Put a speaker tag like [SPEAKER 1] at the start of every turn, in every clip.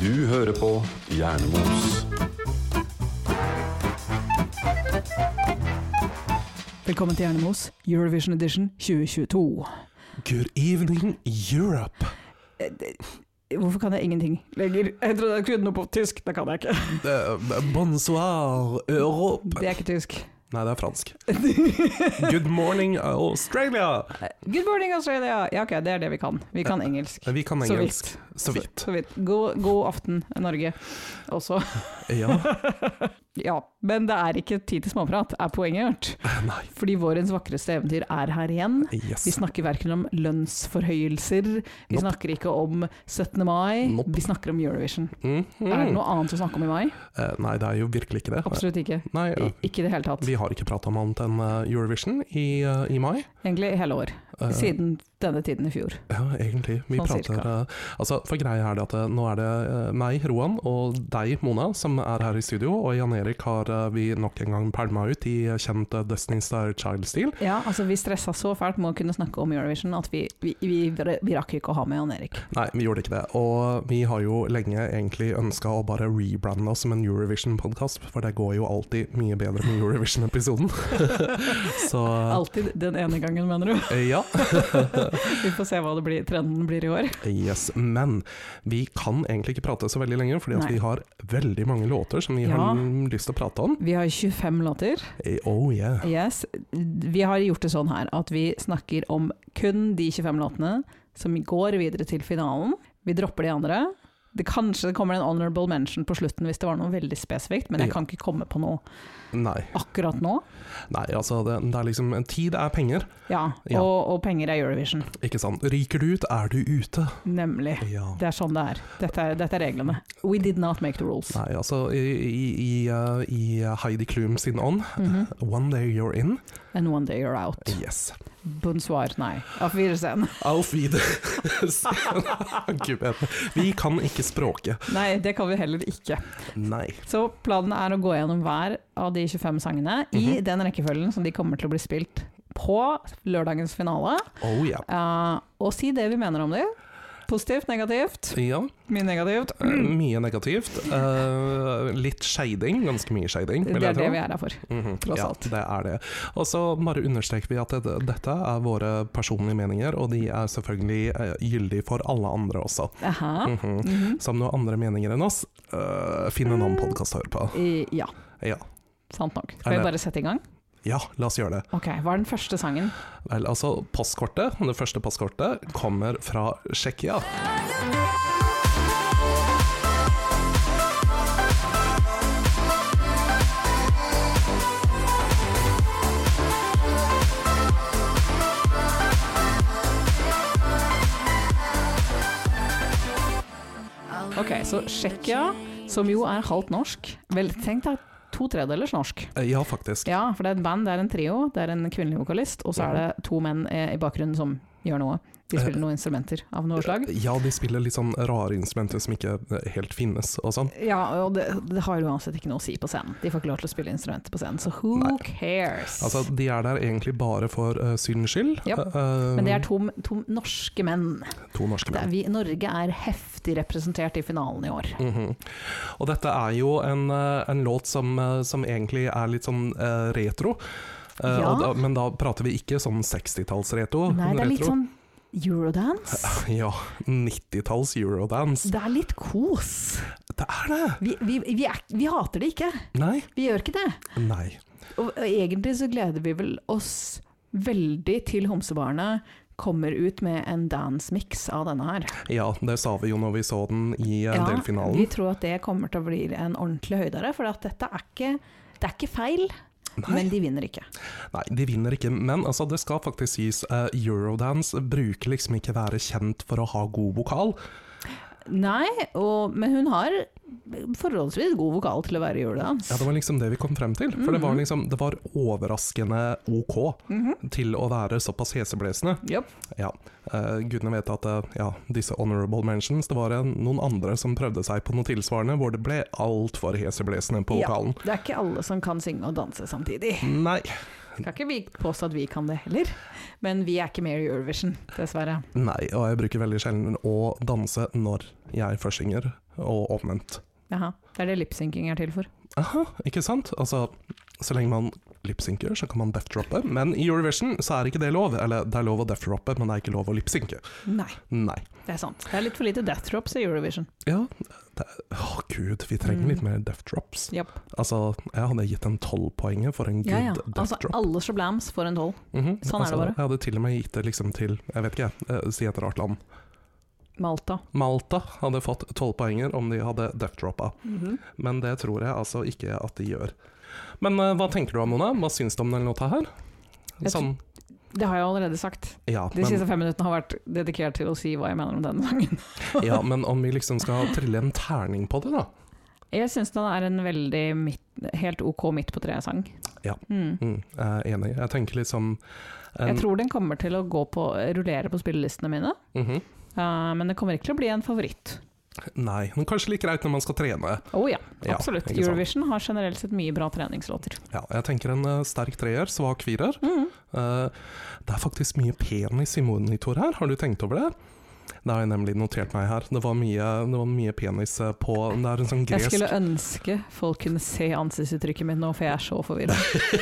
[SPEAKER 1] Du hører på Hjernemos.
[SPEAKER 2] Velkommen til Hjernemos, Eurovision Edition 2022.
[SPEAKER 3] Good evening, Europe.
[SPEAKER 2] Hvorfor kan jeg ingenting lenger? Jeg trodde jeg kunne noe på tysk, det kan jeg ikke.
[SPEAKER 3] Eh, Bonsoir, Europe.
[SPEAKER 2] Det er ikke tysk.
[SPEAKER 3] Nei, det er fransk. Good morning, Australia.
[SPEAKER 2] Good morning Australia! Ja, ok, det er det vi kan. Vi kan engelsk.
[SPEAKER 3] Vi kan
[SPEAKER 2] Så
[SPEAKER 3] engelsk. Så vidt.
[SPEAKER 2] Så vidt. God, god aften, Norge, også.
[SPEAKER 3] Ja.
[SPEAKER 2] Ja, men det er ikke tid til småprat, er poenget gjort.
[SPEAKER 3] Nei.
[SPEAKER 2] Fordi vårens vakreste eventyr er her igjen. Vi
[SPEAKER 3] Yes.
[SPEAKER 2] snakker verken om lønnsforhøyelser, vi
[SPEAKER 3] Nope.
[SPEAKER 2] snakker ikke om 17. mai,
[SPEAKER 3] Nope.
[SPEAKER 2] vi snakker om Eurovision.
[SPEAKER 3] Mm, mm.
[SPEAKER 2] Er det noe annet å snakke om i mai?
[SPEAKER 3] Eh, nei, det er jo virkelig ikke det.
[SPEAKER 2] Absolutt ikke.
[SPEAKER 3] Nei,
[SPEAKER 2] I,
[SPEAKER 3] eh,
[SPEAKER 2] ikke i det hele tatt.
[SPEAKER 3] vi har ikke prata om annet enn eh, Eurovision i, eh, i mai.
[SPEAKER 2] Egentlig hele år.
[SPEAKER 3] Eh,
[SPEAKER 2] Siden denne tiden i fjor.
[SPEAKER 3] Ja, egentlig. Vi
[SPEAKER 2] Sånn
[SPEAKER 3] prater eh, Altså, for greia er det at eh, nå er det eh, meg, Roan, og deg, Mona, som er her i studio. Og Jan Erik har eh, vi nok en gang pælma ut i eh, kjent eh, Destiny's Child-stil.
[SPEAKER 2] Ja, altså vi stressa så fælt med å kunne snakke om Eurovision at vi, vi, vi, vi rakk ikke å ha med Jan Erik.
[SPEAKER 3] Nei, vi gjorde ikke det. Og vi har jo lenge egentlig ønska å bare rebrande oss som en Eurovision-podkast, for det går jo alltid mye bedre med Eurovision-episoden. så
[SPEAKER 2] Alltid den ene gangen, mener du.
[SPEAKER 3] eh, ja.
[SPEAKER 2] Vi får se hva det blir, trenden blir i år.
[SPEAKER 3] Yes, men vi kan egentlig ikke prate så veldig lenge, fordi at
[SPEAKER 2] Nei.
[SPEAKER 3] vi har veldig mange låter som vi
[SPEAKER 2] Ja.
[SPEAKER 3] har lyst til å prate om.
[SPEAKER 2] Vi har 25 låter.
[SPEAKER 3] Eh, Oh yeah.
[SPEAKER 2] Yes. Vi har gjort det sånn her at vi snakker om kun de 25 låtene som går videre til finalen. Vi dropper de andre. Det kanskje kommer en honorable mention på slutten hvis det var noe veldig spesifikt, men jeg
[SPEAKER 3] Ja.
[SPEAKER 2] kan ikke komme på noe
[SPEAKER 3] Nei.
[SPEAKER 2] akkurat nå.
[SPEAKER 3] Nei, altså det, det er liksom Tid er penger,
[SPEAKER 2] Ja,
[SPEAKER 3] Ja.
[SPEAKER 2] Og, og penger er Eurovision.
[SPEAKER 3] ikke sant. Ryker du ut, er du ute.
[SPEAKER 2] Nemlig.
[SPEAKER 3] Ja.
[SPEAKER 2] Det er sånn det er. Dette er, dette er reglene. We did not make the rules.
[SPEAKER 3] Nei, altså i, i, i, eh, i Heidi Klum sin ånd,
[SPEAKER 2] Mhm.
[SPEAKER 3] One Day You're In.
[SPEAKER 2] And one day you're out.
[SPEAKER 3] Yes.
[SPEAKER 2] Bonsoir, nei. Auf Wiedersehen.
[SPEAKER 3] Auf Wiedersehen. Gud, men vi kan ikke språket.
[SPEAKER 2] Nei, det kan vi heller ikke.
[SPEAKER 3] Nei.
[SPEAKER 2] Så planen er å gå gjennom hver av de 25 sangene i
[SPEAKER 3] Mhm.
[SPEAKER 2] den rekkefølgen som de kommer til å bli spilt på lørdagens finale,
[SPEAKER 3] Oh yeah.
[SPEAKER 2] Eh, og si det vi mener om dem. Positivt, negativt,
[SPEAKER 3] Ja,
[SPEAKER 2] mye negativt.
[SPEAKER 3] eh, mye negativt. Eh, litt shading, ganske mye shading. vil
[SPEAKER 2] Det er
[SPEAKER 3] jeg tro.
[SPEAKER 2] det vi er her for.
[SPEAKER 3] Mhm,
[SPEAKER 2] tross
[SPEAKER 3] ja,
[SPEAKER 2] alt.
[SPEAKER 3] Det er det. Og så bare understreker vi at det, dette er våre personlige meninger, og de er selvfølgelig eh, gyldige for alle andre også.
[SPEAKER 2] Aha.
[SPEAKER 3] Mhm.
[SPEAKER 2] Mhm.
[SPEAKER 3] Så om du har andre meninger enn oss, eh, finn en annen podkast å høre på.
[SPEAKER 2] I- Ja,
[SPEAKER 3] Ja.
[SPEAKER 2] sant nok. Skal vi
[SPEAKER 3] det-
[SPEAKER 2] bare sette i gang?
[SPEAKER 3] ja, la oss gjøre det.
[SPEAKER 2] Ok, Hva er den første sangen?
[SPEAKER 3] Vel, altså, postkortet, det første postkortet, kommer fra Tsjekkia.
[SPEAKER 2] Ok, så Tsjekkia, som jo er halvt norsk Vel, tenk deg to tredelers norsk.
[SPEAKER 3] Eh, Ja, faktisk.
[SPEAKER 2] Ja, for det er et band, det er en trio, det er en kvinnelig vokalist, og så er det to menn eh, i bakgrunnen som gjør noe. De spiller noen instrumenter av noe slag.
[SPEAKER 3] Eh, Ja, de spiller litt sånn rare instrumenter som ikke eh, helt finnes og sånn.
[SPEAKER 2] Ja, og det, det har uansett ikke noe å si på scenen. De får ikke lov til å spille instrumenter på scenen, så who
[SPEAKER 3] Nei.
[SPEAKER 2] cares?
[SPEAKER 3] Altså, de er der egentlig bare for eh, syndens skyld.
[SPEAKER 2] Ja,
[SPEAKER 3] Eh,
[SPEAKER 2] Men det er to, to norske menn.
[SPEAKER 3] to norske
[SPEAKER 2] Det
[SPEAKER 3] menn.
[SPEAKER 2] er vi, Norge er heftig representert i finalen i år.
[SPEAKER 3] Mhm. Og dette er jo en, eh, en låt som, eh, som egentlig er litt sånn eh, retro. Eh,
[SPEAKER 2] Ja.
[SPEAKER 3] og da, men da prater vi ikke sånn 60-talls-retro.
[SPEAKER 2] Nei, det er litt
[SPEAKER 3] retro.
[SPEAKER 2] sånn eurodance.
[SPEAKER 3] Ja, 90-talls eurodance.
[SPEAKER 2] Det er litt kos.
[SPEAKER 3] Det er det!
[SPEAKER 2] Vi, vi, vi, er, vi hater det ikke.
[SPEAKER 3] Nei.
[SPEAKER 2] Vi gjør ikke det.
[SPEAKER 3] Nei.
[SPEAKER 2] Og, og egentlig så gleder vi vel oss veldig til homsebarnet kommer ut med en dance-mix av denne her.
[SPEAKER 3] Ja, det sa vi jo når vi så den i eh,
[SPEAKER 2] vi
[SPEAKER 3] delfinalen.
[SPEAKER 2] tror at det kommer til å bli en ordentlig høydere, for at dette er ikke, det er ikke feil,
[SPEAKER 3] Nei,
[SPEAKER 2] men de vinner ikke.
[SPEAKER 3] nei, de vinner ikke. Men altså, det skal faktisk sies, eh, eurodance bruker liksom ikke være kjent for å ha god vokal.
[SPEAKER 2] Nei, og, men hun har forholdsvis god vokal til å være juledans.
[SPEAKER 3] Ja, Det var liksom det vi kom frem til. For det, var liksom, det var overraskende ok til å være såpass heseblesende.
[SPEAKER 2] Japp.
[SPEAKER 3] Ja, eh, gudene vet at eh, ja, disse honorable mentions, det var en, noen andre som prøvde seg på noe tilsvarende, hvor det ble altfor heseblesende på
[SPEAKER 2] Ja,
[SPEAKER 3] vokalen.
[SPEAKER 2] det er ikke alle som kan synge og danse samtidig.
[SPEAKER 3] Nei,
[SPEAKER 2] Skal ikke vi påstå at vi kan det heller, men vi er ikke med i Eurovision, dessverre.
[SPEAKER 3] Nei, og jeg bruker veldig sjelden å danse når jeg først synger, og omvendt.
[SPEAKER 2] Jaha, Det er det lipsynking er til for.
[SPEAKER 3] Aha, ikke sant? Altså, så lenge man lipsynker, så kan man death-droppe. Men i Eurovision så er ikke det lov. Eller det er lov å death-droppe, men det er ikke lov å lipsynke.
[SPEAKER 2] Nei,
[SPEAKER 3] Nei.
[SPEAKER 2] det er sant. Det er litt for lite death drops i Eurovision.
[SPEAKER 3] Ja, det er, åh gud, vi trenger
[SPEAKER 2] Mm.
[SPEAKER 3] litt mer death-drops.
[SPEAKER 2] Japp.
[SPEAKER 3] Altså, jeg hadde gitt en 12 poenget for en good
[SPEAKER 2] Ja, ja. Altså,
[SPEAKER 3] death-drop.
[SPEAKER 2] alle shablams får en tolv.
[SPEAKER 3] Mhm.
[SPEAKER 2] sånn er det bare.
[SPEAKER 3] Jeg hadde til og med gitt det liksom til, jeg vet ikke, eh, si et rart land.
[SPEAKER 2] Malta.
[SPEAKER 3] Malta hadde fått 12 poenger om de hadde death-droppa.
[SPEAKER 2] Mhm.
[SPEAKER 3] Men det tror jeg altså ikke at de gjør. Men eh, hva tenker du om Mona? Hva syns du om den låta her?
[SPEAKER 2] Jeg
[SPEAKER 3] Sånn,
[SPEAKER 2] Det har jeg allerede sagt.
[SPEAKER 3] ja,
[SPEAKER 2] De
[SPEAKER 3] men,
[SPEAKER 2] siste fem minuttene har vært dedikert til å si hva jeg mener om denne sangen.
[SPEAKER 3] ja, men om vi liksom skal trille en terning på det, da.
[SPEAKER 2] Jeg syns den er en veldig midt, helt ok midt på treet-sang.
[SPEAKER 3] Ja.
[SPEAKER 2] Mm.
[SPEAKER 3] Mm, jeg er enig. Jeg tenker liksom
[SPEAKER 2] Jeg tror den kommer til å gå på, rullere på spillelistene mine,
[SPEAKER 3] Mhm.
[SPEAKER 2] eh, men det kommer ikke til å bli en favoritt.
[SPEAKER 3] Nei, men kanskje like greit når man skal trene.
[SPEAKER 2] Å ja,
[SPEAKER 3] Ja,
[SPEAKER 2] absolutt.
[SPEAKER 3] ikke sant.
[SPEAKER 2] Eurovision har generelt sett mye bra treningslåter.
[SPEAKER 3] Ja, jeg tenker en eh, sterk treer, svak firer.
[SPEAKER 2] Mm.
[SPEAKER 3] Eh, det er faktisk mye penis i monitor her, har du tenkt over det? Det har jeg nemlig notert meg her. Det var mye, det var mye penis eh, på Det er en sånn
[SPEAKER 2] Jeg
[SPEAKER 3] gresk
[SPEAKER 2] skulle ønske folk kunne se ansiktsuttrykket mitt nå, for jeg er så forvirra.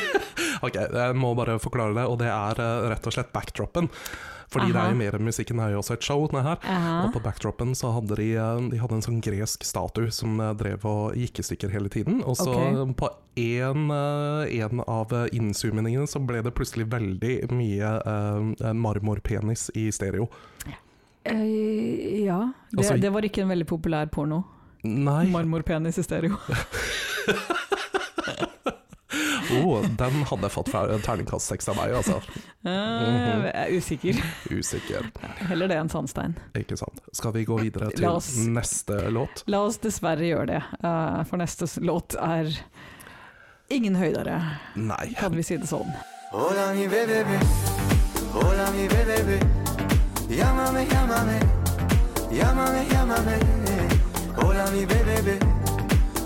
[SPEAKER 3] Ok, jeg må bare forklare det, og det er eh, rett og slett backdropen. Fordi det er
[SPEAKER 2] Aha.
[SPEAKER 3] jo mer musikken, det er jo også et show. Den her. Og på backdropen så hadde de, eh, de hadde en sånn gresk statue som eh, drev og gikk i stykker hele tiden. Og så
[SPEAKER 2] Ok.
[SPEAKER 3] eh, på én en av eh, innzoomingene så ble det plutselig veldig mye eh, marmorpenis i stereo.
[SPEAKER 2] Eh, ja, det,
[SPEAKER 3] Altså-
[SPEAKER 2] det var ikke en veldig populær porno.
[SPEAKER 3] Nei,
[SPEAKER 2] Marmorpenis i stereo.
[SPEAKER 3] oh, den hadde fått fra- terningkast seks av meg, altså.
[SPEAKER 2] Eh, jeg er usikker.
[SPEAKER 3] Usikker,
[SPEAKER 2] Heller det enn sandstein.
[SPEAKER 3] ikke sant. Skal vi gå videre
[SPEAKER 2] La
[SPEAKER 3] til
[SPEAKER 2] oss-
[SPEAKER 3] neste låt?
[SPEAKER 2] La oss dessverre gjøre det, eh, for neste s- låt er ingen høydere,
[SPEAKER 3] Nei.
[SPEAKER 2] kan vi si det sånn.
[SPEAKER 4] Hola mi bebé, hola mi bebé, llámame, llámame, llámame, llámame. Hola mi bebé,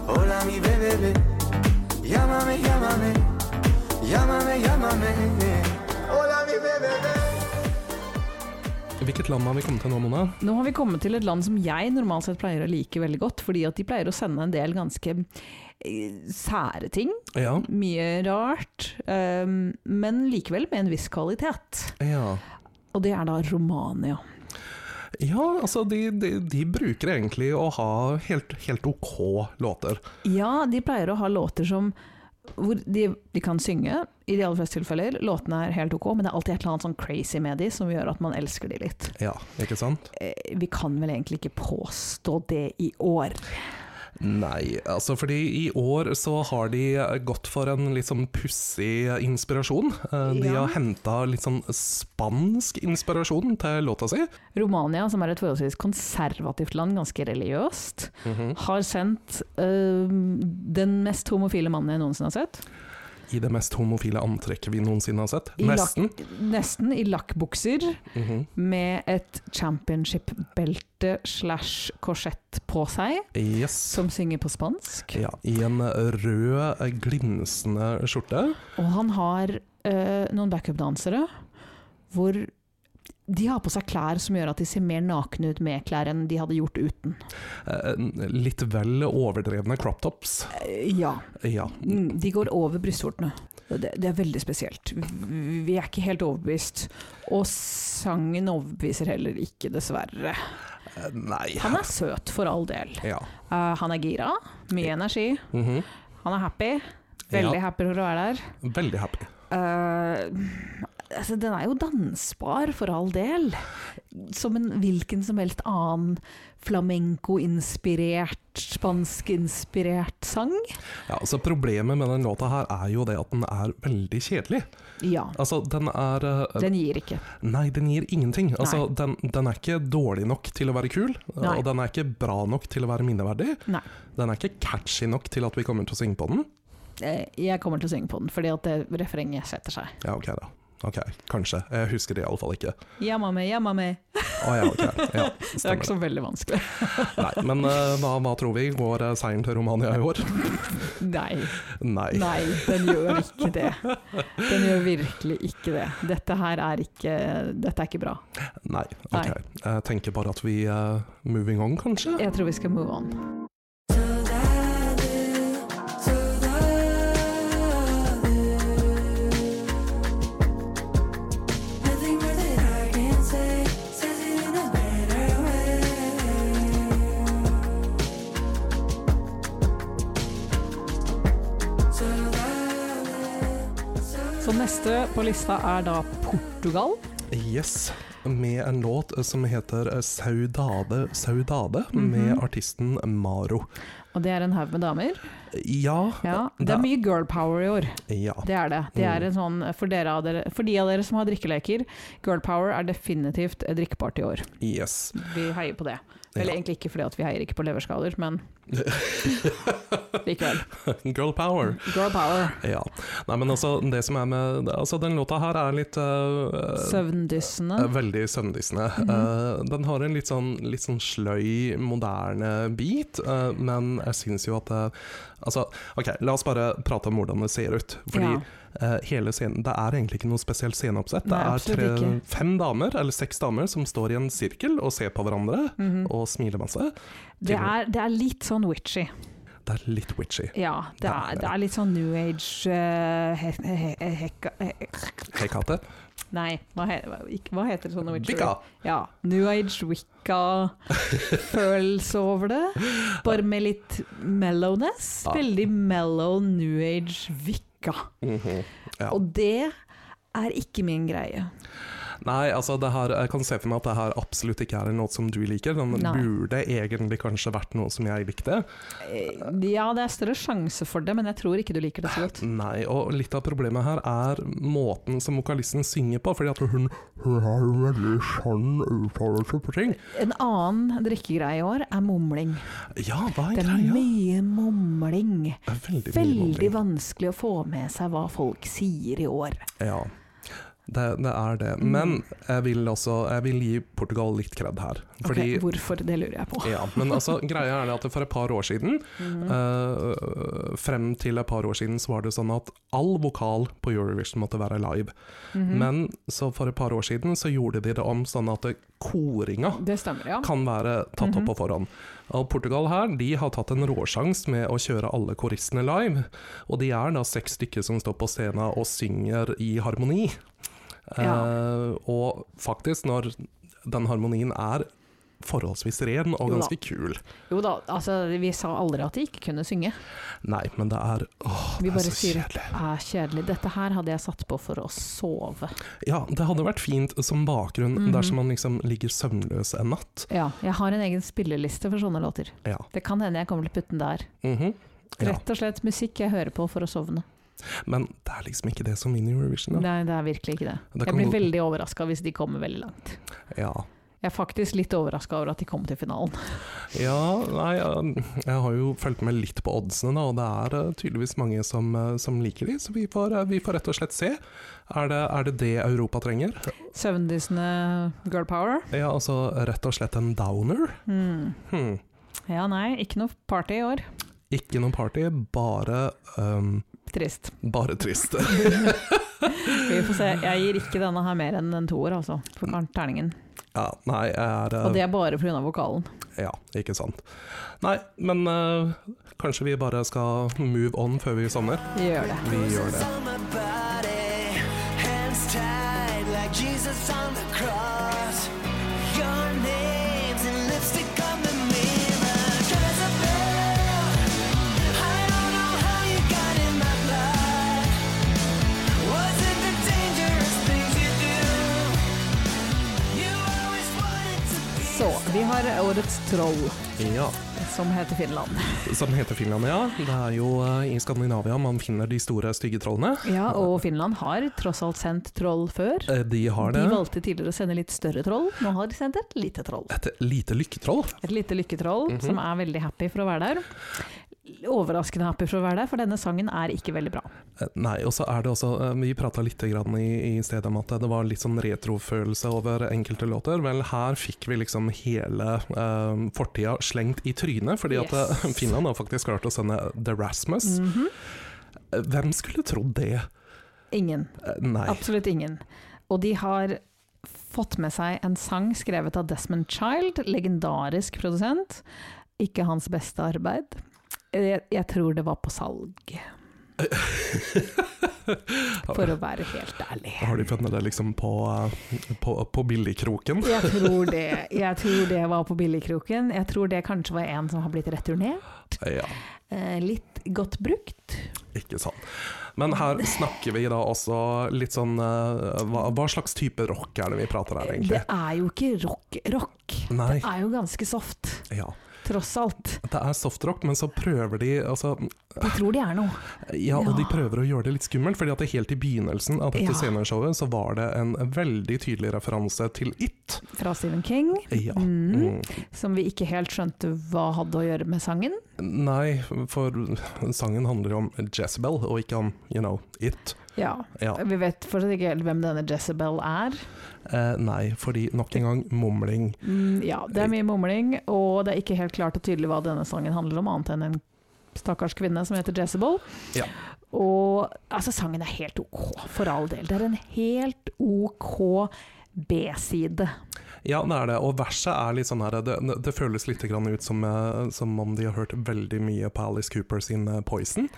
[SPEAKER 4] hola mi bebé, llámame, llámame, llámame, llámame. Hola mi bebé.
[SPEAKER 3] Hvilket land har vi kommet til nå, Mona?
[SPEAKER 2] Nå har vi kommet til et land som jeg normalt sett pleier å like veldig godt, fordi at de pleier å sende en del ganske eh, sære ting.
[SPEAKER 3] Ja.
[SPEAKER 2] Mye rart, eh, men likevel med en viss kvalitet.
[SPEAKER 3] Ja,
[SPEAKER 2] Og det er da Romania.
[SPEAKER 3] ja altså de, de, de bruker egentlig å ha helt, helt ok låter.
[SPEAKER 2] Ja, de pleier å ha låter som hvor de, de kan synge, i de aller fleste tilfeller. Låtene er helt ok, men det er alltid et eller annet sånn crazy med de som gjør at man elsker de litt.
[SPEAKER 3] Ja, ikke sant?
[SPEAKER 2] Eh, Vi kan vel egentlig ikke påstå det i år.
[SPEAKER 3] Nei, altså fordi i år så har de gått for en litt sånn pussig inspirasjon. Eh, De
[SPEAKER 2] Ja.
[SPEAKER 3] har henta litt sånn spansk inspirasjon til låta si.
[SPEAKER 2] Romania, som er et forholdsvis konservativt land, ganske religiøst,
[SPEAKER 3] Mhm.
[SPEAKER 2] har sendt eh, den mest homofile mannen jeg noensinne har sett.
[SPEAKER 3] I det mest homofile antrekket vi noensinne har sett.
[SPEAKER 2] I
[SPEAKER 3] Nesten.
[SPEAKER 2] Lakk, nesten i lakkbukser,
[SPEAKER 3] Mhm.
[SPEAKER 2] med et championship-belte slash korsett på seg,
[SPEAKER 3] Yes.
[SPEAKER 2] som synger på spansk.
[SPEAKER 3] Ja, I en rød, glinsende skjorte.
[SPEAKER 2] Og han har eh, noen backup-dansere hvor de har på seg klær som gjør at de ser mer nakne ut med klær enn de hadde gjort uten.
[SPEAKER 3] Eh, Litt vel overdrevne crop tops.
[SPEAKER 2] Eh, ja.
[SPEAKER 3] Ja.
[SPEAKER 2] Mm, De går over brystvortene. Og Det, det er veldig spesielt. Vi vi er ikke helt overbevist. Og sangen overbeviser heller ikke, dessverre.
[SPEAKER 3] Eh, Nei.
[SPEAKER 2] Han er søt, for all del.
[SPEAKER 3] Ja.
[SPEAKER 2] Eh, han er gira. Mye energi.
[SPEAKER 3] Mhm.
[SPEAKER 2] Han er happy. Veldig happy for å være der.
[SPEAKER 3] Veldig happy.
[SPEAKER 2] Eh, altså, den er jo dansbar, for all del. Som en hvilken som helst annen flamenco-inspirert, spansk-inspirert sang.
[SPEAKER 3] Ja, altså Problemet med den låta her er jo det at den er veldig kjedelig.
[SPEAKER 2] Ja.
[SPEAKER 3] Altså, den er eh,
[SPEAKER 2] Den gir ikke.
[SPEAKER 3] Nei, den gir ingenting. Altså, den, den er ikke dårlig nok til å være kul,
[SPEAKER 2] Nei.
[SPEAKER 3] og den er ikke bra nok til å være minneverdig.
[SPEAKER 2] Nei.
[SPEAKER 3] Den er ikke catchy nok til at vi kommer til å synge på den.
[SPEAKER 2] Eh, Jeg kommer til å synge på den, fordi at det refrenget setter seg.
[SPEAKER 3] Ja, ok da. Ok, kanskje. Jeg husker det iallfall ikke.
[SPEAKER 2] Yamame, yamame.
[SPEAKER 3] Å ja, ok. Ja,
[SPEAKER 2] Det er ikke
[SPEAKER 3] stemmer det.
[SPEAKER 2] så veldig vanskelig.
[SPEAKER 3] Nei, men eh, hva, hva tror vi? Går eh, seieren til Romania i år?
[SPEAKER 2] Nei.
[SPEAKER 3] Nei.
[SPEAKER 2] Nei, den gjør ikke det. Den gjør virkelig ikke det. Dette her er ikke, dette er ikke bra.
[SPEAKER 3] Nei. Ok.
[SPEAKER 2] Nei.
[SPEAKER 3] Jeg tenker bare at vi eh, Moving on, kanskje?
[SPEAKER 2] Jeg tror vi skal move on.
[SPEAKER 5] Nothing more that I can say says it in a better way. So lovely, so
[SPEAKER 2] Så neste på lista er da Portugal.
[SPEAKER 3] Yes. Med en låt eh, som heter eh, Saudade Saudade,
[SPEAKER 2] Mhm.
[SPEAKER 3] med artisten Maro.
[SPEAKER 2] Og det er en haug med damer.
[SPEAKER 3] Ja,
[SPEAKER 2] Ja, det er mye girl power i år.
[SPEAKER 3] ja.
[SPEAKER 2] Det er det. det er en sånn, for, dere av dere, for de av dere som har drikkeleker, girl power er definitivt drikkbart i år.
[SPEAKER 3] Yes.
[SPEAKER 2] Vi heier på det. Eller
[SPEAKER 3] Ja.
[SPEAKER 2] egentlig ikke fordi at vi heier ikke på leverskader, men likevel.
[SPEAKER 3] Girl power.
[SPEAKER 2] Girl power.
[SPEAKER 3] Ja. Nei, men altså, det som er med Altså, den låta her er litt eh,
[SPEAKER 2] Søvndyssende.
[SPEAKER 3] Eh, Veldig søvndissende.
[SPEAKER 2] Mhm.
[SPEAKER 3] Eh, den har en litt sånn, litt sånn sløy, moderne bit, eh, men jeg syns jo at eh, Altså, OK, la oss bare prate om hvordan det ser ut. Fordi
[SPEAKER 2] Ja.
[SPEAKER 3] eh, hele scenen Det er egentlig ikke noe spesielt sceneoppsett.
[SPEAKER 2] Nei,
[SPEAKER 3] det er
[SPEAKER 2] absolutt
[SPEAKER 3] tre,
[SPEAKER 2] ikke.
[SPEAKER 3] fem damer, eller seks damer, som står i en sirkel og ser på hverandre
[SPEAKER 2] Mhm.
[SPEAKER 3] og smiler masse.
[SPEAKER 2] det, er, det er litt sånn witchy.
[SPEAKER 3] Det er litt witchy.
[SPEAKER 2] Ja, det
[SPEAKER 3] Ja,
[SPEAKER 2] er,
[SPEAKER 3] ja.
[SPEAKER 2] det er litt sånn new age eh, he, he, he, hekka- he,
[SPEAKER 3] Hei, Kate.
[SPEAKER 2] Nei, hva, he, hva- ikke- hva heter det sånn witchy?
[SPEAKER 3] Bikka!
[SPEAKER 2] Ja, new age wicca-følelse over det. Bare med litt mellowness.
[SPEAKER 3] Ja.
[SPEAKER 2] Veldig mellow new age wicca.
[SPEAKER 3] Mhm. Ja.
[SPEAKER 2] Og det er ikke min greie.
[SPEAKER 3] Nei, altså det her, jeg kan se for meg at det her absolutt ikke er en låt som du liker. Den
[SPEAKER 2] Nei.
[SPEAKER 3] burde egentlig kanskje vært noe som jeg likte.
[SPEAKER 2] Eh, Ja, det er større sjanse for det, men jeg tror ikke du liker det så godt.
[SPEAKER 3] Nei, og litt av problemet her er måten som vokalisten synger på, fordi at hun, hun har veldig sann uttalelse på ting.
[SPEAKER 2] En annen drikkegreie i år er mumling.
[SPEAKER 3] Ja, hva er
[SPEAKER 2] Det er
[SPEAKER 3] greia?
[SPEAKER 2] mye mumling.
[SPEAKER 3] Det er veldig, mye
[SPEAKER 2] Veldig
[SPEAKER 3] mumling.
[SPEAKER 2] vanskelig å få med seg hva folk sier i år.
[SPEAKER 3] Ja, det, det er det.
[SPEAKER 2] Mm.
[SPEAKER 3] Men jeg vil også, jeg vil gi Portugal litt kred her. Fordi
[SPEAKER 2] Ok, hvorfor, det lurer jeg på.
[SPEAKER 3] Ja, men altså, greia er det at for et par år siden,
[SPEAKER 2] Mm.
[SPEAKER 3] eh, frem til et par år siden, så var det sånn at all vokal på Eurovision måtte være live.
[SPEAKER 2] Mm.
[SPEAKER 3] Men så for et par år siden så gjorde de det om sånn at det- koringa
[SPEAKER 2] Mhm. Det stemmer, ja.
[SPEAKER 3] kan være tatt opp på forhånd. Og Portugal her, de har tatt en råsjans med å kjøre alle koristene live. Og de er da seks stykker som står på scenen og synger i harmoni. Eh, og faktisk, når den harmonien er forholdsvis ren
[SPEAKER 2] Jo
[SPEAKER 3] og
[SPEAKER 2] da.
[SPEAKER 3] ganske kul
[SPEAKER 2] Jo da, altså, vi sa aldri at de ikke kunne synge.
[SPEAKER 3] Nei, men det er Åh,
[SPEAKER 2] Vi
[SPEAKER 3] det er
[SPEAKER 2] bare
[SPEAKER 3] så
[SPEAKER 2] sier at det
[SPEAKER 3] kjedelig.
[SPEAKER 2] er Ah, kjedelig. Dette her hadde jeg satt på for å sove.
[SPEAKER 3] Ja, det hadde vært fint som bakgrunn
[SPEAKER 2] Mhm.
[SPEAKER 3] dersom man liksom ligger søvnløs en natt.
[SPEAKER 2] Ja, jeg har en egen spilleliste for sånne låter.
[SPEAKER 3] Ja.
[SPEAKER 2] Det kan hende jeg kommer til å putte den der.
[SPEAKER 3] Mhm. ja.
[SPEAKER 2] Rett og slett musikk jeg hører på for å sovne.
[SPEAKER 3] Men det er liksom ikke det som vinner Eurovision, da.
[SPEAKER 2] Nei, det er virkelig ikke det. Jeg
[SPEAKER 3] Det kan
[SPEAKER 2] blir
[SPEAKER 3] gå-
[SPEAKER 2] veldig overraska hvis de kommer veldig langt.
[SPEAKER 3] Ja.
[SPEAKER 2] Jeg er faktisk litt overraska over at de kom til finalen.
[SPEAKER 3] ja, nei, eh, jeg har jo fulgt med litt på oddsene, da, og det er eh, tydeligvis mange som, eh, som liker de, så vi får, eh, vi får rett og slett se. Er det er det, det Europa trenger?
[SPEAKER 2] Søvndyssende girl power.
[SPEAKER 3] Ja, altså rett og slett en downer?
[SPEAKER 2] Hmm.
[SPEAKER 3] Hm.
[SPEAKER 2] Ja, nei, ikke noe party i år.
[SPEAKER 3] Ikke noe party, bare ehm,
[SPEAKER 2] Trist.
[SPEAKER 3] bare trist.
[SPEAKER 2] Vi får se. Jeg gir ikke denne her mer enn en toer, altså. For kan- terningen.
[SPEAKER 3] Mm. ja, nei, jeg er eh,
[SPEAKER 2] Og det er bare pga. vokalen.
[SPEAKER 3] Ja, ikke sant. Nei, men eh, kanskje vi bare skal move on før vi sommer?
[SPEAKER 2] Gjør det.
[SPEAKER 3] Vi gjør det.
[SPEAKER 4] on my body, hands tied like Jesus on the cross. Your name's in lipstick on the mirror. Jezebel, I don't know how you got in my blood. Was it the dangerous things you do? You always wanted to be.
[SPEAKER 2] Så, vi har årets troll,
[SPEAKER 3] Ja.
[SPEAKER 2] som heter Finland.
[SPEAKER 3] Som heter Finland, ja. Det er jo eh, i Skandinavia man finner de store, stygge trollene.
[SPEAKER 2] Ja, og Finland har tross alt sendt troll før.
[SPEAKER 3] Eh, de har det.
[SPEAKER 2] De valgte tidligere å sende litt større troll, nå har de sendt et lite troll.
[SPEAKER 3] Et lite lykketroll. Mhm.
[SPEAKER 2] Et lite lykketroll som er veldig happy for å være der. overraskende happy for å være der, for denne sangen er ikke veldig bra.
[SPEAKER 3] Eh, Nei, og så er det også eh, Vi prata litt grann i, i stedet om at det var litt sånn retrofølelse over enkelte låter. Vel, her fikk vi liksom hele eh, fortida slengt i trynet, fordi at eh,
[SPEAKER 2] Yes.
[SPEAKER 3] Finland har faktisk klart å sende The Rasmus.
[SPEAKER 2] Mhm.
[SPEAKER 3] Eh, Hvem skulle trodd det?
[SPEAKER 2] Ingen.
[SPEAKER 3] Eh, Nei.
[SPEAKER 2] Absolutt ingen. Og de har fått med seg en sang skrevet av Desmond Child, legendarisk produsent. Ikke hans beste arbeid. Jeg, jeg tror det var på salg, for å være helt ærlig.
[SPEAKER 3] Har de funnet det liksom på, eh, på, på billigkroken?
[SPEAKER 2] Jeg tror det. Jeg tror det var på billigkroken. Jeg tror det kanskje var en som har blitt returnert.
[SPEAKER 3] Ja,
[SPEAKER 2] Eh, litt godt brukt.
[SPEAKER 3] ikke sant. Men her snakker vi da også litt sånn eh, hva, hva slags type rock er det vi prater her,
[SPEAKER 2] Det
[SPEAKER 3] egentlig?
[SPEAKER 2] er jo ikke rock. Eh, Rock
[SPEAKER 3] Nei.
[SPEAKER 2] er jo ganske soft,
[SPEAKER 3] Ja.
[SPEAKER 2] tross alt.
[SPEAKER 3] Det er softrock, men så prøver de altså,
[SPEAKER 2] De tror de er noe.
[SPEAKER 3] Ja, og de
[SPEAKER 2] Ja.
[SPEAKER 3] prøver å gjøre det litt skummelt, fordi at det helt i begynnelsen av dette
[SPEAKER 2] Ja.
[SPEAKER 3] sceneshowet så var det en veldig tydelig referanse til It.
[SPEAKER 2] Fra Stephen King,
[SPEAKER 3] Ja.
[SPEAKER 2] Mm.
[SPEAKER 3] Mm.
[SPEAKER 2] som vi ikke helt skjønte hva hadde å gjøre med sangen.
[SPEAKER 3] Nei, for sangen handler jo om Jezebel, og ikke om, you know, It.
[SPEAKER 2] Ja.
[SPEAKER 3] Ja.
[SPEAKER 2] Vi vet fortsatt ikke helt hvem denne Jezebel er.
[SPEAKER 3] Eh, nei, fordi nok en gang mumling.
[SPEAKER 2] Mm, ja, det er mye mumling, og det er ikke helt klart og tydelig hva denne sangen handler om, annet enn en stakkars kvinne som heter Jezebel.
[SPEAKER 3] Ja.
[SPEAKER 2] Og altså, sangen er helt ok, for all del. Det er en helt ok B-side.
[SPEAKER 3] Ja, det er det, og verset er litt sånn her Det, det føles litt grann ut som, eh, som om de har hørt veldig mye på Alice Cooper sin eh, Poison.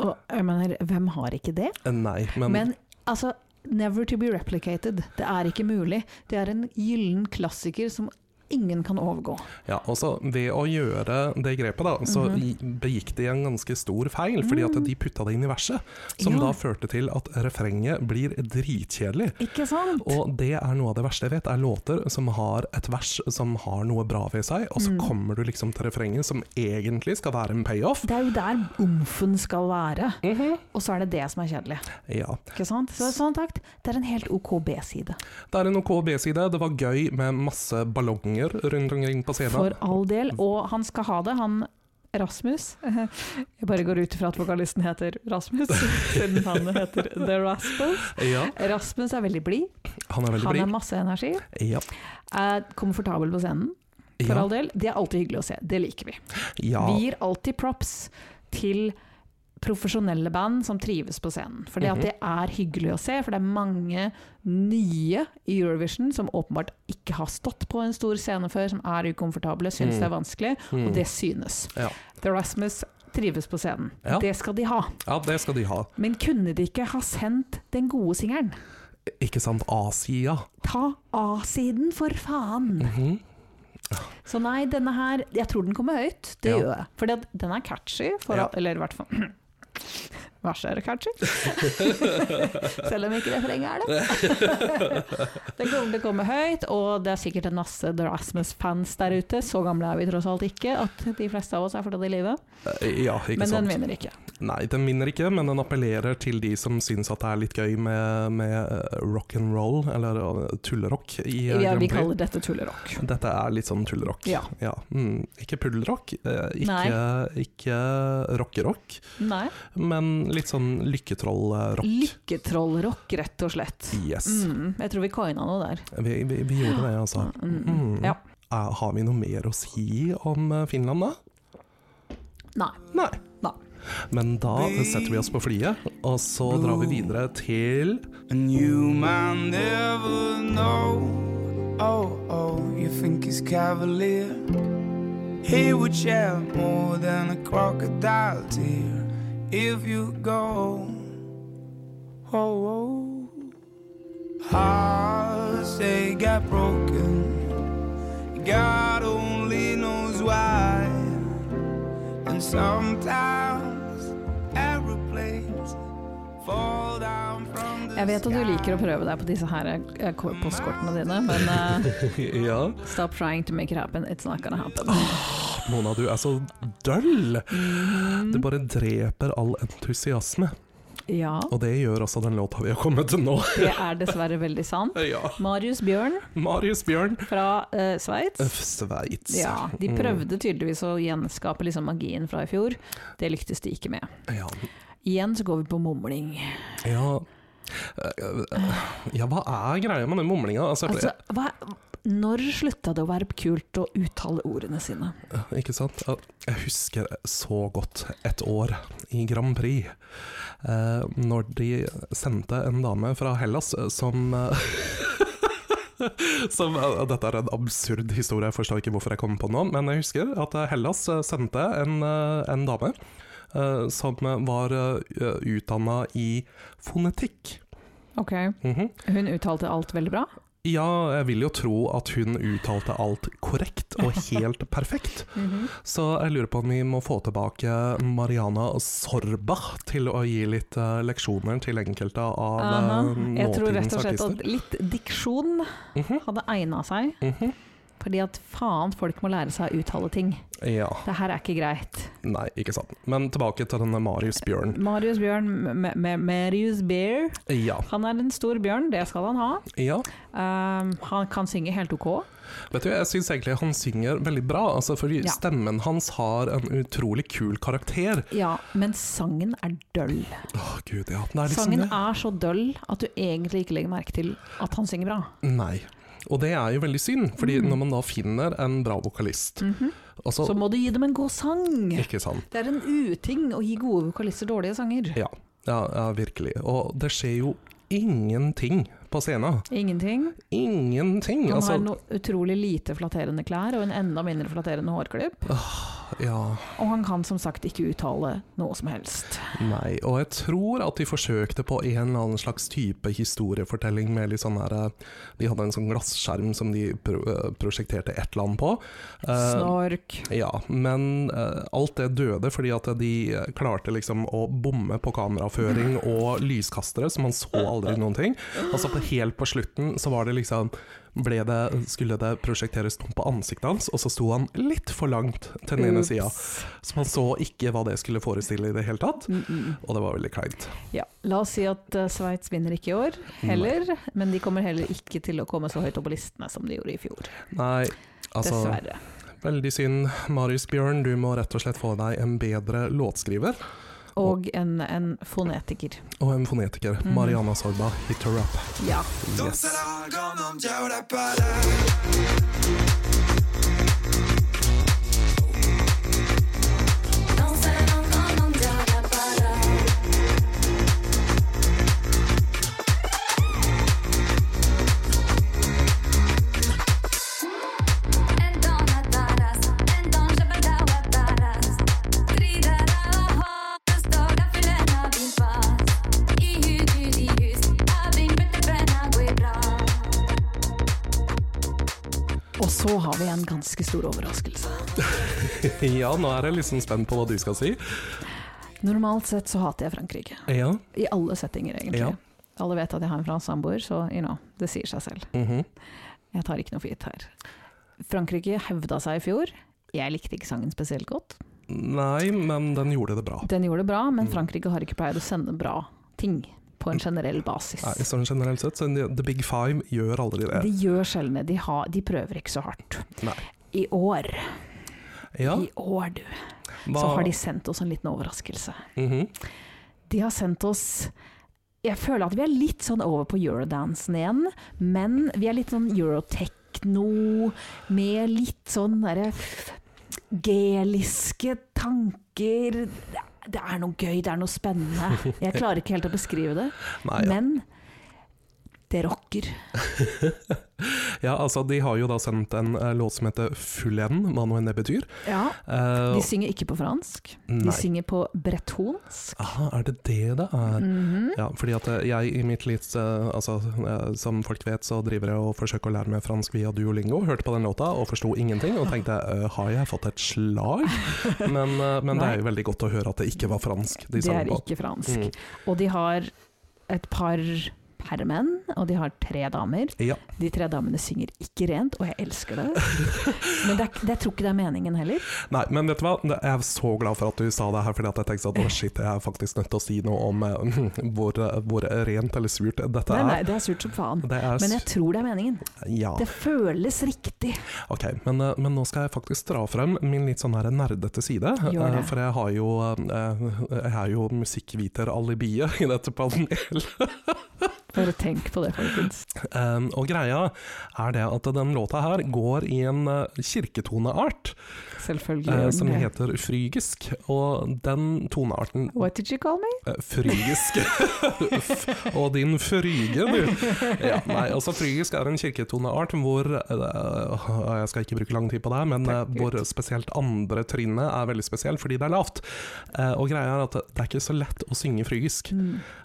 [SPEAKER 2] Og jeg mener, hvem har ikke det?
[SPEAKER 3] Eh, nei, men,
[SPEAKER 2] Men altså, never to be replicated. Det er ikke mulig. Det er en gyllen klassiker som ingen kan overgå.
[SPEAKER 3] Ja, og så Ved å gjøre det grepet, da, så
[SPEAKER 2] Mhm.
[SPEAKER 3] i- begikk de en ganske stor feil. Fordi at de putta det inn i verset, som
[SPEAKER 2] Mm. Ja.
[SPEAKER 3] da førte til at refrenget blir dritkjedelig.
[SPEAKER 2] Ikke sant?
[SPEAKER 3] Og det er noe av det verste jeg vet, er låter som har et vers som har noe bra ved seg, og så
[SPEAKER 2] Mm.
[SPEAKER 3] kommer du liksom til refrenget som egentlig skal være en payoff.
[SPEAKER 2] det er jo der omfen skal være,
[SPEAKER 3] Mhm.
[SPEAKER 2] og så er det det som er kjedelig.
[SPEAKER 3] Ja.
[SPEAKER 2] Ikke sant? Så sånn takt, det er en helt OK B-side.
[SPEAKER 3] Det er en OK B-side, det var gøy med masse ballonger rundt omkring på scenen.
[SPEAKER 2] For all del. Og han skal ha det, han Rasmus. Jeg bare går ut ifra at vokalisten heter Rasmus, siden han heter The Rasmus.
[SPEAKER 3] Ja,
[SPEAKER 2] Rasmus er veldig blid.
[SPEAKER 3] han er veldig
[SPEAKER 2] Han har
[SPEAKER 3] blid.
[SPEAKER 2] masse energi.
[SPEAKER 3] Ja.
[SPEAKER 2] Er komfortabel på scenen, for
[SPEAKER 3] Ja.
[SPEAKER 2] all del. Det er alltid hyggelig å se. Det liker vi.
[SPEAKER 3] Ja.
[SPEAKER 2] Vi gir alltid props til profesjonelle band som trives på scenen. For
[SPEAKER 3] Mhm.
[SPEAKER 2] det at det er hyggelig å se, for det er mange nye i Eurovision som åpenbart ikke har stått på en stor scene før, som er ukomfortable, syns det er vanskelig, og det synes.
[SPEAKER 3] Mm. Ja.
[SPEAKER 2] The Rasmus trives på scenen.
[SPEAKER 3] Ja.
[SPEAKER 2] Det skal de ha.
[SPEAKER 3] ja, det skal de ha.
[SPEAKER 2] Men kunne de ikke ha sendt den gode singelen?
[SPEAKER 3] Ikke sant, A-sida.
[SPEAKER 2] Ta A-siden, for faen!
[SPEAKER 3] Mhm.
[SPEAKER 2] Så nei, denne her Jeg tror den kommer høyt, det
[SPEAKER 3] Ja.
[SPEAKER 2] gjør jeg. For den er catchy, for,
[SPEAKER 3] Ja.
[SPEAKER 2] eller i hvert fall Verset er catchy. Selv om ikke refrenget er det. den kommer til å komme høyt, og det er sikkert en masse The Rasmus-fans der ute. Så gamle er vi tross alt ikke at de fleste av oss er fortsatt i live.
[SPEAKER 3] Eh, Ja, ikke
[SPEAKER 2] Men
[SPEAKER 3] sant.
[SPEAKER 2] den vinner ikke.
[SPEAKER 3] Nei, den vinner ikke, men den appellerer til de som syns at det er litt gøy med, med eh, rock and roll, eller eh, tullerock, i
[SPEAKER 2] Ja,
[SPEAKER 3] eh,
[SPEAKER 2] vi
[SPEAKER 3] Grand Prix.
[SPEAKER 2] kaller dette tullerock.
[SPEAKER 3] Dette er litt sånn tullerock.
[SPEAKER 2] Ja.
[SPEAKER 3] Mm, ikke puddelrock, eh, ikke, ikke rockerock,
[SPEAKER 2] Nei.
[SPEAKER 3] men litt sånn lykketrollrock.
[SPEAKER 2] Lykketrollrock, rett og slett.
[SPEAKER 3] Yes.
[SPEAKER 2] Mm, jeg tror vi coina noe der.
[SPEAKER 3] Vi, vi, vi gjorde det, altså. Mm.
[SPEAKER 2] Ja.
[SPEAKER 3] Eh, Har vi noe mer å si om eh, Finland, da?
[SPEAKER 2] Nei.
[SPEAKER 3] Nei.
[SPEAKER 2] Nei.
[SPEAKER 3] Men da setter vi oss på flyet, og så drar vi videre til
[SPEAKER 6] And you might never know. Oh, oh, you think he's cavalier. He would shed more than a crocodile tear if you go. Oh, oh. hearts they got broken. God only knows why. And sometimes aeroplanes fall down from the
[SPEAKER 2] Jeg vet at du
[SPEAKER 6] sky.
[SPEAKER 2] liker å prøve deg på disse her eh, postkortene dine, men eh,
[SPEAKER 3] Ja.
[SPEAKER 2] stop trying to make it happen, it's not gonna happen.
[SPEAKER 3] Mona, du er så døll! Du bare dreper all entusiasme.
[SPEAKER 2] Ja,
[SPEAKER 3] Og det gjør også den låta vi har kommet til nå.
[SPEAKER 2] det er dessverre veldig sant.
[SPEAKER 3] ja.
[SPEAKER 2] Marius Bjørn
[SPEAKER 3] Marius Bjørn.
[SPEAKER 2] fra eh, Sveits.
[SPEAKER 3] Øff, Sveits.
[SPEAKER 2] Ja, de prøvde tydeligvis å gjenskape liksom magien fra i fjor. Det lyktes de ikke med.
[SPEAKER 3] Ja.
[SPEAKER 2] Igjen så går vi på mumling.
[SPEAKER 3] ja. Ja, hva er greia med den mumlinga? Altså,
[SPEAKER 2] Altså, hva, når slutta det å være kult å uttale ordene sine?
[SPEAKER 3] Ikke sant? Ja, Jeg husker så godt et år i Grand Prix, eh, når de sendte en dame fra Hellas eh, som eh, Som, eh, dette er en absurd historie, jeg forstår ikke hvorfor jeg kom på nå, men jeg husker at eh, Hellas eh, sendte en, eh, en dame eh, som eh, var utdanna i fonetikk.
[SPEAKER 2] Ok,
[SPEAKER 3] Mhm.
[SPEAKER 2] Hun uttalte alt veldig bra.
[SPEAKER 3] Ja, jeg vil jo tro at hun uttalte alt korrekt og helt perfekt.
[SPEAKER 2] Mhm.
[SPEAKER 3] Så jeg lurer på om vi må få tilbake Mariana Sorba til å gi litt eh, leksjoner til enkelte av
[SPEAKER 2] Aha.
[SPEAKER 3] uh,
[SPEAKER 2] Jeg tror rett
[SPEAKER 3] nåtidens
[SPEAKER 2] og slett
[SPEAKER 3] artister.
[SPEAKER 2] at litt diksjon
[SPEAKER 3] Mhm,
[SPEAKER 2] hadde egna seg.
[SPEAKER 3] mhm.
[SPEAKER 2] Fordi at faen, folk må lære seg å uttale ting.
[SPEAKER 3] Ja,
[SPEAKER 2] Det her er ikke greit.
[SPEAKER 3] nei, ikke sant. Men tilbake til denne Marius Bjørn.
[SPEAKER 2] Marius Bjørn, m- m- Marius Bear,
[SPEAKER 3] Ja,
[SPEAKER 2] han er en stor bjørn, det skal han ha.
[SPEAKER 3] ja.
[SPEAKER 2] Um, han kan synge helt ok.
[SPEAKER 3] Vet du, jeg syns egentlig han synger veldig bra, altså fordi
[SPEAKER 2] Ja.
[SPEAKER 3] stemmen hans har en utrolig kul karakter.
[SPEAKER 2] Ja, men sangen er døll.
[SPEAKER 3] Å gud, ja. Det er liksom
[SPEAKER 2] Sangen
[SPEAKER 3] det.
[SPEAKER 2] er så døll at du egentlig ikke legger merke til at han synger bra.
[SPEAKER 3] Nei. Og det er jo veldig synd, fordi når man da finner en bra vokalist altså,
[SPEAKER 2] Mm. Mhm. Så må du gi dem en god sang.
[SPEAKER 3] Ikke sant.
[SPEAKER 2] Det er en uting å gi gode vokalister dårlige sanger.
[SPEAKER 3] Ja, ja, ja, virkelig. Og det skjer jo ingenting på scenen.
[SPEAKER 2] Ingenting.
[SPEAKER 3] Ingenting!
[SPEAKER 2] Han
[SPEAKER 3] Altså,
[SPEAKER 2] har noe utrolig lite flatterende klær og en enda mindre flatterende hårklipp.
[SPEAKER 3] ja,
[SPEAKER 2] Og han kan som sagt ikke uttale noe som helst.
[SPEAKER 3] nei. Og jeg tror at de forsøkte på en eller annen slags type historiefortelling med litt sånn her eh, De hadde en sånn glasskjerm som de pro eh, prosjekterte et eller annet på. Eh,
[SPEAKER 2] Snork.
[SPEAKER 3] Ja, men eh, alt det døde fordi at de eh, klarte liksom å bomme på kameraføring og lyskastere, så man så aldri noen ting. Altså på, helt på slutten så var det liksom ble det, Skulle det prosjekteres noe på ansiktet hans, og så sto han litt for langt til den ene
[SPEAKER 2] Ups.
[SPEAKER 3] sida. Så man så ikke hva det skulle forestille i det hele tatt, og det var veldig kleint.
[SPEAKER 2] Ja. La oss si at eh, Sveits vinner ikke i år heller, men de kommer heller ikke til å komme så høyt opp på listene som de gjorde i fjor.
[SPEAKER 3] Nei, altså
[SPEAKER 2] Dessverre.
[SPEAKER 3] Veldig synd. Marius Bjørn, du må rett og slett få deg en bedre låtskriver
[SPEAKER 2] Og en, en fonetiker.
[SPEAKER 3] og en fonetiker.
[SPEAKER 2] Mm.
[SPEAKER 3] Mariana Sorba, hit her up.
[SPEAKER 2] Ja.
[SPEAKER 3] Yes.
[SPEAKER 2] Og så har vi en ganske stor overraskelse.
[SPEAKER 3] Ja, nå er jeg liksom spent på hva du skal si.
[SPEAKER 2] Normalt sett så hater jeg Frankrike.
[SPEAKER 3] Ja.
[SPEAKER 2] I alle settinger, egentlig.
[SPEAKER 3] Ja.
[SPEAKER 2] Alle vet at jeg har en fransk samboer, så you know, det sier seg selv.
[SPEAKER 3] Mhm.
[SPEAKER 2] Jeg tar ikke noe for gitt her. Frankrike hevda seg i fjor. Jeg likte ikke sangen spesielt godt.
[SPEAKER 3] Nei, men den gjorde det bra.
[SPEAKER 2] Den gjorde det bra,
[SPEAKER 3] Mm.
[SPEAKER 2] men Frankrike har ikke pleid å sende bra ting på en generell basis.
[SPEAKER 3] Nei, sånn generelt sett, så The Big Five gjør aldri det.
[SPEAKER 2] De gjør sjelden det. De, har- de prøver ikke så hardt.
[SPEAKER 3] Nei.
[SPEAKER 2] I år,
[SPEAKER 3] Ja,
[SPEAKER 2] i år du,
[SPEAKER 3] hva-
[SPEAKER 2] så har de sendt oss en liten overraskelse.
[SPEAKER 3] Mhm.
[SPEAKER 2] De har sendt oss Jeg føler at vi er litt sånn over på eurodansen igjen, men vi er litt sånn eurotechno med litt sånn derre geliske tanker. Det det er noe gøy, det er noe spennende. Jeg klarer ikke helt å beskrive det,
[SPEAKER 3] Nei, Ah, ja.
[SPEAKER 2] men det rocker.
[SPEAKER 3] ja, altså de har jo da sendt en eh, låt som heter Full N, hva nå enn det betyr.
[SPEAKER 2] Ja.
[SPEAKER 3] Eh,
[SPEAKER 2] De synger ikke på fransk,
[SPEAKER 3] Nei.
[SPEAKER 2] de synger på bretonsk.
[SPEAKER 3] Aha, er det det det er?
[SPEAKER 2] Mhm.
[SPEAKER 3] Ja, fordi at eh, jeg i mitt litt eh, altså, eh, Som folk vet, så driver jeg og forsøker å lære meg fransk via Duolingo. Hørte på den låta og forsto ingenting, og tenkte eh, har jeg fått et slag? Men, eh, men det er jo veldig godt å høre at det ikke var fransk de Mm.
[SPEAKER 2] Det
[SPEAKER 3] sang
[SPEAKER 2] er
[SPEAKER 3] på.
[SPEAKER 2] ikke fransk.
[SPEAKER 3] Mm.
[SPEAKER 2] Og de har et par herremenn, og de har tre damer.
[SPEAKER 3] Ja.
[SPEAKER 2] De tre damene synger ikke rent, og jeg elsker det. Men det, er, ikke- jeg tror ikke det er meningen heller.
[SPEAKER 3] Nei, men vet du hva? Jeg er så glad for at du sa det her, fordi at jeg tenkte at å shit, jeg er faktisk nødt til å si noe om eh, hvor, hvor rent eller surt dette
[SPEAKER 2] Nei, nei,
[SPEAKER 3] er.
[SPEAKER 2] det er surt som faen.
[SPEAKER 3] Det er
[SPEAKER 2] Men jeg tror det er meningen.
[SPEAKER 3] s- ja.
[SPEAKER 2] Det føles riktig.
[SPEAKER 3] Ok, men, eh, men nå skal jeg faktisk dra frem min litt sånn her nerdete side.
[SPEAKER 2] Gjør det.
[SPEAKER 3] eh, For jeg har jo, eh, jeg er jo musikkviter-alibiet i dette panelet.
[SPEAKER 2] Bare tenk på det, folkens.
[SPEAKER 3] Eh, Og greia er det at den låta her går i en eh, kirketoneart
[SPEAKER 2] Selvfølgelig. gjør
[SPEAKER 3] eh,
[SPEAKER 2] den
[SPEAKER 3] som
[SPEAKER 2] det.
[SPEAKER 3] heter frygisk. Og den tonearten
[SPEAKER 2] What did you call me?
[SPEAKER 3] Eh, Frygisk. F- og din fryge, du. Ja, nei, altså Frygisk er en kirketoneart hvor eh, Jeg skal ikke bruke lang tid på det, men eh,
[SPEAKER 2] Takk,
[SPEAKER 3] hvor spesielt andre trinnet er veldig spesielt fordi det er lavt. Eh, og greia er at det er ikke så lett å synge frygisk,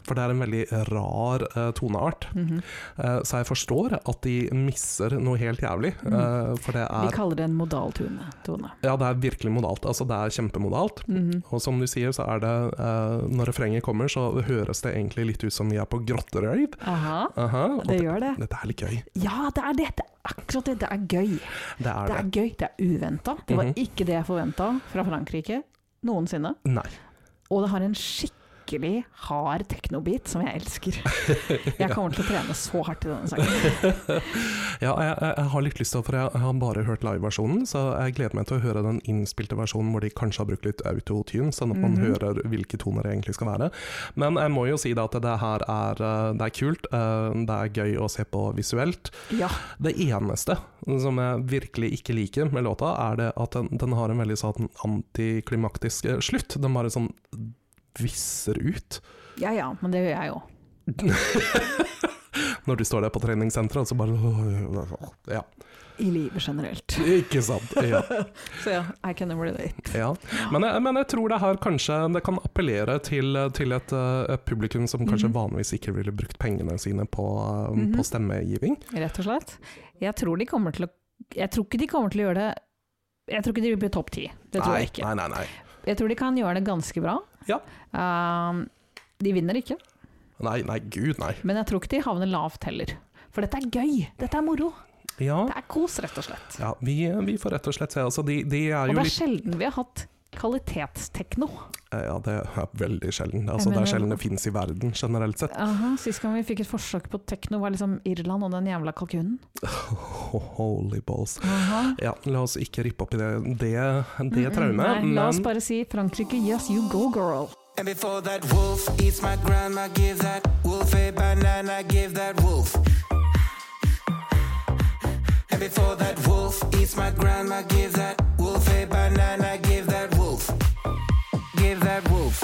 [SPEAKER 3] for det er en veldig rar eh, toneart.
[SPEAKER 2] Mm-hmm.
[SPEAKER 3] Eh, så jeg forstår at de misser noe helt jævlig, eh, for det
[SPEAKER 2] Mm. Vi
[SPEAKER 3] er
[SPEAKER 2] kaller det en modal tone. tone. Mm-hmm.
[SPEAKER 3] ja, det er virkelig modalt. Altså, det er kjempemodalt. Og som du sier, så er det eh, Når refrenget kommer, så høres det egentlig litt ut som vi er på grotterøyv.
[SPEAKER 2] Aha,
[SPEAKER 3] Aha, og
[SPEAKER 2] det gjør det.
[SPEAKER 3] Dette er litt gøy.
[SPEAKER 2] Ja, det er det. det. er Akkurat det. Det er gøy.
[SPEAKER 3] Det er
[SPEAKER 2] Det
[SPEAKER 3] det.
[SPEAKER 2] er gøy, det er uventa. Det var
[SPEAKER 3] Mhm.
[SPEAKER 2] ikke det jeg forventa fra Frankrike noensinne.
[SPEAKER 3] Nei.
[SPEAKER 2] Og det har en skikkelig hard teknobit som jeg elsker. Jeg kommer til å trene så hardt i denne sangen.
[SPEAKER 3] Ja, jeg, jeg, jeg har litt lyst til, for jeg, jeg har bare hørt liveversjonen, så jeg gleder meg til å høre den innspilte versjonen hvor de kanskje har brukt litt autotune, sånn at man
[SPEAKER 2] Mhm.
[SPEAKER 3] hører hvilke toner det egentlig skal være. Men jeg må jo si da at det her er, eh, det er kult, eh, det er gøy å se på visuelt.
[SPEAKER 2] Ja,
[SPEAKER 3] Det eneste som jeg virkelig ikke liker med låta, er det at den, den har en veldig sånn antiklimaktisk eh, slutt. Den bare sånn visser ut.
[SPEAKER 2] ja, ja, men det gjør jeg jo.
[SPEAKER 3] Når du står der på treningssenteret, og så bare Ja,
[SPEAKER 2] I livet generelt.
[SPEAKER 3] ikke sant? Ja.
[SPEAKER 2] Så ja, I can relate.
[SPEAKER 3] ja. Men, jeg, men jeg tror det her kanskje det kan appellere til, til et, eh, et publikum som kanskje vanligvis ikke ville brukt pengene sine på, eh,
[SPEAKER 2] Mhm.
[SPEAKER 3] på stemmegiving.
[SPEAKER 2] Rett og slett. Jeg tror de kommer til å Jeg tror ikke de kommer til å gjøre det Jeg tror ikke de blir topp ti. Det tror
[SPEAKER 3] nei,
[SPEAKER 2] jeg ikke.
[SPEAKER 3] Nei, nei, nei.
[SPEAKER 2] Jeg tror de kan gjøre det ganske bra.
[SPEAKER 3] Ja.
[SPEAKER 2] Um, de vinner ikke,
[SPEAKER 3] Nei, nei, gud, nei.
[SPEAKER 2] men jeg tror ikke de havner lavt heller. For dette er gøy. Dette er moro.
[SPEAKER 3] Ja,
[SPEAKER 2] Det er kos, rett og slett.
[SPEAKER 3] ja vi, vi får rett og slett se. Altså, de, de er
[SPEAKER 2] Og
[SPEAKER 3] jo
[SPEAKER 2] det
[SPEAKER 3] litt
[SPEAKER 2] er sjelden vi har hatt kvalitetstekno.
[SPEAKER 3] Eh, Ja, det er veldig sjelden. Altså, det er
[SPEAKER 2] mener-
[SPEAKER 3] sjelden det fins i verden, generelt sett.
[SPEAKER 2] Aha, Sist gang vi fikk et forsøk på tekno, var liksom Irland og den jævla kalkunen.
[SPEAKER 3] Ho- Holy balls.
[SPEAKER 2] Aha. Mm,
[SPEAKER 3] Ja, la oss ikke rippe opp i det, det, det traumet,
[SPEAKER 2] Nei, la oss
[SPEAKER 3] men
[SPEAKER 2] bare si Frankrike, yes you go girl.
[SPEAKER 4] And before that wolf eats my grandma, give that wolf a banana, give that wolf. And before that wolf eats my grandma, give that wolf a banana, give that wolf. Give that wolf.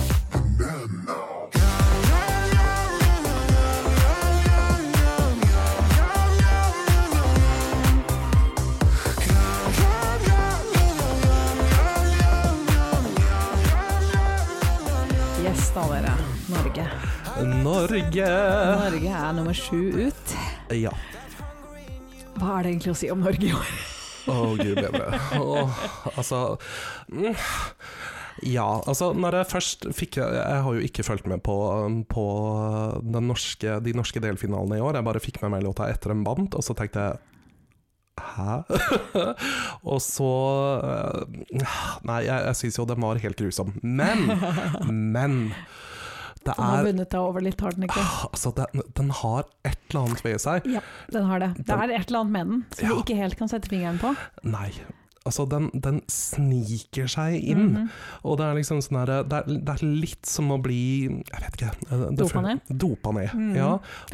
[SPEAKER 2] Yes da, dere. Norge.
[SPEAKER 3] Norge
[SPEAKER 2] Norge er nummer sju ut.
[SPEAKER 3] Ja.
[SPEAKER 2] Hva er det egentlig å si om Norge i år?
[SPEAKER 3] Å, gud bedre. Åh, altså mm, Ja, altså, når jeg først fikk Jeg jeg har jo ikke fulgt med på, um, på den norske, de norske delfinalene i år. Jeg bare fikk med meg låta etter den vant, og så tenkte jeg Hæ? og så eh, Nei, jeg, jeg syns jo den var helt grusom. Men! Men! Det
[SPEAKER 2] Den har
[SPEAKER 3] er
[SPEAKER 2] vunnet deg over litt, har den ikke?
[SPEAKER 3] Altså, den, den har et eller annet ved seg.
[SPEAKER 2] Ja, den har det. Det er et eller annet med den som
[SPEAKER 3] Ja.
[SPEAKER 2] vi ikke helt kan sette fingeren på.
[SPEAKER 3] Nei. Altså, den, den sniker seg inn.
[SPEAKER 2] Mhm.
[SPEAKER 3] Og det er liksom sånn her det, er- det er litt som å bli Jeg vet ikke. eh, det-
[SPEAKER 2] Dopa ned?
[SPEAKER 3] Dopa ned, ja.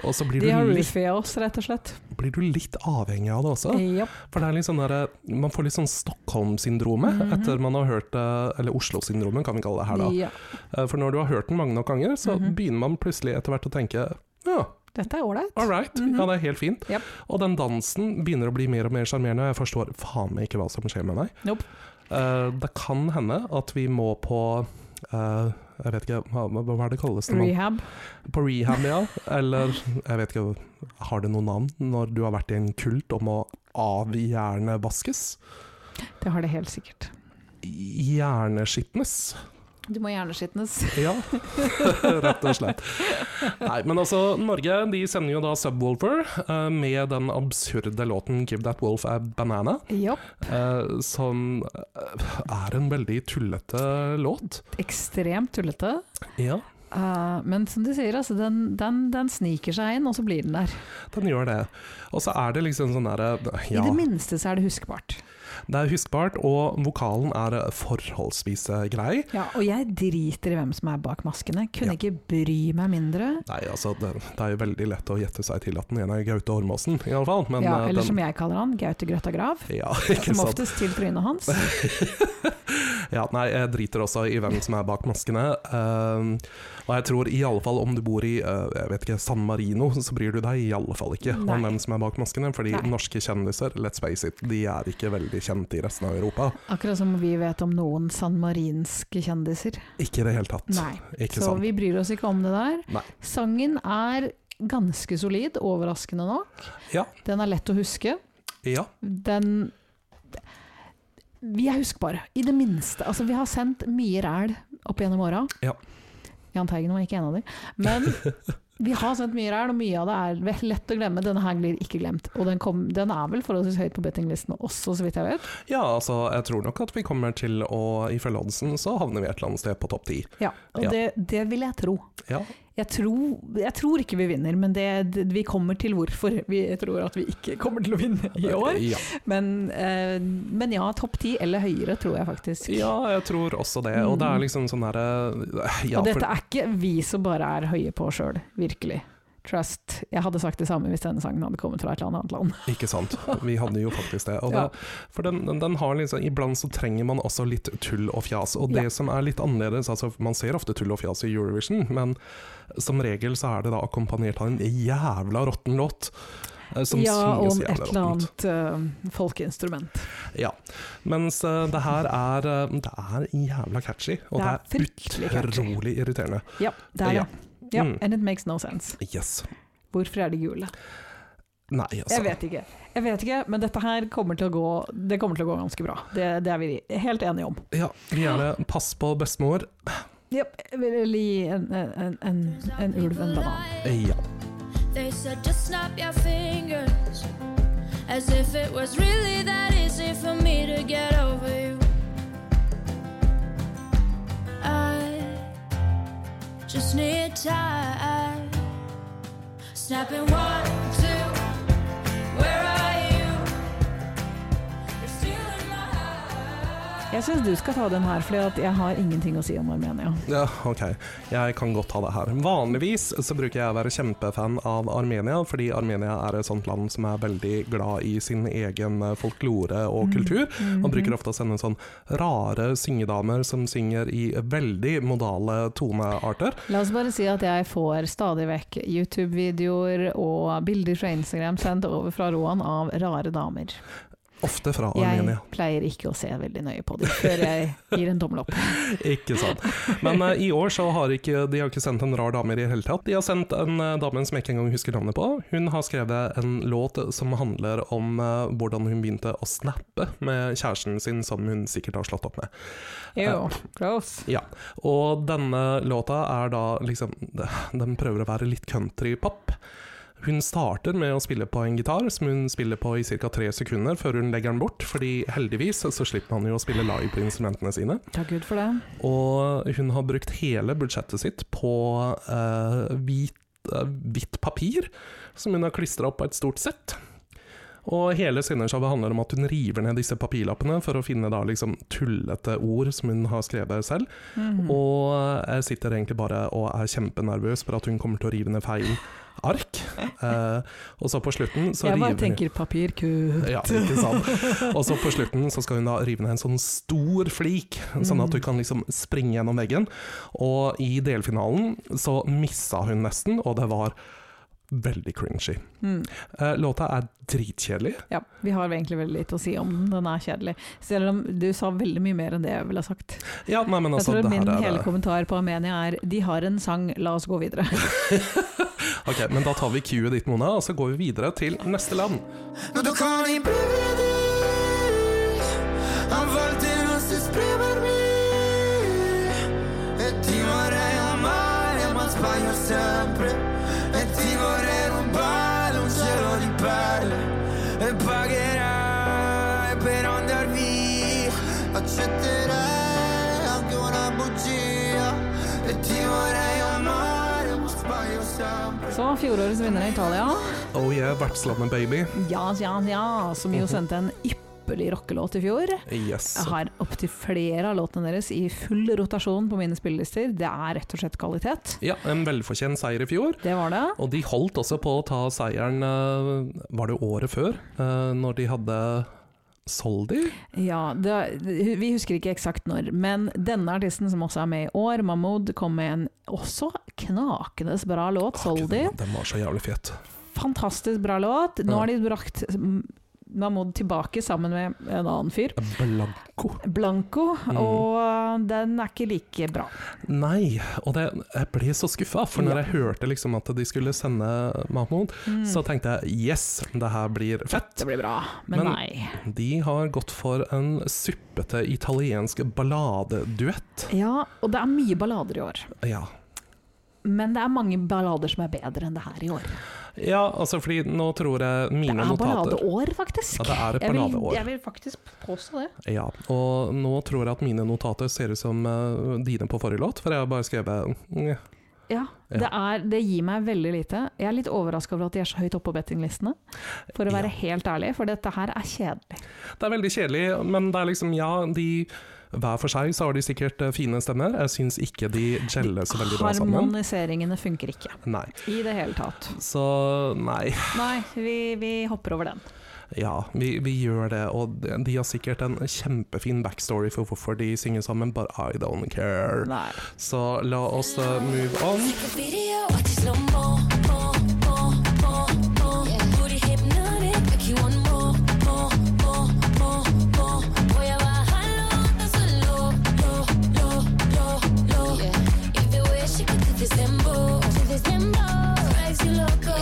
[SPEAKER 3] Og så blir
[SPEAKER 2] De har
[SPEAKER 3] du, litt,
[SPEAKER 2] roofia oss, rett og slett.
[SPEAKER 3] blir du litt avhengig av det også.
[SPEAKER 2] Japp.
[SPEAKER 3] For det er litt sånn der, eh, man får litt sånn Stockholm-syndromet
[SPEAKER 2] Mhm.
[SPEAKER 3] etter man har hørt det, eller Oslo-syndromet kan vi kalle det her da.
[SPEAKER 2] Ja.
[SPEAKER 3] Eh, For når du har hørt den mange nok ganger, så
[SPEAKER 2] Mhm.
[SPEAKER 3] begynner man plutselig etter hvert å tenke ja,
[SPEAKER 2] Dette er ålreit.
[SPEAKER 3] all right,
[SPEAKER 2] Mhm.
[SPEAKER 3] ja det er helt fint.
[SPEAKER 2] Japp.
[SPEAKER 3] Og den dansen begynner å bli mer og mer sjarmerende, og jeg forstår faen meg ikke hva som skjer med meg.
[SPEAKER 2] Nope.
[SPEAKER 3] Eh, det kan hende at vi må på eh, jeg vet ikke, hva, hva- hva er det kalles det? man-
[SPEAKER 2] Rehab.
[SPEAKER 3] På rehab, ja. Eller jeg vet ikke, har det noe navn når du har vært i en kult om å avhjernevaskes?
[SPEAKER 2] Det har det helt sikkert.
[SPEAKER 3] Hjerneskitnes.
[SPEAKER 2] Du må hjerneskitnes.
[SPEAKER 3] Ja, rett og slett. Nei, men altså, Norge de sender jo da Subwoolfer eh, med den absurde låten 'Give That Wolf A Banana',
[SPEAKER 2] Ja,
[SPEAKER 3] eh, som eh, er en veldig tullete låt.
[SPEAKER 2] ekstremt tullete.
[SPEAKER 3] Ja,
[SPEAKER 2] Eh, men som de sier, altså, den, den, den sniker seg inn, og så blir den der.
[SPEAKER 3] den gjør det. Og så er det liksom sånn derre
[SPEAKER 2] I
[SPEAKER 3] Ja,
[SPEAKER 2] det minste så er det huskbart.
[SPEAKER 3] det er huskbart, og vokalen er eh, forholdsvis eh, grei.
[SPEAKER 2] Ja, og jeg driter i hvem som er bak maskene. Kunne
[SPEAKER 3] Ja.
[SPEAKER 2] ikke bry meg mindre.
[SPEAKER 3] Nei, altså, det, det er jo veldig lett å gjette seg til at den ene er Gaute Ormåsen, i alle fall. Men,
[SPEAKER 2] ja,
[SPEAKER 3] eh,
[SPEAKER 2] eller
[SPEAKER 3] den,
[SPEAKER 2] som jeg kaller han, Gaute Grøtta Grav.
[SPEAKER 3] ja, ikke
[SPEAKER 2] Som
[SPEAKER 3] sant?
[SPEAKER 2] oftest til trynet hans.
[SPEAKER 3] Ja, nei, jeg driter også i hvem som er bak maskene. Ehm, og jeg tror i alle fall om du bor i eh, jeg vet ikke, San Marino, så bryr du deg i alle fall ikke
[SPEAKER 2] Nei.
[SPEAKER 3] om hvem som er bak maskene. Fordi
[SPEAKER 2] Nei.
[SPEAKER 3] norske kjendiser, let's face it, de er ikke veldig kjente i resten av Europa.
[SPEAKER 2] Akkurat som vi vet om noen sanmarinske kjendiser.
[SPEAKER 3] Ikke i det hele tatt.
[SPEAKER 2] Nei,
[SPEAKER 3] Ikke
[SPEAKER 2] så
[SPEAKER 3] sant.
[SPEAKER 2] vi bryr oss ikke om det der.
[SPEAKER 3] Nei.
[SPEAKER 2] Sangen er ganske solid, overraskende nok.
[SPEAKER 3] Ja,
[SPEAKER 2] Den er lett å huske.
[SPEAKER 3] ja,
[SPEAKER 2] Den Vi er huskbare, i det minste. Altså, vi har sendt mye ræl opp gjennom åra.
[SPEAKER 3] Ja.
[SPEAKER 2] Jahn Teigen var ikke en av de. Men vi har sendt mye ræl, og mye av det er vel lett å glemme. Denne her blir ikke glemt. Og den, kom, den er vel forholdsvis høyt på bettinglistene også, så vidt jeg vet.
[SPEAKER 3] ja, altså jeg tror nok at vi kommer til å Ifølge oddsen så havner vi et eller annet sted på topp ti.
[SPEAKER 2] Ja, og
[SPEAKER 3] Ja.
[SPEAKER 2] Det, det vil jeg tro.
[SPEAKER 3] Ja,
[SPEAKER 2] Jeg tror, jeg tror ikke vi vinner, men det, det, vi kommer til hvorfor vi tror at vi ikke kommer til å vinne i år.
[SPEAKER 3] Ja.
[SPEAKER 2] Men, eh, men ja, topp ti eller høyere tror jeg faktisk.
[SPEAKER 3] ja, jeg tror også det. Og det er liksom sånn derre ja,
[SPEAKER 2] Mm. Og dette
[SPEAKER 3] for-
[SPEAKER 2] er ikke vi som bare er høye på sjøl, virkelig. Trust. Jeg hadde sagt det samme hvis denne sangen hadde kommet fra et eller annet land.
[SPEAKER 3] Ikke sant. Vi hadde jo faktisk det. Og
[SPEAKER 2] Ja.
[SPEAKER 3] det for den, den, den har liksom, Iblant så trenger man også litt tull og fjas. Og det
[SPEAKER 2] Ja.
[SPEAKER 3] som er litt annerledes altså Man ser ofte tull og fjas i Eurovision, men som regel så er det da akkompagnert av en jævla råtten låt. eh, Som
[SPEAKER 2] ja,
[SPEAKER 3] synges
[SPEAKER 2] om et
[SPEAKER 3] jævla
[SPEAKER 2] eller annet
[SPEAKER 3] råttent.
[SPEAKER 2] eh, folkeinstrument.
[SPEAKER 3] Ja. Mens eh, det her er eh, Det er jævla catchy, og
[SPEAKER 2] Det
[SPEAKER 3] det
[SPEAKER 2] er
[SPEAKER 3] er,
[SPEAKER 2] fryktelig catchy.
[SPEAKER 3] utrolig irriterende.
[SPEAKER 2] Ja, det er
[SPEAKER 3] Ja.
[SPEAKER 2] det. Ja,
[SPEAKER 3] Mm.
[SPEAKER 2] And it makes no sense.
[SPEAKER 3] Yes.
[SPEAKER 2] Hvorfor er de gule?
[SPEAKER 3] Nei, altså.
[SPEAKER 2] Jeg vet ikke. Jeg vet ikke, men dette her kommer til å gå, det kommer til å gå ganske bra. Det, det er vi helt enige om.
[SPEAKER 3] Ja, gjerne pass på bestemor.
[SPEAKER 2] Yep. Jeg vil gi en, en, en, en ulv en banan.
[SPEAKER 3] Eh, Ja.
[SPEAKER 7] They said just snap your fingers As if it was really that easy for me to get over you I just need time Snapping one, two, where are you? You're still in my heart
[SPEAKER 2] Jeg syns du skal ta den her, for jeg har ingenting å si om Armenia.
[SPEAKER 3] Ja, ok. Jeg kan godt ha det her. Vanligvis så bruker jeg å være kjempefan av Armenia, fordi Armenia er et sånt land som er veldig glad i sin egen eh, folklore og kultur. Man bruker ofte å sende sånn rare syngedamer som synger i veldig modale tonearter.
[SPEAKER 2] La oss bare si at jeg får stadig vekk YouTube-videoer og bilder fra Instagram sendt over fra Roan av rare damer.
[SPEAKER 3] Ofte fra
[SPEAKER 2] Jeg
[SPEAKER 3] Armenia.
[SPEAKER 2] pleier ikke å se veldig nøye på dem før jeg gir en tommel opp.
[SPEAKER 3] Ikke sant. Men eh, i år så har ikke, de har ikke sendt en rar dame i det hele tatt. De har sendt en eh, dame som jeg ikke engang husker navnet på. Hun har skrevet en låt som handler om eh, hvordan hun begynte å snappe med kjæresten sin, som hun sikkert har slått opp med. Ew,
[SPEAKER 2] gross.
[SPEAKER 3] Ja. Og denne låta er da liksom Den prøver å være litt countrypop. Hun starter med å spille på en gitar, som hun spiller på i ca. tre sekunder før hun legger den bort, fordi heldigvis så slipper man jo å spille live på instrumentene sine.
[SPEAKER 2] Takk Gud for det.
[SPEAKER 3] Og hun har brukt hele budsjettet sitt på eh, hvit, eh, hvitt papir, som hun har klistra opp på et stort sett. Og hele scenershowet handler om at hun river ned disse papirlappene for å finne da liksom tullete ord som hun har skrevet selv.
[SPEAKER 2] Mhm.
[SPEAKER 3] Og jeg sitter egentlig bare og er kjempenervøs for at hun kommer til å rive ned feil ark. Eh, og så på slutten så
[SPEAKER 2] jeg bare
[SPEAKER 3] river hun
[SPEAKER 2] tenker papirkutt.
[SPEAKER 3] ja, ikke sant. Og så på slutten så skal hun da rive ned en sånn stor flik, sånn at du
[SPEAKER 2] Mm.
[SPEAKER 3] kan liksom springe gjennom veggen. Og i delfinalen så missa hun nesten, og det var veldig cringy. Eh, Låta er dritkjedelig.
[SPEAKER 2] Mm, Ja, vi har egentlig veldig lite å si om den. Den er kjedelig. Selv om du sa veldig mye mer enn det jeg ville ha sagt.
[SPEAKER 3] Ja, nei, men
[SPEAKER 2] Jeg
[SPEAKER 3] altså,
[SPEAKER 2] tror
[SPEAKER 3] det
[SPEAKER 2] min
[SPEAKER 3] her er
[SPEAKER 2] hele kommentar på Armenia er 'de har en sang, la oss gå videre'.
[SPEAKER 3] Ok, men da tar vi cue ditt, Mona, og så går vi videre til neste land.
[SPEAKER 6] Nå du kan i brevet ditt Han valgte oss i sprevet mitt
[SPEAKER 4] accetterai anche una bugia e ti vorrei amare ma sbaglio sempre
[SPEAKER 2] Så fjorårets vinner i Italia.
[SPEAKER 3] Oh yeah, vertslandet baby.
[SPEAKER 2] Ja, ja, ja, som
[SPEAKER 3] Mhm.
[SPEAKER 2] jo sendte en ypperlig rockelåt i fjor.
[SPEAKER 3] Yes.
[SPEAKER 2] Jeg har opptil flere av låtene deres i full rotasjon på mine spillelister. Det er rett og slett kvalitet.
[SPEAKER 3] Ja, en velfortjent seier i fjor.
[SPEAKER 2] Det var det.
[SPEAKER 3] Og de holdt også på å ta seieren eh, Var det året før? eh, Når de hadde Soldi?
[SPEAKER 2] Ja, det, vi husker ikke eksakt når, men denne artisten som også er med i år, Mahmood, kom med en også knakende bra låt, Soldi.
[SPEAKER 3] Den, den var så jævlig fet.
[SPEAKER 2] Fantastisk bra låt. Nå har de brakt mm, Mahmood tilbake sammen med en annen fyr,
[SPEAKER 3] Blanco.
[SPEAKER 2] Blanco,
[SPEAKER 3] Mhm.
[SPEAKER 2] og den er ikke like bra.
[SPEAKER 3] Nei, og det, jeg ble så skuffa, for når jeg hørte liksom at de skulle sende Mahmoud,
[SPEAKER 2] Mm.
[SPEAKER 3] så tenkte jeg yes, det her blir fett.
[SPEAKER 2] Det blir bra, men,
[SPEAKER 3] Men-
[SPEAKER 2] nei.
[SPEAKER 3] De har gått for en suppete italiensk balladeduett.
[SPEAKER 2] Ja, og det er mye ballader i år.
[SPEAKER 3] Ja.
[SPEAKER 2] Men det er mange ballader som er bedre enn det her i år.
[SPEAKER 3] ja, altså fordi nå tror jeg
[SPEAKER 2] Det
[SPEAKER 3] mine
[SPEAKER 2] er
[SPEAKER 3] notater
[SPEAKER 2] balladeår, faktisk.
[SPEAKER 3] Ja, det er et
[SPEAKER 2] Jeg vil-
[SPEAKER 3] balladeår.
[SPEAKER 2] Jeg vil faktisk påstå det.
[SPEAKER 3] ja, Og nå tror jeg at mine notater ser ut som eh, dine på forrige låt, for jeg har bare skrevet mm,
[SPEAKER 2] Ja,
[SPEAKER 3] Ja.
[SPEAKER 2] det, er, det gir meg veldig lite. Jeg er litt overraska over at de er så høyt oppe på bettinglistene, for å være helt ærlig, for dette her er kjedelig.
[SPEAKER 3] Det er veldig kjedelig, men det er liksom, ja, de hver for seg så har de sikkert eh, fine stemmer. Jeg syns ikke de gjeller så veldig bra sammen.
[SPEAKER 2] Harmoniseringene funker ikke
[SPEAKER 3] Nei.
[SPEAKER 2] i det hele tatt.
[SPEAKER 3] Så nei.
[SPEAKER 2] Nei, vi, vi hopper over den.
[SPEAKER 3] Ja, vi, vi gjør det. Og de- de har sikkert en kjempefin backstory for hvorfor de synger sammen, but I don't care.
[SPEAKER 2] Nei.
[SPEAKER 3] Så la oss eh, move on.
[SPEAKER 5] Take a video, watch it slow mo, mo, mo, mo, mo. Booty hypnotic, like you want more, more, more, more, more. Voy a bajarlo hasta su low, low, low, low, low. If you wish, you could do this dembow, do this dembow. Drives you loco.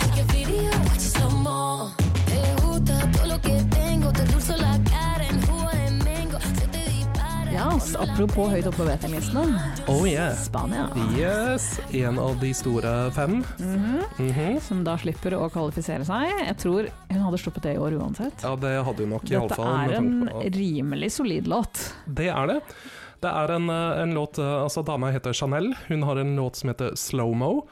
[SPEAKER 5] Take a video, watch it slow mo. Te gusta todo lo que tengo, te endulzo la cara en jugo de mango. Se te dispara.
[SPEAKER 2] Ja, s- apropos høyt oppe på bettinglistene.
[SPEAKER 3] Oh yeah.
[SPEAKER 2] Spania,
[SPEAKER 3] Yes. En av de store fem. Mhm.
[SPEAKER 2] som da slipper å kvalifisere seg. Jeg tror hun hadde sluppet det i år uansett.
[SPEAKER 3] Ja, det hadde hun nok,
[SPEAKER 2] Dette
[SPEAKER 3] iallfall.
[SPEAKER 2] er en rimelig solid låt.
[SPEAKER 3] Det er det. Det er en, eh, en låt eh, Altså, dama heter Chanel. Hun har en låt som heter Slow Mo.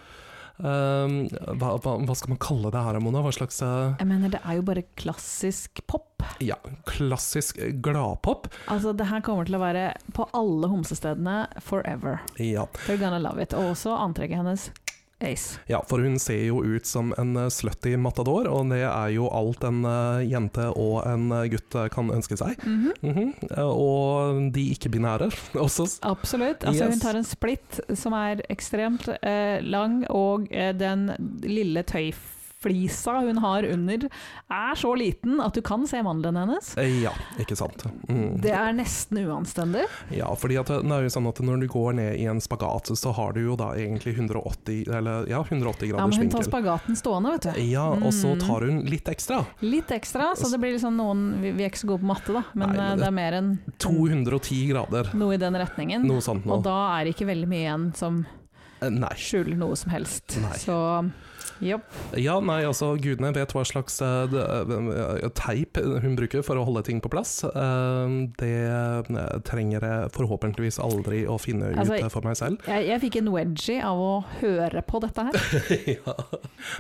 [SPEAKER 3] Um, hva, hva, hva skal man kalle det her, Mona? Hva slags eh,
[SPEAKER 2] Jeg mener, det er jo bare klassisk pop.
[SPEAKER 3] ja, klassisk eh, gladpop?
[SPEAKER 2] Altså, det her kommer til å være på alle homsestedene forever.
[SPEAKER 3] Ja.
[SPEAKER 2] They're gonna love it. Og også antrekket hennes. Ace.
[SPEAKER 3] ja, for hun ser jo ut som en eh, slutty matador, og det er jo alt en eh, jente og en eh, gutt eh, kan ønske seg. Mhm. Eh, Og de ikke-binære også.
[SPEAKER 2] Absolutt. Altså,
[SPEAKER 3] Yes.
[SPEAKER 2] Hun tar en splitt som er ekstremt eh, lang, og eh, den lille tøyflisa hun har under, er så liten at du kan se mandelen hennes.
[SPEAKER 3] Eh, Ja, ikke sant. Mm.
[SPEAKER 2] Det er nesten uanstendig.
[SPEAKER 3] Ja, fordi at det er jo sånn at når du går ned i en spagat, så har du jo da egentlig 180, eller, ja, 180
[SPEAKER 2] Ja, men Mm.
[SPEAKER 3] graders
[SPEAKER 2] hun tar
[SPEAKER 3] vinkel.
[SPEAKER 2] spagaten stående, vet du.
[SPEAKER 3] Ja, og så tar hun litt ekstra.
[SPEAKER 2] Litt ekstra, så det blir liksom noen Vi, vi er ikke så gode på matte, da, men
[SPEAKER 3] Altså- Nei,
[SPEAKER 2] eh,
[SPEAKER 3] men
[SPEAKER 2] det er mer enn
[SPEAKER 3] 210 grader,
[SPEAKER 2] noe i den retningen.
[SPEAKER 3] noe sånt nå.
[SPEAKER 2] Mm. Og da er det ikke veldig mye igjen som
[SPEAKER 3] Eh, Nei.
[SPEAKER 2] skjuler noe som helst.
[SPEAKER 3] Nei.
[SPEAKER 2] Så jopp.
[SPEAKER 3] Ja, nei, altså, gudene vet hva slags eh, d- eh, teip hun bruker for å holde ting på plass. Eh, Det eh, trenger jeg forhåpentligvis aldri å finne ut
[SPEAKER 2] Altså,
[SPEAKER 3] eh, for meg selv.
[SPEAKER 2] Jeg, jeg fikk en wedgie av å høre på dette her.
[SPEAKER 3] ja.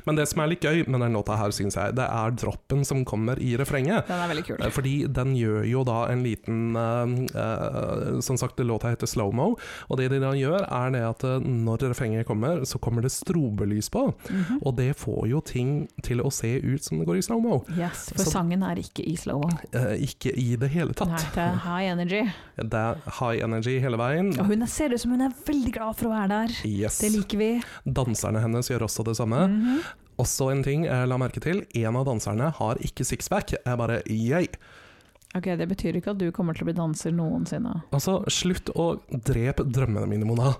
[SPEAKER 3] Men det som er litt gøy med den låta her, syns jeg, det er droppen som kommer i refrenget.
[SPEAKER 2] Den er veldig kul.
[SPEAKER 3] Eh, Fordi den gjør jo da en liten eh, eh, Som sagt, låta heter Slow Mo. Og det de da gjør, er det at eh, når refrenget kommer, så kommer det strobelys på.
[SPEAKER 2] Mhm.
[SPEAKER 3] Og det får jo ting til å se ut som det går i slow mo.
[SPEAKER 2] Yes, for
[SPEAKER 3] Så-
[SPEAKER 2] sangen er ikke i slow-mo.
[SPEAKER 3] Eh, ikke i det hele
[SPEAKER 2] Den
[SPEAKER 3] Sånn. tatt.
[SPEAKER 2] er til high energy.
[SPEAKER 3] Det er high energy hele veien.
[SPEAKER 2] Og hun er- ser ut som hun er veldig glad for å være der.
[SPEAKER 3] Yes.
[SPEAKER 2] Det Mm. liker vi. Mhm.
[SPEAKER 3] Danserne hennes gjør også det samme. Også en ting jeg la merke til, en av danserne har ikke sixpack. Jeg bare yay.
[SPEAKER 2] Ok, Det betyr ikke at du kommer til å bli danser noensinne.
[SPEAKER 3] Altså, slutt å drepe drømmene mine, Mona.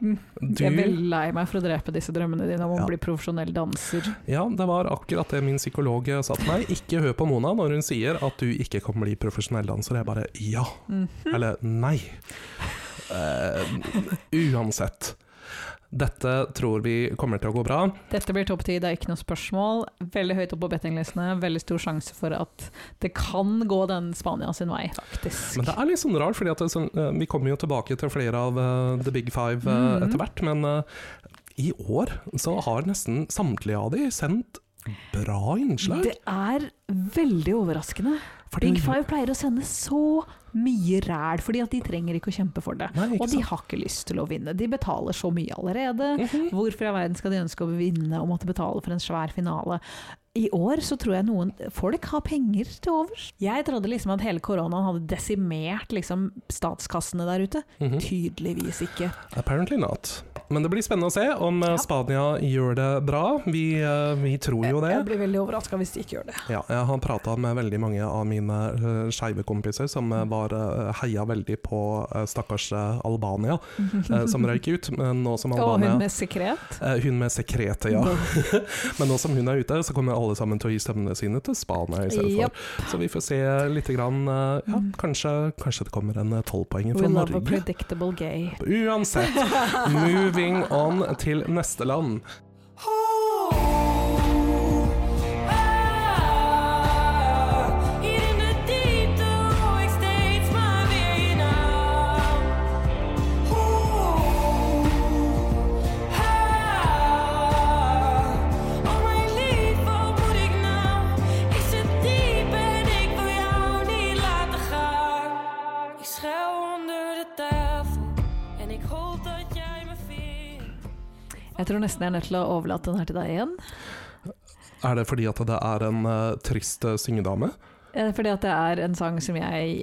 [SPEAKER 3] Du,
[SPEAKER 2] Mm. Jeg er veldig lei meg for å drepe disse drømmene dine om å
[SPEAKER 3] Ja.
[SPEAKER 2] bli profesjonell danser.
[SPEAKER 3] Ja, det var akkurat det min psykolog sa til meg. Ikke hør på Mona når hun sier at du ikke kan bli profesjonell danser. Jeg bare ja.
[SPEAKER 2] Mhm.
[SPEAKER 3] Eller nei. Eh, uansett. Dette tror vi kommer til å gå bra.
[SPEAKER 2] Dette blir topp ti, det er ikke noe spørsmål. Veldig høyt opp på bettinglistene. Veldig stor sjanse for at det kan gå den Spania sin vei, faktisk.
[SPEAKER 3] Men det er litt sånn rart, fordi at det, er sånn, eh, vi kommer jo tilbake til flere av eh, The Big Five eh,
[SPEAKER 2] Mhm.
[SPEAKER 3] etter hvert, men eh, i år så har nesten samtlige av de sendt bra innslag.
[SPEAKER 2] Det er veldig overraskende.
[SPEAKER 3] For det-
[SPEAKER 2] Big Five pleier å sende så mye ræl, fordi at de trenger ikke å kjempe for det.
[SPEAKER 3] Nei, ikke
[SPEAKER 2] Og de
[SPEAKER 3] sant?
[SPEAKER 2] har ikke lyst til å vinne. De betaler så mye allerede.
[SPEAKER 3] Mhm.
[SPEAKER 2] Hvorfor i all verden skal de ønske å vinne og måtte betale for en svær finale? I år så tror jeg noen folk har penger til overs. Jeg trodde liksom at hele koronaen hadde desimert liksom statskassene der ute.
[SPEAKER 3] Mhm.
[SPEAKER 2] Tydeligvis ikke.
[SPEAKER 3] Apparently not. Men det blir spennende å se om eh,
[SPEAKER 2] Ja.
[SPEAKER 3] Spania gjør det bra. Vi, eh, vi tror jo det.
[SPEAKER 2] Jeg blir veldig overraska hvis de ikke gjør det.
[SPEAKER 3] Ja, jeg har prata med veldig mange av mine uh, skeive kompiser som eh, var, eh, heia veldig på eh, stakkars eh, Albania, eh, som røyk ut. Men nå som
[SPEAKER 2] Og
[SPEAKER 3] Albania
[SPEAKER 2] hun med sekret.
[SPEAKER 3] Eh, Hun med sekretet, ja. Men nå som hun er ute, så kommer alle sammen til å gi stemmene sine til Spania istedenfor.
[SPEAKER 2] Japp. Mm.
[SPEAKER 3] Så vi får se litt. Grann, eh, ja, kanskje, kanskje det kommer en tolvpoenger
[SPEAKER 2] We
[SPEAKER 3] fra
[SPEAKER 2] love a
[SPEAKER 3] Norge.
[SPEAKER 2] predictable gay.
[SPEAKER 3] Uansett, moving on til neste land.
[SPEAKER 5] Ah, ah, oh nou? Ik schuil onder de tafel en ik hoop dat jij me vindt.
[SPEAKER 2] Jeg tror nesten jeg er nødt til å overlate den her til deg igjen.
[SPEAKER 3] Er det fordi at det er en eh, trist eh, syngedame?
[SPEAKER 2] Eh, Fordi at det er en sang som jeg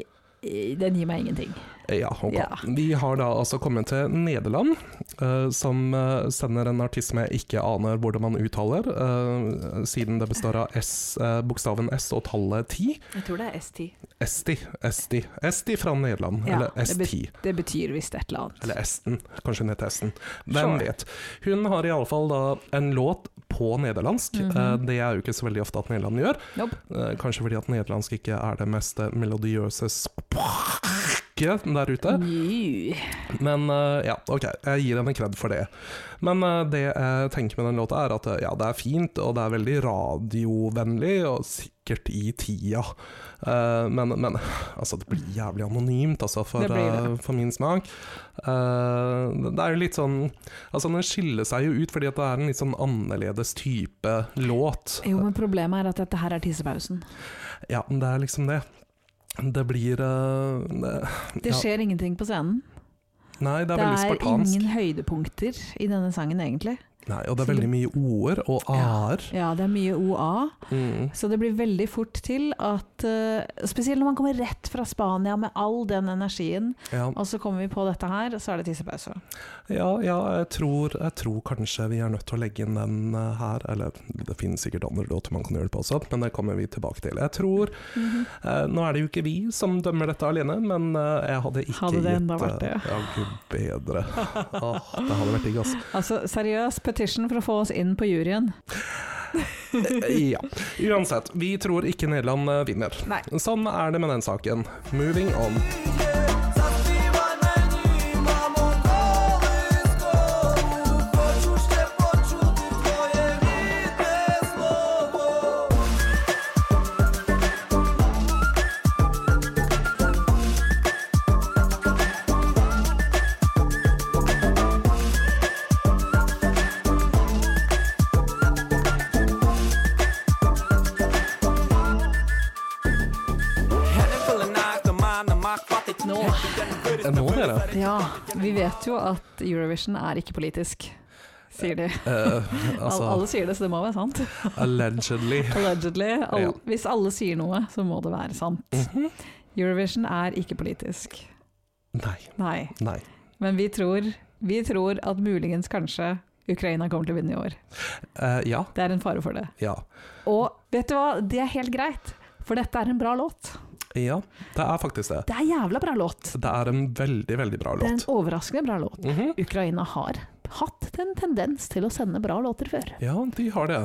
[SPEAKER 2] i- Den gir meg ingenting.
[SPEAKER 3] Eh, Ja, ok.
[SPEAKER 2] Ja.
[SPEAKER 3] Vi har da altså kommet til Nederland, eh, som eh, sender en artist som jeg ikke aner hvordan man uttaler, eh, siden det består av S, eh, bokstaven S og tallet 10.
[SPEAKER 2] Jeg tror det er ST.
[SPEAKER 3] Esti, Esti, Esti fra Nederland,
[SPEAKER 2] Ja,
[SPEAKER 3] eller
[SPEAKER 2] det
[SPEAKER 3] ST.
[SPEAKER 2] Det betyr visst et eller annet.
[SPEAKER 3] Eller Esten, kanskje hun heter Esten. Hvem
[SPEAKER 2] Sure.
[SPEAKER 3] vet. Hun har iallfall da en låt på nederlandsk.
[SPEAKER 2] Mhm.
[SPEAKER 3] Eh, Det er jo ikke så veldig ofte at Nederland gjør.
[SPEAKER 2] Nope.
[SPEAKER 3] Eh, Kanskje fordi at nederlandsk ikke er det mest eh, melodiøse språket der ute.
[SPEAKER 2] Ny.
[SPEAKER 3] Men eh, ja, ok, jeg gir henne kred for det. Men eh, det jeg tenker med den låta er at eh, ja, det er fint, og det er veldig radiovennlig, og sikkert i tida. Eh, men, men altså, det blir jævlig anonymt, altså, for,
[SPEAKER 2] Det blir det.
[SPEAKER 3] eh, for min smak. Eh, det er jo litt sånn Altså, den skiller seg jo ut fordi at det er en litt sånn annerledes type låt.
[SPEAKER 2] Jo, men problemet er at dette her er tissepausen.
[SPEAKER 3] Ja, men det er liksom det. Det blir eh, det,
[SPEAKER 2] Det
[SPEAKER 3] Ja.
[SPEAKER 2] skjer ingenting på scenen.
[SPEAKER 3] Nei, det er
[SPEAKER 2] Det
[SPEAKER 3] veldig
[SPEAKER 2] er
[SPEAKER 3] spartansk.
[SPEAKER 2] ingen høydepunkter i denne sangen, egentlig.
[SPEAKER 3] Nei, og det er veldig mye o-er og a-er.
[SPEAKER 2] Ja, det er mye OA,
[SPEAKER 3] Mm.
[SPEAKER 2] så det blir veldig fort til at eh, Spesielt når man kommer rett fra Spania med all den energien,
[SPEAKER 3] Ja,
[SPEAKER 2] og så kommer vi på dette her, så er det tissepause.
[SPEAKER 3] ja, ja jeg, tror, jeg tror kanskje vi er nødt til å legge inn den eh, her. Eller det finnes sikkert andre låter man kan gjøre det på også, men det kommer vi tilbake til. Jeg tror,
[SPEAKER 2] Mhm.
[SPEAKER 3] eh, Nå er det jo ikke vi som dømmer dette alene, men eh, jeg hadde ikke
[SPEAKER 2] Hadde det enda
[SPEAKER 3] gitt,
[SPEAKER 2] vært det?
[SPEAKER 3] eh, Ja, gud bedre. Åh, det hadde vært digg, altså.
[SPEAKER 2] Altså, seriøs petition for å få oss inn på juryen.
[SPEAKER 3] Ja. Uansett, vi tror ikke Nederland eh, vinner.
[SPEAKER 2] Nei.
[SPEAKER 3] Sånn er det med den saken. Moving on.
[SPEAKER 2] Nå
[SPEAKER 3] Eh, Nå, dere.
[SPEAKER 2] Ja, vi vet jo at Eurovision er ikke politisk, sier de.
[SPEAKER 3] Eh,
[SPEAKER 2] Al-
[SPEAKER 3] altså,
[SPEAKER 2] alle sier det, så det må være sant.
[SPEAKER 3] allegedly.
[SPEAKER 2] Allegedly. Al
[SPEAKER 3] Ja.
[SPEAKER 2] Hvis alle sier noe, så må det være sant.
[SPEAKER 3] Mhm.
[SPEAKER 2] Eurovision er ikke politisk.
[SPEAKER 3] Nei.
[SPEAKER 2] Nei.
[SPEAKER 3] Nei.
[SPEAKER 2] Men vi tror, vi tror at muligens kanskje Ukraina kommer til å vinne i år.
[SPEAKER 3] Eh, ja.
[SPEAKER 2] Det er en fare for det.
[SPEAKER 3] Ja.
[SPEAKER 2] Og vet du hva, det er helt greit, for dette er en bra låt.
[SPEAKER 3] Ja, det er faktisk det.
[SPEAKER 2] Det er en jævla bra låt.
[SPEAKER 3] Det er en veldig, veldig bra
[SPEAKER 2] Det er en
[SPEAKER 3] låt.
[SPEAKER 2] overraskende bra låt.
[SPEAKER 3] Mhm.
[SPEAKER 2] Ukraina har hatt en tendens til å sende bra låter før.
[SPEAKER 3] Ja, de har det.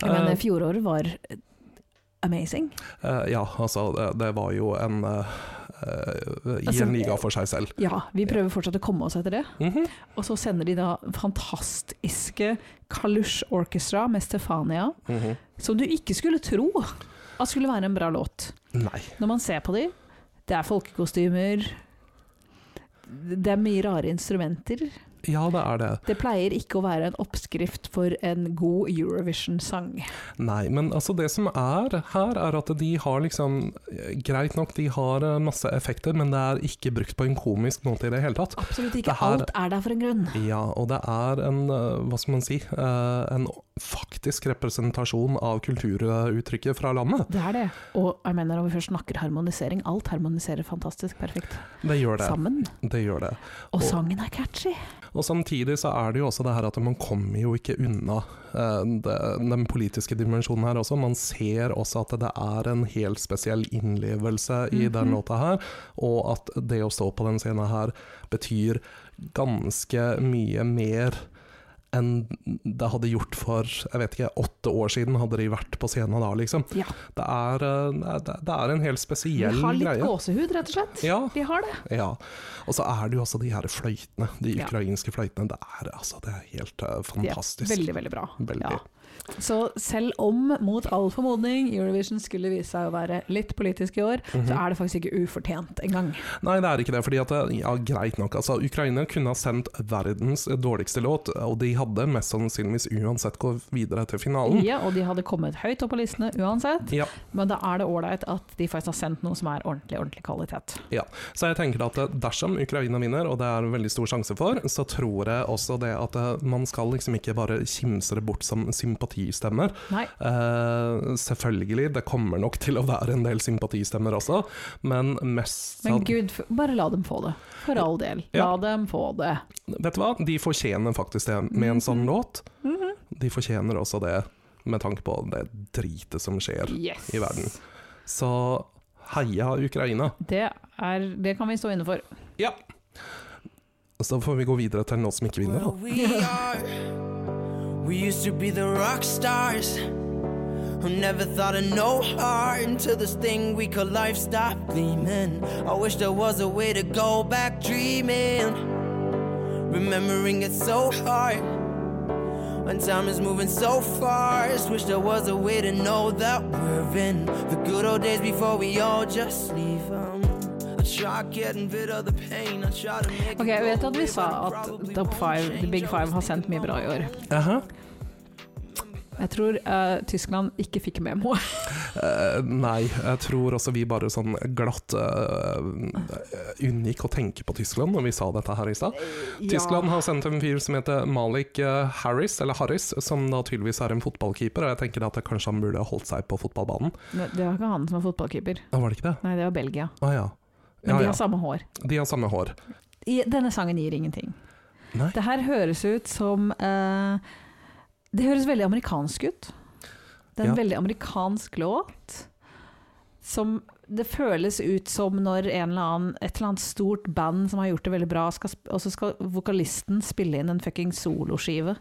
[SPEAKER 2] Jeg mener,
[SPEAKER 3] Eh,
[SPEAKER 2] fjoråret var amazing.
[SPEAKER 3] eh, ja, altså, det, det var jo en eh, eh, i
[SPEAKER 2] Altså,
[SPEAKER 3] en liga for seg selv.
[SPEAKER 2] Ja, vi prøver fortsatt å komme oss etter det.
[SPEAKER 3] Mhm.
[SPEAKER 2] Og så sender de da fantastiske Kalush Orchestra med Stefania,
[SPEAKER 3] Mhm.
[SPEAKER 2] som du ikke skulle tro at skulle være en bra låt.
[SPEAKER 3] Nei.
[SPEAKER 2] Når man ser på de, det er folkekostymer, det er mye rare instrumenter.
[SPEAKER 3] Ja, det er det.
[SPEAKER 2] Det pleier ikke å være en oppskrift for en god Eurovision-sang.
[SPEAKER 3] Nei, men altså det som er her, er at de har liksom eh, Greit nok, de har eh, masse effekter, men det er ikke brukt på en komisk måte i det hele tatt.
[SPEAKER 2] Absolutt ikke.
[SPEAKER 3] Det her-
[SPEAKER 2] Alt er der for en grunn.
[SPEAKER 3] Ja, og det er en, eh, hva skal man si, eh, en faktisk representasjon av kulturuttrykket fra landet.
[SPEAKER 2] Det er det. Og jeg mener, når vi først snakker harmonisering, alt harmoniserer fantastisk perfekt
[SPEAKER 3] Det gjør det.
[SPEAKER 2] sammen.
[SPEAKER 3] Det gjør det.
[SPEAKER 2] Og
[SPEAKER 3] Og-
[SPEAKER 2] sangen er catchy.
[SPEAKER 3] Og samtidig så er det jo også det her at man kommer jo ikke unna eh, det- den politiske dimensjonen her også. Man ser også at det er en helt spesiell innlevelse i
[SPEAKER 2] Mhm.
[SPEAKER 3] den låta her, og at det å stå på den scenen her betyr ganske mye mer enn det hadde gjort for jeg vet ikke, åtte år siden, hadde de vært på scenen da, liksom.
[SPEAKER 2] Ja.
[SPEAKER 3] Det er, eh, det er- det er en helt
[SPEAKER 2] Vi
[SPEAKER 3] spesiell
[SPEAKER 2] har litt
[SPEAKER 3] greie.
[SPEAKER 2] gåsehud, rett og slett.
[SPEAKER 3] Ja,
[SPEAKER 2] Vi har det.
[SPEAKER 3] ja. Og så er det jo også de her fløytene, de
[SPEAKER 2] Ja.
[SPEAKER 3] ukrainske fløytene. Det er, altså, det er helt eh,
[SPEAKER 2] De er
[SPEAKER 3] fantastisk.
[SPEAKER 2] Veldig, veldig bra.
[SPEAKER 3] Veldig.
[SPEAKER 2] Så selv om, mot all formodning, Eurovision skulle vise seg å være litt politisk i år,
[SPEAKER 3] Mhm.
[SPEAKER 2] så er det faktisk ikke ufortjent engang.
[SPEAKER 3] Nei, det er ikke det. fordi at, eh, ja, Greit nok. altså, Ukraina kunne ha sendt verdens dårligste låt, eh, og de hadde mest sannsynligvis uansett gått videre til finalen.
[SPEAKER 2] Ja, og de hadde kommet høyt opp på listene uansett,
[SPEAKER 3] Ja.
[SPEAKER 2] men da er det ålreit at de faktisk har sendt noe som er ordentlig, ordentlig kvalitet.
[SPEAKER 3] Ja, så jeg tenker at eh, dersom Ukraina vinner, og det er en veldig stor sjanse for, så tror jeg også det at eh, man skal liksom ikke bare kimse det bort som sympatistemmer.
[SPEAKER 2] Nei.
[SPEAKER 3] Eh, selvfølgelig, det kommer nok til å være en del sympatistemmer også, men mest
[SPEAKER 2] Men
[SPEAKER 3] sånn-
[SPEAKER 2] gud, f- bare la dem få det. For all del. La
[SPEAKER 3] Ja.
[SPEAKER 2] dem få det.
[SPEAKER 3] Vet du hva, de fortjener faktisk det med en sånn låt. De fortjener også det med tanke på det dritet som skjer
[SPEAKER 2] Yes.
[SPEAKER 3] i verden. Så heia Ukraina.
[SPEAKER 2] Det, er, det kan vi stå inne for.
[SPEAKER 3] Ja. Så får vi gå videre til noe som ikke vinner. da.
[SPEAKER 4] We are. We used to be the rock stars who never thought of no harm until this thing we call life stopped gleaming. I wish there was a way to go back dreaming. Remembering it's so hard when time is moving so fast. Wish there was a way to know that we're in the good old days before we all just leave 'em. I try getting rid of the pain. I try to make it
[SPEAKER 2] Ok, Jeg vet
[SPEAKER 4] go
[SPEAKER 2] at vi
[SPEAKER 4] away,
[SPEAKER 2] sa
[SPEAKER 4] but it
[SPEAKER 2] at
[SPEAKER 4] probably
[SPEAKER 2] Top
[SPEAKER 4] won't
[SPEAKER 2] Five, The
[SPEAKER 4] change.
[SPEAKER 2] Big
[SPEAKER 4] I
[SPEAKER 2] Five
[SPEAKER 4] was
[SPEAKER 2] har
[SPEAKER 4] thinking
[SPEAKER 2] sendt mye bra i år.
[SPEAKER 3] Aha.
[SPEAKER 2] Jeg tror eh, Tyskland ikke fikk memoet.
[SPEAKER 3] Eh, nei, jeg tror også vi bare sånn glatt eh, unngikk å tenke på Tyskland når vi sa dette her i stad. Tyskland har sendt en fyr som heter Malik eh, Harris, eller Harris, som da tydeligvis er en fotballkeeper, og jeg tenker at kanskje han burde holdt seg på fotballbanen.
[SPEAKER 2] Men Det var ikke han som var fotballkeeper.
[SPEAKER 3] Ah, var det ikke det?
[SPEAKER 2] Nei, det var Belgia.
[SPEAKER 3] Å ja.
[SPEAKER 2] Men
[SPEAKER 3] Ja,
[SPEAKER 2] de
[SPEAKER 3] ja.
[SPEAKER 2] har samme hår.
[SPEAKER 3] De har samme hår.
[SPEAKER 2] I, denne sangen gir ingenting.
[SPEAKER 3] Nei.
[SPEAKER 2] Det her høres ut som eh, Det høres veldig amerikansk ut. Det er en
[SPEAKER 3] Ja.
[SPEAKER 2] veldig amerikansk låt. Som Det føles ut som når en eller annen, et eller annet stort band som har gjort det veldig bra, skal, sp- og så skal vokalisten spille inn en fucking soloskive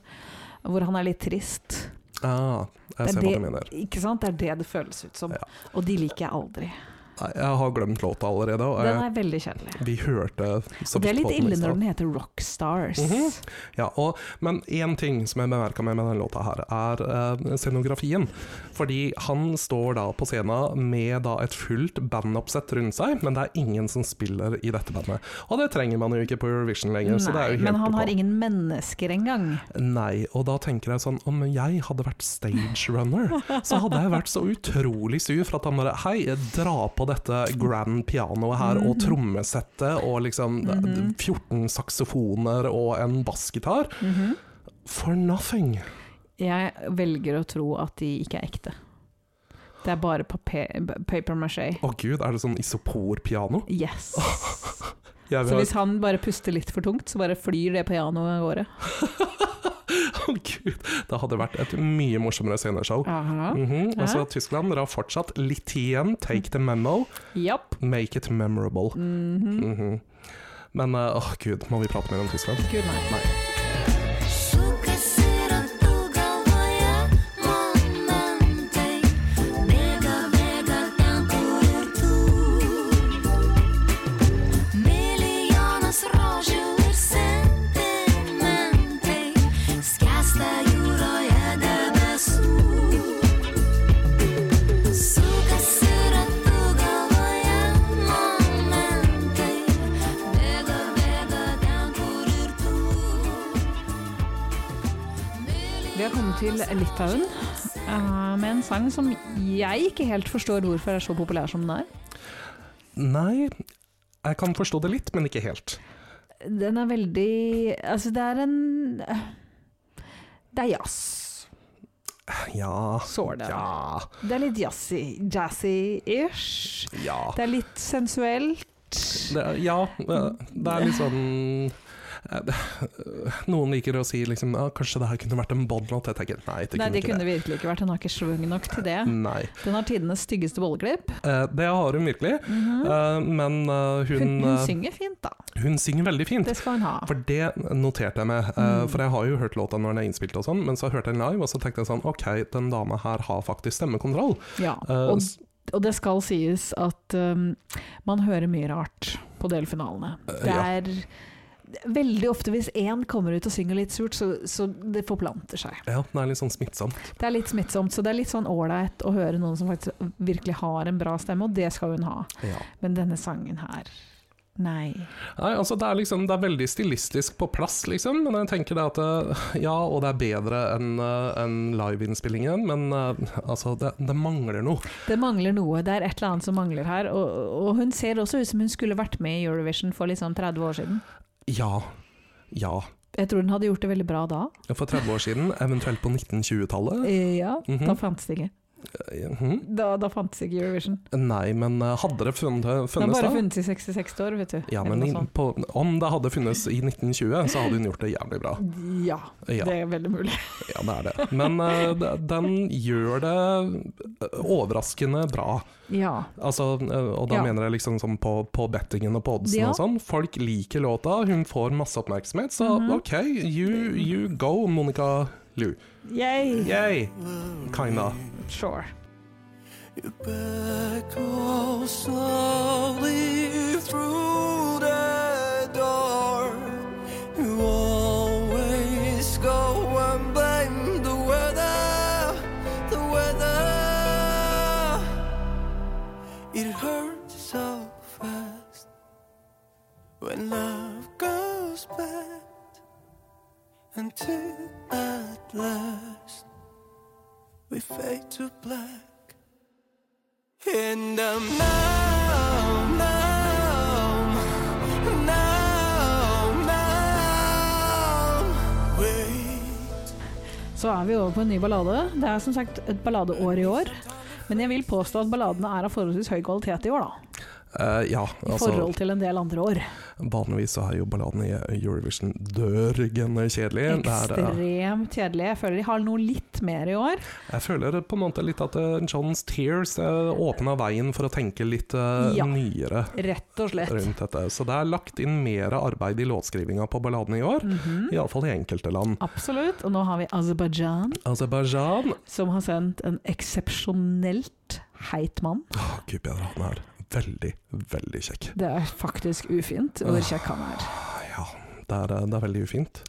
[SPEAKER 2] hvor han er litt trist.
[SPEAKER 3] Ah, jeg
[SPEAKER 2] det er
[SPEAKER 3] ser hva du
[SPEAKER 2] det-
[SPEAKER 3] mener.
[SPEAKER 2] Ikke sant? Det er det det føles ut som.
[SPEAKER 3] Ja.
[SPEAKER 2] Og de liker jeg aldri.
[SPEAKER 3] Nei, Jeg har glemt låta allerede, og
[SPEAKER 2] Den
[SPEAKER 3] jeg,
[SPEAKER 2] er veldig kjedelig.
[SPEAKER 3] vi hørte så
[SPEAKER 2] Det er
[SPEAKER 3] vidt på
[SPEAKER 2] litt
[SPEAKER 3] den i
[SPEAKER 2] ille
[SPEAKER 3] stad.
[SPEAKER 2] når den heter Rockstars.
[SPEAKER 3] Mhm. Ja, og, men én ting som jeg bemerka meg med denne låta, her er eh, scenografien. Fordi han står da på scenen med da et fullt bandoppsett rundt seg, men det er ingen som spiller i dette bandet. Og det trenger man jo ikke på Eurovision lenger. så det
[SPEAKER 2] Nei,
[SPEAKER 3] er jo helt
[SPEAKER 2] men han
[SPEAKER 3] på.
[SPEAKER 2] har ingen mennesker engang.
[SPEAKER 3] Nei, og da tenker jeg sånn Om jeg hadde vært stage runner, så hadde jeg vært så utrolig sur for at han bare Hei, dra på dette grand pianoet her,
[SPEAKER 2] Mm.
[SPEAKER 3] og trommesettet, og liksom
[SPEAKER 2] Mm-hmm.
[SPEAKER 3] 14 saksofoner og en bassgitar.
[SPEAKER 2] Mm-hmm.
[SPEAKER 3] For nothing.
[SPEAKER 2] Jeg velger å tro at de ikke er ekte. Det er bare pape- paper maché.
[SPEAKER 3] Å gud, er det sånn isoporpiano?
[SPEAKER 2] Yes.
[SPEAKER 3] Jeg
[SPEAKER 2] Så
[SPEAKER 3] vil
[SPEAKER 2] hvis han bare puster litt for tungt, så bare flyr det pianoet av gårde.
[SPEAKER 3] Å sånn, gud, det hadde vært et mye morsommere sceneshow. Mhm, Altså, Tyskland dere har fortsatt litt tid igjen. Take the memo,
[SPEAKER 2] Japp.
[SPEAKER 3] make it memorable. Mhm. Men eh, åh gud, må vi prate mer om Tyskland?
[SPEAKER 2] Gud, nei.
[SPEAKER 3] Nei.
[SPEAKER 5] Shuka sera tuga moja momenty Biega, biega tam kur tu
[SPEAKER 2] til Litauen eh, med en sang som jeg ikke helt forstår hvorfor er så populær som den er.
[SPEAKER 3] Nei, jeg kan forstå det litt, men ikke helt.
[SPEAKER 2] Den er veldig Altså, det er en Det er jazz.
[SPEAKER 3] Ja,
[SPEAKER 2] Sår det.
[SPEAKER 3] ja,
[SPEAKER 2] Det er litt jazzy. Jazzy-ish.
[SPEAKER 3] ja.
[SPEAKER 2] Det er litt sensuelt.
[SPEAKER 3] Det, er- ja, det det er litt sånn Noen liker å si liksom ah, Kanskje det her kunne vært en båndlåt? Jeg tenker nei, det Mm.
[SPEAKER 2] Nei,
[SPEAKER 3] kunne
[SPEAKER 2] det
[SPEAKER 3] ikke
[SPEAKER 2] kunne virkelig ikke vært. Den har ikke svung nok til det.
[SPEAKER 3] det. Nei.
[SPEAKER 2] Den har tidenes styggeste bolleklipp.
[SPEAKER 3] Eh, det har hun virkelig, eh, men eh,
[SPEAKER 2] Mhm. Hun,
[SPEAKER 3] hun,
[SPEAKER 2] hun
[SPEAKER 3] eh,
[SPEAKER 2] synger fint, da.
[SPEAKER 3] hun synger veldig fint.
[SPEAKER 2] Det skal hun ha.
[SPEAKER 3] For det noterte jeg meg, eh,
[SPEAKER 2] Mm.
[SPEAKER 3] for jeg har jo hørt låta når den er innspilt og sånn, men så hørte jeg den live, og så tenkte jeg sånn Ok, den dama her har faktisk stemmekontroll.
[SPEAKER 2] Ja.
[SPEAKER 3] Eh,
[SPEAKER 2] Og,
[SPEAKER 3] s-
[SPEAKER 2] og det skal sies at um, man hører mye rart på delfinalene. Det
[SPEAKER 3] eh, ja.
[SPEAKER 2] er veldig ofte hvis én kommer ut og synger litt surt, så, så det forplanter seg.
[SPEAKER 3] Ja, den er litt sånn smittsom.
[SPEAKER 2] Det er litt smittsomt, så det er litt sånn ålreit å høre noen som faktisk virkelig har en bra stemme, og det skal hun ha.
[SPEAKER 3] Ja.
[SPEAKER 2] Men denne sangen her Nei.
[SPEAKER 3] Nei, altså det er liksom Det er veldig stilistisk på plass, liksom, men jeg tenker det at eh, Ja, og det er bedre enn eh, enn liveinnspillingen, men eh, altså, det, det mangler noe.
[SPEAKER 2] Det mangler noe. Det er et eller annet som mangler her. Og, og hun ser også ut som hun skulle vært med i Eurovision for litt sånn 30 år siden.
[SPEAKER 3] Ja. Ja.
[SPEAKER 2] Jeg tror hun hadde gjort det veldig bra da.
[SPEAKER 3] For 30 år siden, eventuelt på 1920-tallet.
[SPEAKER 2] Eh, Ja,
[SPEAKER 3] Mhm.
[SPEAKER 2] da fantes det ikke.
[SPEAKER 3] Eh, mhm.
[SPEAKER 2] Da, da fantes ikke Eurovision.
[SPEAKER 3] Nei, men eh, hadde det funnet,
[SPEAKER 2] Den har
[SPEAKER 3] funnes
[SPEAKER 2] bare
[SPEAKER 3] da?
[SPEAKER 2] funnes i 66 år, vet du.
[SPEAKER 3] Ja,
[SPEAKER 2] Eller
[SPEAKER 3] men
[SPEAKER 2] noe
[SPEAKER 3] i,
[SPEAKER 2] sånt.
[SPEAKER 3] på, om det hadde funnes i 1920, så hadde hun gjort det jævlig bra.
[SPEAKER 2] ja,
[SPEAKER 3] Ja,
[SPEAKER 2] det er veldig mulig.
[SPEAKER 3] ja det er det. Men eh, de- den gjør det eh, overraskende bra.
[SPEAKER 2] Ja.
[SPEAKER 3] Altså, eh, og da
[SPEAKER 2] Ja.
[SPEAKER 3] mener jeg liksom sånn på, på bettingen og på oddsen
[SPEAKER 2] Ja.
[SPEAKER 3] og sånn. Folk liker låta, hun får masse oppmerksomhet, så
[SPEAKER 2] Mhm.
[SPEAKER 3] OK, you, you go, Monica Lu.
[SPEAKER 2] Yay!
[SPEAKER 3] Yay! Kinda.
[SPEAKER 2] Sure.
[SPEAKER 4] It echoes slowly through the door. You always go and blame the weather, the weather. It hurts so fast when love goes bad until at last we fade to black. And I'm numb, numb, numb, numb. Wait.
[SPEAKER 2] Så er vi over på en ny ballade. Det er som sagt et balladeår i år. Men jeg vil påstå at balladene er av forholdsvis høy kvalitet i år, da.
[SPEAKER 3] Eh, ja,
[SPEAKER 2] I
[SPEAKER 3] altså
[SPEAKER 2] forhold til en del andre år.
[SPEAKER 3] Vanligvis så er jo balladene i Eurovision dørgende kjedelige. Det er, eh,
[SPEAKER 2] Ekstremt kjedelige. Jeg føler de har noe litt mer i år.
[SPEAKER 3] Jeg føler på en måte litt at eh, John's Tears åpna veien for å tenke litt eh,
[SPEAKER 2] Ja.
[SPEAKER 3] nyere
[SPEAKER 2] Rett og slett.
[SPEAKER 3] rundt dette. Så det er lagt inn mer arbeid i låtskrivinga på balladene i år,
[SPEAKER 2] Mhm.
[SPEAKER 3] iallfall i enkelte land.
[SPEAKER 2] Absolutt. Og nå har vi Aserbajdsjan,
[SPEAKER 3] Aserbajdsjan
[SPEAKER 2] som har sendt en eksepsjonelt heit mann.
[SPEAKER 3] Å, Gud bedre, han er veldig, veldig kjekk. Ah,
[SPEAKER 2] Det er faktisk ufint hvor kjekk han er.
[SPEAKER 3] Ja, det er, eh, det er veldig ufint.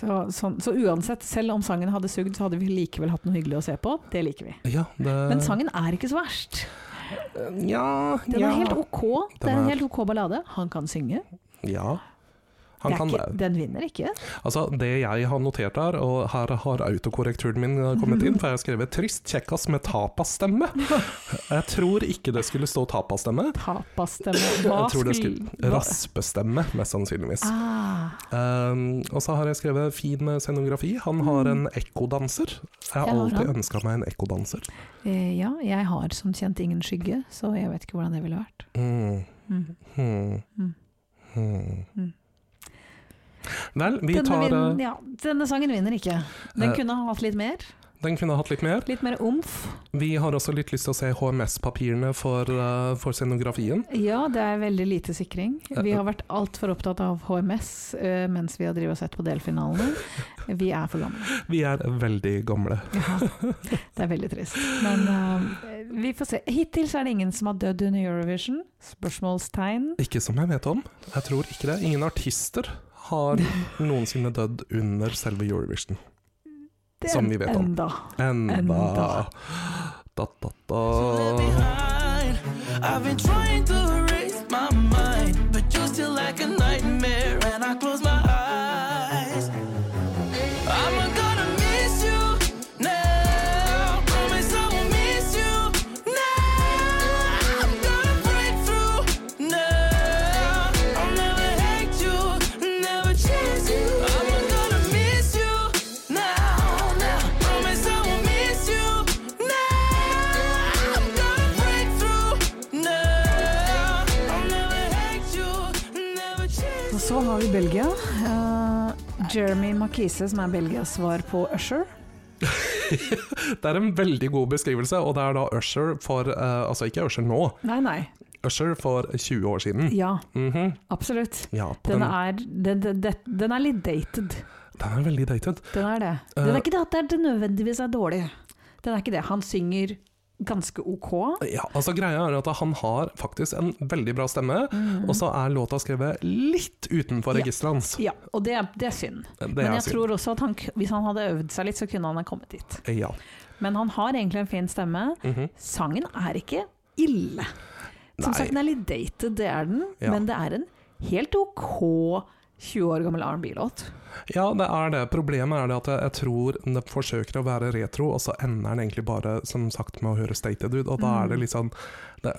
[SPEAKER 2] Så, sånn, så uansett, selv om sangen hadde sugd, så hadde vi likevel hatt noe hyggelig å se på. Det liker vi.
[SPEAKER 3] Ja, det
[SPEAKER 2] Men sangen er ikke så verst.
[SPEAKER 3] Ja,
[SPEAKER 2] Den
[SPEAKER 3] ja.
[SPEAKER 2] er helt ok. Det er
[SPEAKER 3] Den
[SPEAKER 2] en
[SPEAKER 3] er-
[SPEAKER 2] helt ok ballade. Han kan synge.
[SPEAKER 3] ja.
[SPEAKER 2] Det
[SPEAKER 3] Han
[SPEAKER 2] er
[SPEAKER 3] kan
[SPEAKER 2] ikke,
[SPEAKER 3] det.
[SPEAKER 2] den vinner ikke.
[SPEAKER 3] Altså, det jeg har notert her, og her har autokorrekturen min kommet inn, for jeg har skrevet 'trist kjekkas med tapasstemme'. Jeg tror ikke det skulle stå tapasstemme.
[SPEAKER 2] Tapasstemme. Hva
[SPEAKER 3] Jeg tror det
[SPEAKER 2] skulle-
[SPEAKER 3] skulle raspestemme, mest sannsynligvis.
[SPEAKER 2] Ah,
[SPEAKER 3] Um, og så har jeg skrevet 'fin scenografi'. Han har en ekkodanser. Jeg har
[SPEAKER 2] Ja, Mm. har
[SPEAKER 3] alltid
[SPEAKER 2] han.
[SPEAKER 3] ønska meg en ekkodanser.
[SPEAKER 2] eh, ja, jeg har som kjent ingen skygge, så jeg vet ikke hvordan det ville vært.
[SPEAKER 3] Mm.
[SPEAKER 2] Mm.
[SPEAKER 3] Hmm.
[SPEAKER 2] Mm.
[SPEAKER 3] Hmm.
[SPEAKER 2] Mm.
[SPEAKER 3] Vel, vi
[SPEAKER 2] Denne,
[SPEAKER 3] tar
[SPEAKER 2] vin-
[SPEAKER 3] eh,
[SPEAKER 2] ja, denne sangen vinner ikke. Den
[SPEAKER 3] eh,
[SPEAKER 2] kunne ha hatt litt mer.
[SPEAKER 3] Den kunne hatt litt mer.
[SPEAKER 2] Litt mer omf.
[SPEAKER 3] Vi har også litt lyst til å se HMS-papirene for, eh, for scenografien.
[SPEAKER 2] Ja, det er veldig lite sikring.
[SPEAKER 3] Eh,
[SPEAKER 2] Vi har vært altfor opptatt av HMS eh, mens vi har drevet og sett på delfinalene. Vi er for gamle.
[SPEAKER 3] Vi er veldig gamle.
[SPEAKER 2] Ja, det er veldig trist. Men eh, vi får se. Hittil så er det ingen som har dødd under Eurovision. Spørsmålstegn.
[SPEAKER 3] Ikke som jeg vet om. Jeg tror ikke det. Ingen artister har noensinne dødd under selve Eurovision.
[SPEAKER 2] Det
[SPEAKER 3] Som vi vet om.
[SPEAKER 2] Enda.
[SPEAKER 3] Enda,
[SPEAKER 2] Enda.
[SPEAKER 3] Da, da, da.
[SPEAKER 4] Left behind. I've been trying to erase my mind, but you're still like a nightmare, and I close my eyes. I'm gonna miss you.
[SPEAKER 2] Så har vi Belgia. Eh, Jeremy Makise, som er Belgias svar på Usher.
[SPEAKER 3] Det er en veldig god beskrivelse, og det er da Usher for eh, Altså ikke Usher nå,
[SPEAKER 2] Nei, nei.
[SPEAKER 3] Usher for 20 år siden.
[SPEAKER 2] Ja,
[SPEAKER 3] Mhm.
[SPEAKER 2] absolutt.
[SPEAKER 3] Ja, på den,
[SPEAKER 2] Den er, den, den, den- den er litt dated.
[SPEAKER 3] den er veldig dated.
[SPEAKER 2] Den er det.
[SPEAKER 3] Eh.
[SPEAKER 2] Den er ikke det at det er- det nødvendigvis er dårlig. Den er ikke det. Han synger ganske ok.
[SPEAKER 3] Ja, altså Greia er at han har faktisk en veldig bra stemme, og så er låta skrevet litt utenfor
[SPEAKER 2] Mhm. Ja.
[SPEAKER 3] registeret hans.
[SPEAKER 2] Ja, og det er, det er synd.
[SPEAKER 3] Det
[SPEAKER 2] Men
[SPEAKER 3] er
[SPEAKER 2] jeg
[SPEAKER 3] synd.
[SPEAKER 2] tror også at han, k- hvis han hadde øvd seg litt, så kunne han ha kommet dit.
[SPEAKER 3] Ja.
[SPEAKER 2] Men han har egentlig en fin stemme. Sangen er ikke ille. Som
[SPEAKER 3] Nei.
[SPEAKER 2] sagt, den er litt dated, det er den.
[SPEAKER 3] Ja.
[SPEAKER 2] Men det er en helt ok 20 år gammel R&B-låt.
[SPEAKER 3] ja, det er det. Problemet er det at jeg- jeg tror den forsøker å være retro, og så ender den egentlig bare som sagt med å høre stated ut, og da er det
[SPEAKER 2] Mm.
[SPEAKER 3] litt sånn det,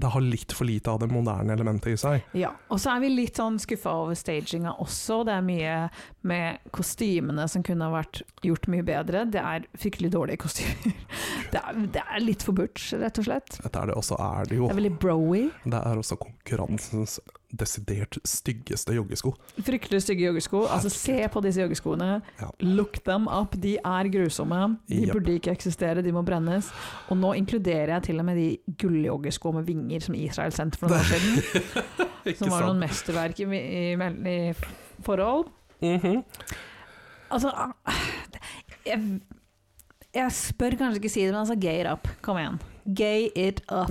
[SPEAKER 3] det har litt for lite av det moderne elementet i seg.
[SPEAKER 2] Ja, og så er vi litt sånn skuffa over staginga også. Det er mye med kostymene som kunne ha vært gjort mye bedre. Det er fryktelig dårlige kostymer. Det er, det er litt for butch, rett og slett.
[SPEAKER 3] Dette er det, og så er det jo
[SPEAKER 2] Det er veldig broy.
[SPEAKER 3] Det er også konkurransens desidert styggeste joggesko.
[SPEAKER 2] Fryktelig stygge joggesko. Altså, se på disse joggeskoene.
[SPEAKER 3] Ja.
[SPEAKER 2] Look them up. De er grusomme. De
[SPEAKER 3] Yep.
[SPEAKER 2] burde ikke eksistere, de må brennes. Og nå inkluderer jeg til og med de gulljoggesko med vinger som Israel sendte for noen år siden.
[SPEAKER 3] Ikke
[SPEAKER 2] Som var noen
[SPEAKER 3] sant?
[SPEAKER 2] mesterverk i, i, mel- i forhold.
[SPEAKER 3] Mhm.
[SPEAKER 2] Altså jeg, jeg spør kanskje ikke si det, men altså gay it up. Kom igjen. Gay it up.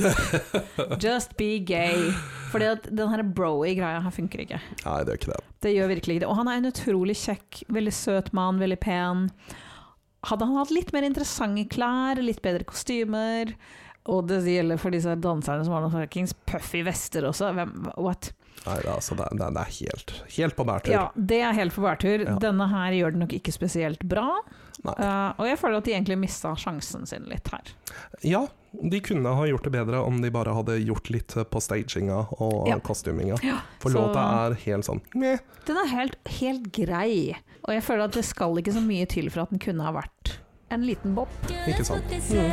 [SPEAKER 2] Just be gay. Fordi at den her broy-greia her funker ikke.
[SPEAKER 3] Nei, det er ikke det.
[SPEAKER 2] Det gjør virkelig ikke det. Og han er en utrolig kjekk, veldig søt mann, veldig pen. Hadde han hatt litt mer interessante klær, litt bedre kostymer Og det gjelder for disse danserne som har noen fuckings puffy vester også. Hvem, what?
[SPEAKER 3] Nei, det er, altså, det er, det er- det er helt, helt på bærtur.
[SPEAKER 2] Ja, det er helt på bærtur.
[SPEAKER 3] Ja.
[SPEAKER 2] Denne her gjør det nok ikke spesielt bra.
[SPEAKER 3] Nei.
[SPEAKER 2] Eh, og jeg føler at de egentlig mista sjansen sin litt her.
[SPEAKER 3] Ja, de kunne ha gjort det bedre om de bare hadde gjort litt på staginga og
[SPEAKER 2] Ja.
[SPEAKER 3] kostyminga. For
[SPEAKER 2] så-
[SPEAKER 3] låta er helt sånn meh.
[SPEAKER 2] Den er helt, helt grei, og jeg føler at det skal ikke så mye til for at den kunne ha vært en liten bob.
[SPEAKER 3] Ikke
[SPEAKER 5] That's
[SPEAKER 3] sant. Mm.
[SPEAKER 5] what they say.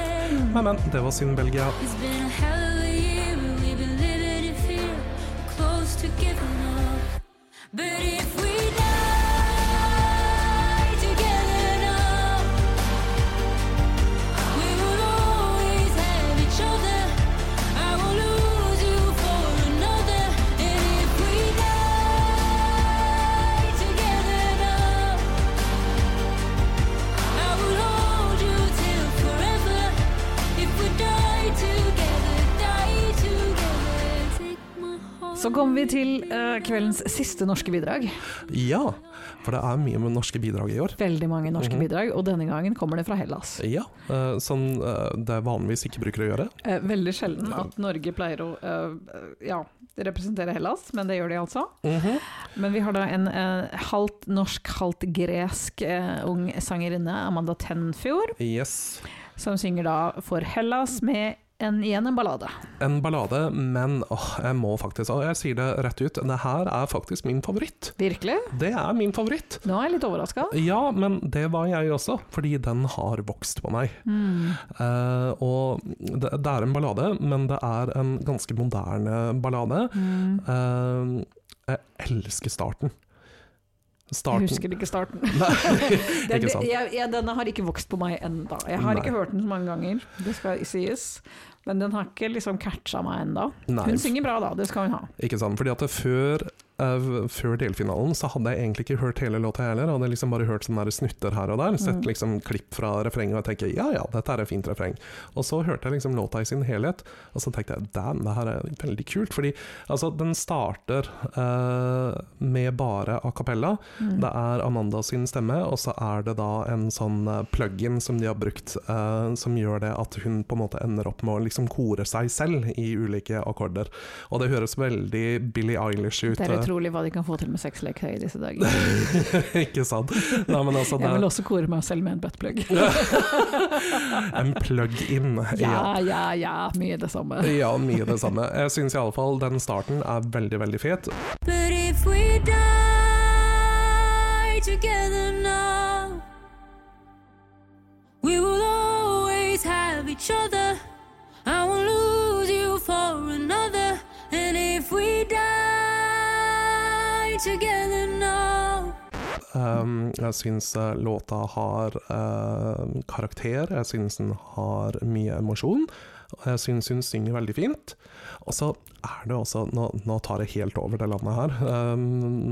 [SPEAKER 3] Men, men, det var synd, Belgia.
[SPEAKER 5] It's been a hell of a year, and we've been living in fear, close to giving up. But if we die together now, we will always have each other. I will lose you for another. And if we die together now, I will hold you till forever. If we die together, die together. Take my heart.
[SPEAKER 2] Så kommer vi til eh, kveldens siste norske bidrag.
[SPEAKER 3] Ja, for det er mye med norske bidrag i år.
[SPEAKER 2] Veldig mange norske bidrag, og denne gangen kommer det fra Hellas.
[SPEAKER 3] Ja, eh, Som eh, det vanligvis ikke bruker å gjøre.
[SPEAKER 2] Eh, veldig sjelden at Norge pleier å eh, ja, representere Hellas, men det gjør de altså. Men vi har da en eh, halvt norsk, halvt gresk eh, ung sangerinne, Amanda Tenfjord,
[SPEAKER 3] Yes.
[SPEAKER 2] som synger da for Hellas med en, igjen en ballade.
[SPEAKER 3] En ballade, men åh, jeg må faktisk Og jeg sier det rett ut, det her er faktisk min favoritt.
[SPEAKER 2] Virkelig?
[SPEAKER 3] Det er min favoritt.
[SPEAKER 2] Nå er jeg litt overraska.
[SPEAKER 3] Ja, men det var jeg også, fordi den har vokst på meg.
[SPEAKER 2] Mm.
[SPEAKER 3] Eh, og det, det er en ballade, men det er en ganske moderne ballade.
[SPEAKER 2] Mm.
[SPEAKER 3] Eh, jeg elsker starten.
[SPEAKER 2] Jeg
[SPEAKER 3] Starten
[SPEAKER 2] husker ikke starten.
[SPEAKER 3] Nei,
[SPEAKER 2] Den,
[SPEAKER 3] ikke sant.
[SPEAKER 2] jeg, jeg, denne har ikke vokst på meg enda. Jeg har
[SPEAKER 3] Nei.
[SPEAKER 2] ikke hørt den så mange ganger, det skal sies. Men den har ikke liksom catcha meg enda.
[SPEAKER 3] Nei.
[SPEAKER 2] Hun synger bra da, det skal hun ha.
[SPEAKER 3] Ikke sant? Fordi at det før, eh, v- før delfinalen så hadde jeg egentlig ikke hørt hele låta heller. Hadde jeg liksom bare hørt sånne der snutter her og der. Sett liksom klipp fra refrenget og jeg tenker ja ja, dette er et fint refreng. Og så hørte jeg liksom låta i sin helhet, og så tenkte jeg damn, det her er veldig kult. Fordi altså, den starter eh, med bare a cappella.
[SPEAKER 2] Mm.
[SPEAKER 3] Det er Amanda sin stemme, og så er det da en sånn eh, plug-in som de har brukt, eh, som gjør det at hun på en måte ender opp med å liksom kore seg selv i ulike akkorder. Og det høres veldig Billie Eilish ut.
[SPEAKER 2] Det er
[SPEAKER 3] eh,
[SPEAKER 2] utrolig hva de kan få til med sexleketøy i disse dager.
[SPEAKER 3] ikke sant? Nei, men altså, det
[SPEAKER 2] Jeg vil
[SPEAKER 3] er
[SPEAKER 2] også kore meg selv med en buttplug.
[SPEAKER 3] en plug-in.
[SPEAKER 2] Ja, ja, ja, mye det samme.
[SPEAKER 3] Ja, mye det samme. Jeg syns iallfall den starten er veldig, veldig fet.
[SPEAKER 5] But if we die together now, we will always have each other. I won't lose you for another. And if we die
[SPEAKER 3] Um, jeg syns eh, låta har eh, karakter, jeg syns den har mye emosjon. og Jeg syns hun synger veldig fint. Og så er det også Nå, nå tar jeg helt over det landet her. Um,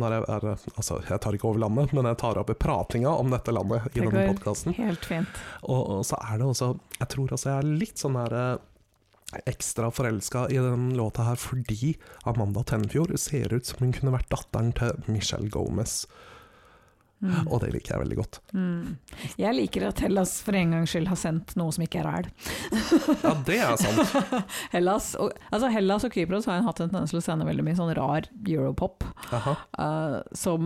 [SPEAKER 3] når jeg, er, altså, jeg tar ikke over landet, men jeg tar opp pratinga om dette landet i
[SPEAKER 2] Det
[SPEAKER 3] denne
[SPEAKER 2] går
[SPEAKER 3] podkasten.
[SPEAKER 2] Helt fint.
[SPEAKER 3] Og, og så er det også Jeg tror også jeg er litt sånn der eh, ekstra forelska i den låta her fordi Amanda Tenfjord ser ut som hun kunne vært datteren til Michelle Gomez.
[SPEAKER 2] Mm.
[SPEAKER 3] Og det liker jeg veldig godt.
[SPEAKER 2] Mm. Jeg liker at Hellas for en gangs skyld har sendt noe som ikke er ræl.
[SPEAKER 3] Ja, det er sant.
[SPEAKER 2] Hellas og, altså Hellas og Kypros har jo hatt en tendens til å sende veldig mye sånn rar europop
[SPEAKER 3] Aha.
[SPEAKER 2] eh, som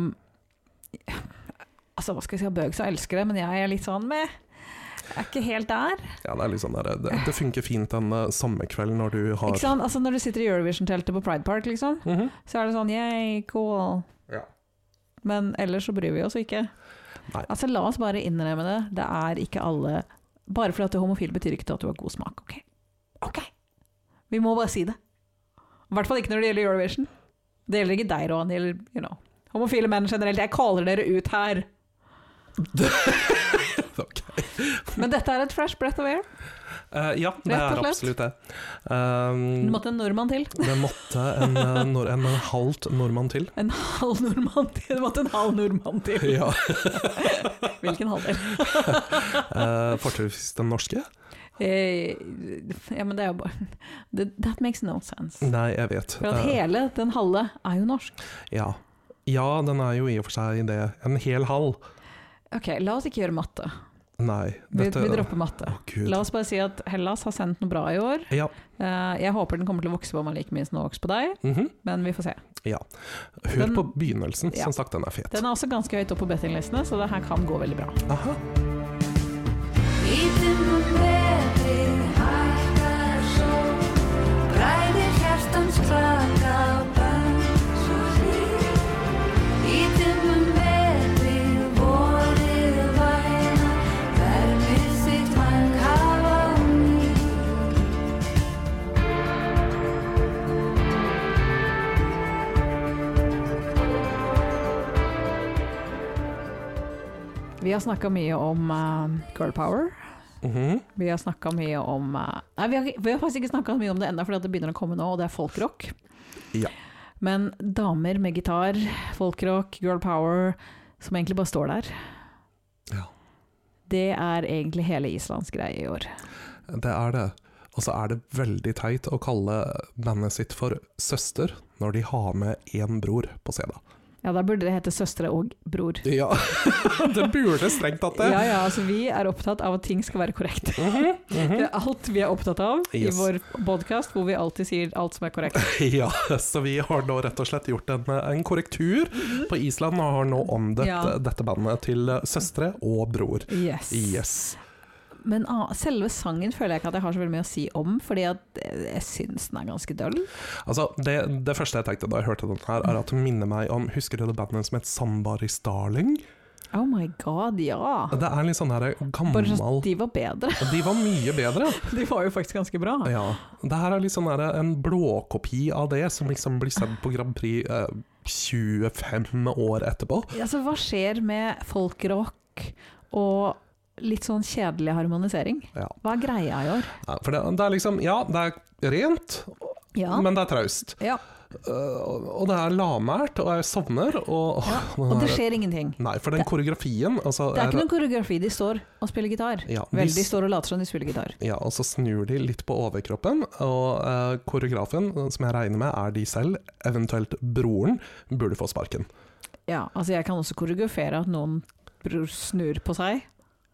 [SPEAKER 2] Altså, hva skal jeg si, Bøgs og elsker det, men jeg er litt sånn med Jeg er ikke helt der.
[SPEAKER 3] Ja, det, er litt sånn der, det, det funker fint den eh, samme kvelden når du har
[SPEAKER 2] Ikke sant? Altså, når du sitter i Eurovision-teltet på Pride Park, liksom,
[SPEAKER 3] Mhm.
[SPEAKER 2] så er det sånn yeah, cool.
[SPEAKER 3] Ja.
[SPEAKER 2] Men ellers så bryr vi oss ikke.
[SPEAKER 3] Nei.
[SPEAKER 2] Altså, la oss bare innrømme det. Det er ikke alle Bare fordi at du er homofil, betyr ikke det at du har god smak. Ok. Ok. Vi må bare si det. I hvert fall ikke når det gjelder Eurovision. Det gjelder ikke deg, Roan. Det gjelder you know, homofile menn generelt. Jeg caller dere ut her.
[SPEAKER 3] Ok.
[SPEAKER 2] Men dette er et fresh breath of air.
[SPEAKER 3] Eh, ja, det
[SPEAKER 2] Rett og
[SPEAKER 3] er
[SPEAKER 2] slett.
[SPEAKER 3] absolutt det.
[SPEAKER 2] Du
[SPEAKER 3] Um,
[SPEAKER 2] måtte en nordmann til.
[SPEAKER 3] det måtte en, eh, nor- en halvt nordmann til.
[SPEAKER 2] En halv nordmann til. Du måtte en halv nordmann til.
[SPEAKER 3] Ja.
[SPEAKER 2] Hvilken halvdel?
[SPEAKER 3] Uh, Fortrinnsvis den norske?
[SPEAKER 2] Eh, ja, men det er jo bare That- That makes no sense.
[SPEAKER 3] Nei, jeg vet.
[SPEAKER 2] For at
[SPEAKER 3] Mm. Eh,
[SPEAKER 2] hele den halve er jo norsk.
[SPEAKER 3] Ja. ja, den er jo i og for seg det. En hel halv.
[SPEAKER 2] Ok, la oss ikke gjøre matte.
[SPEAKER 3] Nei.
[SPEAKER 2] Vi, vi dropper matte.
[SPEAKER 3] Å, Gud.
[SPEAKER 2] La oss bare si at Hellas har sendt noe bra i år.
[SPEAKER 3] Ja.
[SPEAKER 2] Eh, jeg håper den kommer til å vokse på meg like mye som den har vokst på deg,
[SPEAKER 3] mhm.
[SPEAKER 2] men vi får se.
[SPEAKER 3] ja. Hør
[SPEAKER 2] Den-
[SPEAKER 3] på begynnelsen.
[SPEAKER 2] Ja.
[SPEAKER 3] Som sagt, den er fet.
[SPEAKER 2] Den er også ganske høyt opp på bettinglistene, så det her kan gå veldig bra.
[SPEAKER 3] Aha.
[SPEAKER 5] Ítum og betri hækkar sól Bræðir hjartans klaka bönn svo hlýr Ítum og betri vorið væna Vermið sitt mann kafa og nýr
[SPEAKER 2] Vi har snakka mye om eh, girl power.
[SPEAKER 3] Mhm.
[SPEAKER 2] Vi har snakka mye om eh, Nei, vi har, ikke- vi har faktisk ikke snakka mye om det ennå, fordi at det begynner å komme nå, og det er folkrock.
[SPEAKER 3] Ja.
[SPEAKER 2] Men damer med gitar, folkrock, girl power, som egentlig bare står der.
[SPEAKER 3] Ja.
[SPEAKER 2] Det er egentlig hele Islands greie i år.
[SPEAKER 3] Det er det. Og så er det veldig teit å kalle bandet sitt for Søster når de har med én bror på scenen.
[SPEAKER 2] Ja, da burde det hete søstre og bror.
[SPEAKER 3] Ja, det burde strengt tatt det.
[SPEAKER 2] Ja, ja, altså vi er opptatt av at ting skal være korrekt.
[SPEAKER 3] Mhm.
[SPEAKER 2] Det er alt vi er opptatt av i
[SPEAKER 3] Mm-hmm. Yes.
[SPEAKER 2] vår podkast, hvor vi alltid sier alt som er korrekt.
[SPEAKER 3] Ja, så vi har nå rett og slett gjort en, en korrektur på Island og har nå omdøpt
[SPEAKER 2] Mhm. Ja.
[SPEAKER 3] dette bandet til Søstre og Bror.
[SPEAKER 2] Yes.
[SPEAKER 3] Yes.
[SPEAKER 2] Men ah, selve sangen føler jeg ikke at jeg har så veldig mye å si om, fordi at eh, jeg syns den er ganske døll.
[SPEAKER 3] Altså, det, det første jeg tenkte da jeg hørte den her, er at det minner meg om Husker du det bandet som het Sambaris Darling?
[SPEAKER 2] Oh my god, ja!
[SPEAKER 3] Det er litt sånn her
[SPEAKER 2] Bare sånn
[SPEAKER 3] gammel
[SPEAKER 2] at de var bedre.
[SPEAKER 3] De var mye bedre.
[SPEAKER 2] De var jo faktisk ganske bra.
[SPEAKER 3] Ja. Det her er litt sånn her en blåkopi av det, som liksom blir sendt på Grand Prix eh, 25 år etterpå.
[SPEAKER 2] Altså, hva skjer med folkrock og litt sånn kjedelig harmonisering?
[SPEAKER 3] Ja.
[SPEAKER 2] Hva er greia i år?
[SPEAKER 3] Ja, For det, det er liksom Ja, det er rent,
[SPEAKER 2] Ja.
[SPEAKER 3] men det er traust.
[SPEAKER 2] ja.
[SPEAKER 3] Eh, og og det er lavmælt, og jeg sovner, og åh, den
[SPEAKER 2] Og det
[SPEAKER 3] her-
[SPEAKER 2] skjer ingenting.
[SPEAKER 3] Nei, for den koreografien altså,
[SPEAKER 2] Det er ikke noen koreografi, de står og spiller gitar.
[SPEAKER 3] Ja,
[SPEAKER 2] Vel,
[SPEAKER 3] hvis-
[SPEAKER 2] de står og later som de spiller gitar.
[SPEAKER 3] Ja, og så snur de litt på overkroppen, og eh, koreografen, som jeg regner med er de selv, eventuelt broren, burde få sparken.
[SPEAKER 2] Ja, altså jeg kan også koreografere at noen bror snur på seg.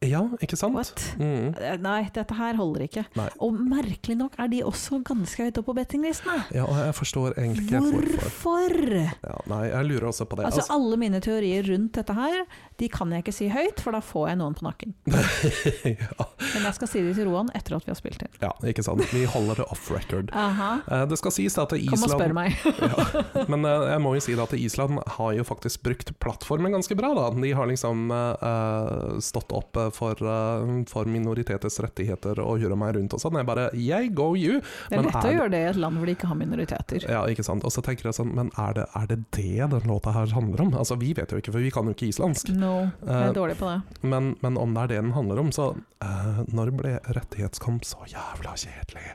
[SPEAKER 3] Ja, ikke sant?
[SPEAKER 2] What?
[SPEAKER 3] Mm.
[SPEAKER 2] Eh, Nei, dette her holder ikke.
[SPEAKER 3] Nei.
[SPEAKER 2] Og merkelig nok er de også ganske høyt oppe på bettinglistene.
[SPEAKER 3] Ja, og jeg forstår egentlig ikke hvorfor.
[SPEAKER 2] Hvorfor?
[SPEAKER 3] Ja, nei, jeg lurer også på det.
[SPEAKER 2] Altså alle mine teorier rundt dette her, de kan jeg ikke si høyt, for da får jeg noen på nakken.
[SPEAKER 3] Altså, ja,
[SPEAKER 2] Men jeg skal si det til Roan etter at vi har spilt inn.
[SPEAKER 3] ja, ikke sant. Vi holder det off record.
[SPEAKER 2] Aha.
[SPEAKER 3] Eh, Det skal sies at
[SPEAKER 2] Kom og spør
[SPEAKER 3] Island
[SPEAKER 2] meg.
[SPEAKER 3] Men eh, jeg må jo si da at Island har jo faktisk brukt plattformen ganske bra. da De har liksom eh, eh, stått opp eh, eh, for, eh, for minoriteters rettigheter og hurra meg rundt og sånn. Jeg bare yeah, go you!
[SPEAKER 2] Det er
[SPEAKER 3] Men
[SPEAKER 2] lett å gjøre det i et land hvor de ikke har minoriteter.
[SPEAKER 3] Ja, ikke sant. Og så tenker jeg sånn, men er det, er det det den låta her handler om? Altså, vi vet jo ikke, for vi kan jo ikke islandsk.
[SPEAKER 2] No, jeg
[SPEAKER 3] Eh,
[SPEAKER 2] er dårlig på det.
[SPEAKER 3] Men, men om det er det den handler om, så eh, Når ble rettighetskamp så jævla kjedelig?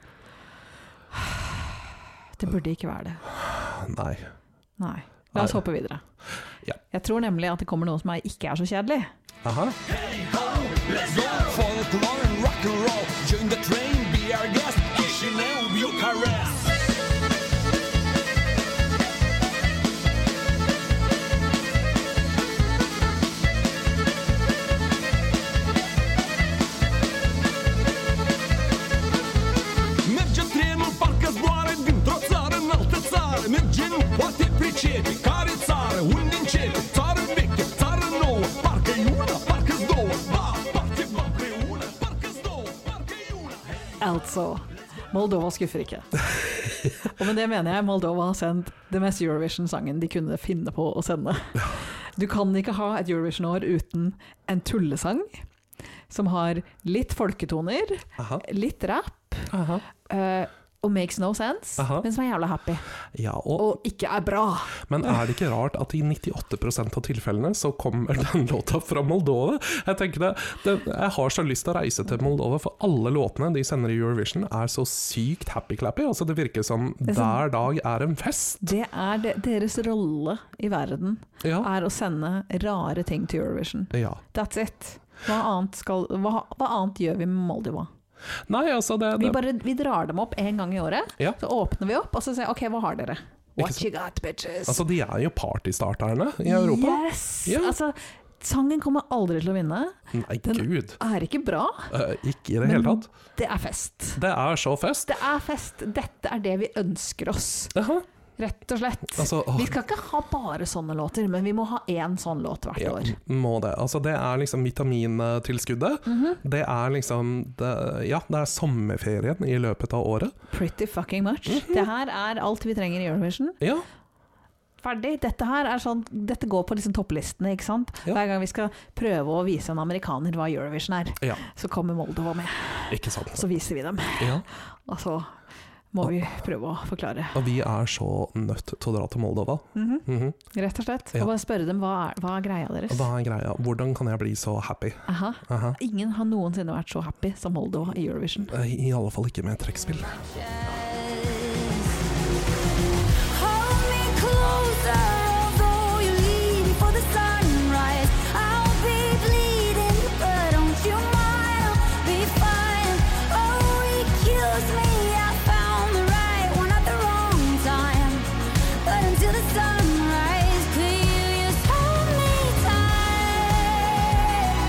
[SPEAKER 2] Det burde ikke være det.
[SPEAKER 3] Nei.
[SPEAKER 2] Nei. La oss
[SPEAKER 3] Nei.
[SPEAKER 2] håpe videre.
[SPEAKER 3] Ja.
[SPEAKER 2] Jeg tror nemlig at det kommer noe som er, ikke er så kjedelig.
[SPEAKER 3] Aha.
[SPEAKER 2] Altså, Moldova skuffer ikke. Og med det mener jeg Moldova har sendt det mest Eurovision-sangen de kunne finne på å sende. Du kan ikke ha et Eurovision-år uten en tullesang som har litt folketoner,
[SPEAKER 3] Aha.
[SPEAKER 2] litt rap
[SPEAKER 3] Aha.
[SPEAKER 2] eh, og makes no sense,
[SPEAKER 3] Aha.
[SPEAKER 2] men som er jævla happy.
[SPEAKER 3] Ja, og,
[SPEAKER 2] Og ikke er bra.
[SPEAKER 3] men er det ikke rart at i 98 av tilfellene så kommer den låta fra Moldova? Jeg tenker det, det Jeg har så lyst til å reise til Moldova, for alle låtene de sender i Eurovision er så sykt happy-clappy. Altså, det virker som
[SPEAKER 2] er sånn-
[SPEAKER 3] hver dag er en fest.
[SPEAKER 2] Det er det, deres rolle i verden
[SPEAKER 3] Ja.
[SPEAKER 2] er å sende rare ting til Eurovision.
[SPEAKER 3] ja.
[SPEAKER 2] That's it. Hva annet, skal, hva, hva annet gjør vi med Moldova?
[SPEAKER 3] Nei, altså, det,
[SPEAKER 2] Vi,
[SPEAKER 3] det
[SPEAKER 2] bare, vi drar dem opp en gang i året,
[SPEAKER 3] Ja.
[SPEAKER 2] så åpner vi opp og så sier jeg, OK, hva har dere? What
[SPEAKER 3] sant?
[SPEAKER 2] you got, bitches?
[SPEAKER 3] Altså, de er jo partystarterne i Europa.
[SPEAKER 2] Yes!
[SPEAKER 3] Ja.
[SPEAKER 2] Altså, sangen kommer aldri til å vinne.
[SPEAKER 3] Nei,
[SPEAKER 2] Den-
[SPEAKER 3] gud.
[SPEAKER 2] Er ikke bra.
[SPEAKER 3] Eh, ikke i det hele tatt.
[SPEAKER 2] Det er fest.
[SPEAKER 3] Det er så fest.
[SPEAKER 2] Det er fest. Dette er det vi ønsker oss,
[SPEAKER 3] Jaha.
[SPEAKER 2] rett og slett.
[SPEAKER 3] Altså, åh.
[SPEAKER 2] vi skal ikke ha bare sånne låter, men vi må ha én sånn låt hvert
[SPEAKER 3] Ja,
[SPEAKER 2] år.
[SPEAKER 3] må det. Altså, det er liksom vitamintilskuddet.
[SPEAKER 2] Mhm.
[SPEAKER 3] Det er liksom det, Ja, det er sommerferien i løpet av året.
[SPEAKER 2] Pretty fucking much.
[SPEAKER 3] Mhm.
[SPEAKER 2] Det her er alt vi trenger i Eurovision.
[SPEAKER 3] Ja,
[SPEAKER 2] ferdig. Dette her er sånn, dette går på liksom topplistene, ikke sant?
[SPEAKER 3] Ja.
[SPEAKER 2] Hver gang vi skal prøve å vise en amerikaner hva Eurovision er,
[SPEAKER 3] ja
[SPEAKER 2] så kommer Moldova med.
[SPEAKER 3] ikke sant.
[SPEAKER 2] Så viser vi dem,
[SPEAKER 3] Ja.
[SPEAKER 2] og så må vi prøve å forklare.
[SPEAKER 3] Og vi er så nødt til å dra til Moldova.
[SPEAKER 2] Mhm.
[SPEAKER 3] Mhm.
[SPEAKER 2] Rett og slett.
[SPEAKER 3] Ja.
[SPEAKER 2] Og bare spørre dem hva er, hva er greia deres.
[SPEAKER 3] Hva er greia? Hvordan kan jeg bli så happy?
[SPEAKER 2] Aha.
[SPEAKER 3] Aha.
[SPEAKER 2] Ingen har noensinne vært så happy som Moldova i Eurovision.
[SPEAKER 3] Eh, I alle fall ikke med trekkspill.
[SPEAKER 5] Hold me closer, though you leave me for the sunrise. I'll be bleeding, but don't you mind? I'll Be fine. Oh, accuse me. I found the right one at the wrong time. But until the sunrise, could you just hold me tight?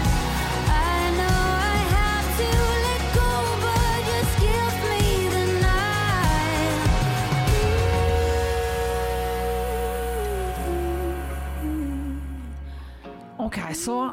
[SPEAKER 5] I know I have to let go, but just give me the night.
[SPEAKER 2] Ok, så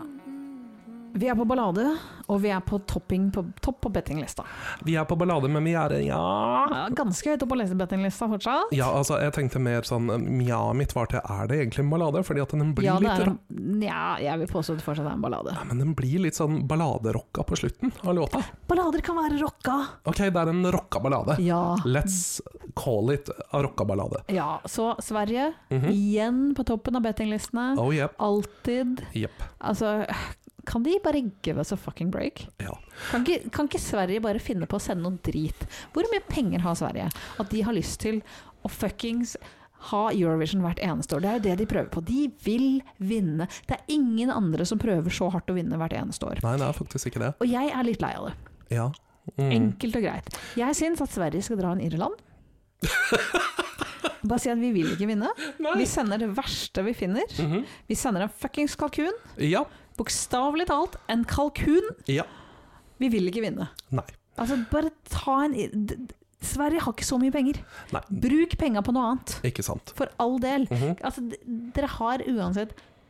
[SPEAKER 2] vi er på ballade, og vi er på topping på, topp på bettinglista.
[SPEAKER 3] Vi er på ballade, men vi er Ja.
[SPEAKER 2] Ja, Ganske høyt opp på lese- bettinglista fortsatt.
[SPEAKER 3] Ja, altså, jeg tenkte mer sånn Mjaet mitt var til Er det egentlig en ballade? Fordi at den blir
[SPEAKER 2] Ja, det
[SPEAKER 3] litt
[SPEAKER 2] er,
[SPEAKER 3] ra-
[SPEAKER 2] en- ja, jeg vil påstå det fortsatt er en ballade.
[SPEAKER 3] Ja, Men den blir litt sånn balladerocka på slutten av låta.
[SPEAKER 2] Ballader kan være rocka.
[SPEAKER 3] Ok, det er en rocka ballade.
[SPEAKER 2] Ja.
[SPEAKER 3] Let's call it a rocka ballade.
[SPEAKER 2] Ja, så Sverige igjen på toppen av bettinglistene.
[SPEAKER 3] Oh yep.
[SPEAKER 2] Alltid.
[SPEAKER 3] Jepp.
[SPEAKER 2] Altså, kan de bare give us a fucking break?
[SPEAKER 3] Ja.
[SPEAKER 2] Kan ikke, kan ikke Sverige bare finne på å sende noe drit? Hvor mye penger har Sverige? At de har lyst til å fuckings ha Eurovision hvert eneste år. Det er jo det de prøver på. De vil vinne. Det er ingen andre som prøver så hardt å vinne hvert eneste år.
[SPEAKER 3] Nei, det er faktisk ikke det.
[SPEAKER 2] Og jeg er litt lei av det.
[SPEAKER 3] Ja. Mm.
[SPEAKER 2] Enkelt og greit. Jeg syns at Sverige skal dra en Irland. Bare si at vi vil ikke vinne. Vi sender det verste vi finner. Vi sender en fuckings kalkun.
[SPEAKER 3] Mhm. Ja.
[SPEAKER 2] Bokstavelig talt en kalkun.
[SPEAKER 3] Ja.
[SPEAKER 2] Vi vil ikke vinne.
[SPEAKER 3] Nei.
[SPEAKER 2] Altså, bare ta en i- d- d- Sverige har ikke så mye penger.
[SPEAKER 3] Nei.
[SPEAKER 2] Bruk penga på noe annet.
[SPEAKER 3] Ikke sant.
[SPEAKER 2] For all del.
[SPEAKER 3] Mhm.
[SPEAKER 2] Altså, d- dere har uansett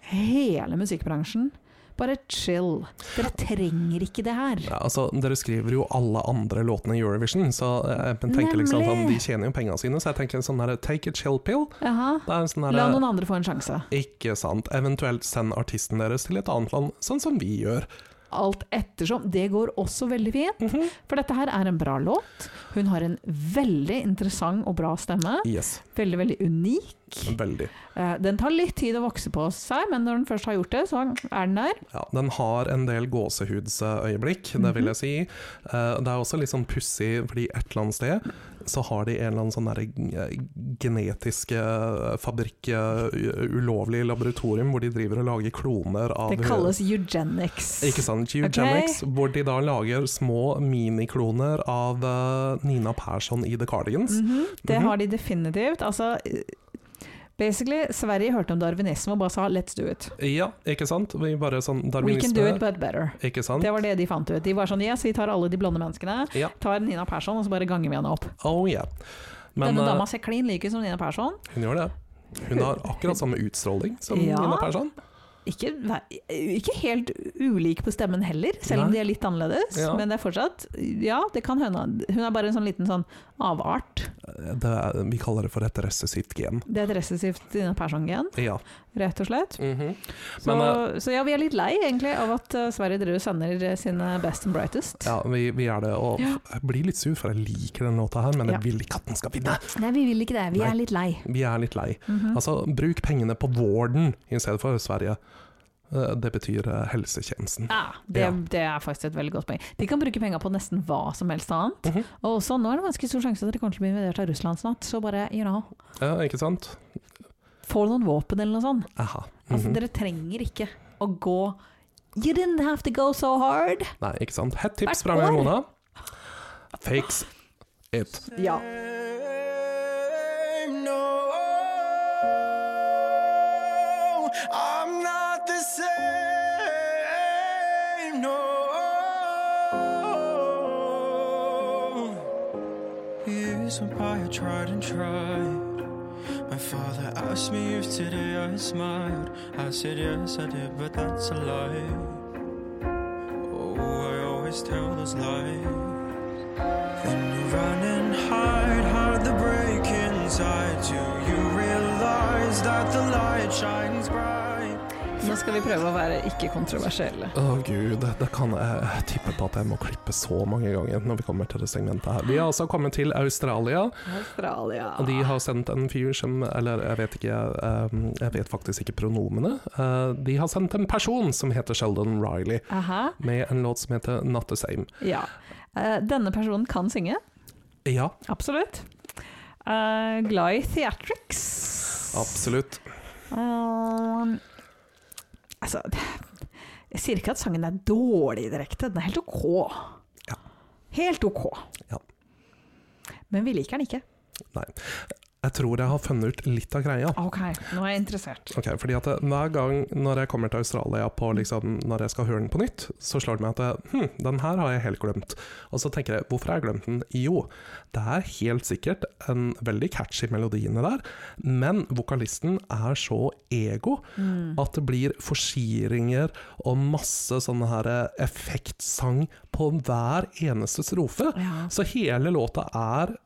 [SPEAKER 2] hele musikkbransjen. Bare chill. Dere trenger ikke det her.
[SPEAKER 3] Ja, altså, dere skriver jo alle andre låtene i Eurovision, så jeg tenker liksom sånn, de
[SPEAKER 2] Nemlig.
[SPEAKER 3] tjener jo pengene sine, så jeg tenker sånn her Take a chill pill.
[SPEAKER 2] Jaha.
[SPEAKER 3] Det er en sånn
[SPEAKER 2] La noen
[SPEAKER 3] her
[SPEAKER 2] andre få en sjanse.
[SPEAKER 3] Ikke sant. Eventuelt send artisten deres til et annet land, sånn som vi gjør.
[SPEAKER 2] alt ettersom. Det går også veldig fint, for dette her er en bra låt. Hun har en veldig interessant og bra stemme.
[SPEAKER 3] Yes,
[SPEAKER 2] Veldig, veldig unik.
[SPEAKER 3] veldig.
[SPEAKER 2] Eh, Den tar litt tid å vokse på seg, men når den først har gjort det, så er den der.
[SPEAKER 3] Ja, den har en del gåsehudsøyeblikk, det
[SPEAKER 2] Mhm.
[SPEAKER 3] vil jeg si. Eh, Det er også litt sånn pussig, fordi et eller annet sted så har de en eller annen sånn derre g- genetiske fabrikk, eh, u- ulovlig laboratorium, hvor de driver og lager kloner av
[SPEAKER 2] Det kalles eugenics.
[SPEAKER 3] Ikke sant. Eugenics, hvor de da lager små minikloner av eh, Nina Persson i The Cardigans.
[SPEAKER 2] Mhm, Det
[SPEAKER 3] Mhm.
[SPEAKER 2] har de definitivt. Altså, eh, basically, Sverige hørte om darwinisme og bare sa 'let's do it'.
[SPEAKER 3] Ja, ikke sant? Vi bare sånn
[SPEAKER 2] We can do it,
[SPEAKER 3] darwinisme.
[SPEAKER 2] but better.
[SPEAKER 3] Ikke sant?
[SPEAKER 2] Det var det de fant ut. De var sånn 'yes, vi tar alle de blonde menneskene'.
[SPEAKER 3] Ja.
[SPEAKER 2] Tar Nina Persson, og så bare ganger vi henne opp.
[SPEAKER 3] Oh yeah. Men
[SPEAKER 2] Denne
[SPEAKER 3] eh,
[SPEAKER 2] dama ser klin like ut som Nina Persson.
[SPEAKER 3] hun gjør det. Hun har akkurat samme utstråling som
[SPEAKER 2] Ja.
[SPEAKER 3] Nina Persson.
[SPEAKER 2] Ikke, ver- ikke helt ulik på stemmen heller, selv om de
[SPEAKER 3] Nei.
[SPEAKER 2] er litt annerledes.
[SPEAKER 3] Ja.
[SPEAKER 2] Men det er fortsatt Ja, det kan hende. Hun er bare en sånn liten sånn avart.
[SPEAKER 3] Det er, vi kaller det for et recessivt gen.
[SPEAKER 2] Det er et resessivt Nina Persson-gen,
[SPEAKER 3] Ja.
[SPEAKER 2] rett og slett.
[SPEAKER 3] Mhm.
[SPEAKER 2] Så,
[SPEAKER 3] Men eh,
[SPEAKER 2] så ja, vi er litt lei egentlig av at eh, Sverige driver og sender eh, sine best and brightest.
[SPEAKER 3] ja, vi, vi er det. Og
[SPEAKER 2] Ja.
[SPEAKER 3] jeg blir litt sur, for jeg liker den låta her, men jeg
[SPEAKER 2] Ja.
[SPEAKER 3] vil ikke at den skal vinne.
[SPEAKER 2] Nei, vi vil ikke det. Vi
[SPEAKER 3] Nei.
[SPEAKER 2] er litt lei.
[SPEAKER 3] Vi er litt lei.
[SPEAKER 2] Mhm.
[SPEAKER 3] Altså, bruk pengene på Warden i stedet for Sverige. Eh, Det betyr eh, helsetjenesten.
[SPEAKER 2] Ja, det,
[SPEAKER 3] Ja.
[SPEAKER 2] det er faktisk et veldig godt poeng. De kan bruke penger på nesten hva som helst annet.
[SPEAKER 3] Mhm.
[SPEAKER 2] Og også, nå er det ganske stor sjanse at de kommer til å bli invadert av Russland snart, så bare, you know,
[SPEAKER 3] Ja, ikke sant?
[SPEAKER 2] få noen våpen eller noe sånt.
[SPEAKER 3] Aha.
[SPEAKER 2] Altså,
[SPEAKER 3] Mhm.
[SPEAKER 2] dere trenger ikke å gå You didn't have to go so hard.
[SPEAKER 3] Nei, ikke sant. Hett
[SPEAKER 2] Hvert
[SPEAKER 3] tips fra
[SPEAKER 2] år.
[SPEAKER 3] meg, Mona. Fix it.
[SPEAKER 2] Ja.
[SPEAKER 4] No, I'm not the same. No,
[SPEAKER 6] Years went by, I tried and tried. My father asked me if today I smiled. I said yes, I did, but that's a lie. Oh, I always tell those lies. When you run and hide, hide the break inside you. You realize that the light shines bright.
[SPEAKER 2] Nå skal vi prøve å være ikke kontroversielle.
[SPEAKER 3] Å gud, det kan jeg tippe på at jeg må klippe så mange ganger når vi kommer til det segmentet her. Vi har altså kommet til Australia,
[SPEAKER 2] Australia.
[SPEAKER 3] og de har sendt en fyr som Eller jeg vet ikke, eh, jeg vet faktisk ikke pronomene. Eh, De har sendt en person som heter Sheldon Riley,
[SPEAKER 2] Aha.
[SPEAKER 3] med en låt som heter Not the Same.
[SPEAKER 2] Ja. Eh, Denne personen kan synge.
[SPEAKER 3] Ja,
[SPEAKER 2] Absolutt. Eh, glad i theatrics.
[SPEAKER 3] absolutt.
[SPEAKER 2] Eh, altså Jeg sier ikke at sangen er dårlig direkte, den er helt ok.
[SPEAKER 3] Ja.
[SPEAKER 2] Helt ok.
[SPEAKER 3] Ja.
[SPEAKER 2] Men vi liker den ikke.
[SPEAKER 3] Nei. Jeg tror jeg har funnet ut litt av greia.
[SPEAKER 2] Ok, nå er jeg interessert.
[SPEAKER 3] Ok, fordi at eh, Hver gang når jeg kommer til Australia på liksom, når jeg skal høre den på nytt, så slår det meg at eh, hm, den her har jeg helt glemt. Og så tenker jeg hvorfor har jeg glemt den? Jo, det er helt sikkert en veldig catchy melodi inni der, men vokalisten er så ego
[SPEAKER 2] Mm.
[SPEAKER 3] at det blir forsieringer og masse sånne her eh, effektsang på hver eneste strofe.
[SPEAKER 2] Ja.
[SPEAKER 3] Så hele låta er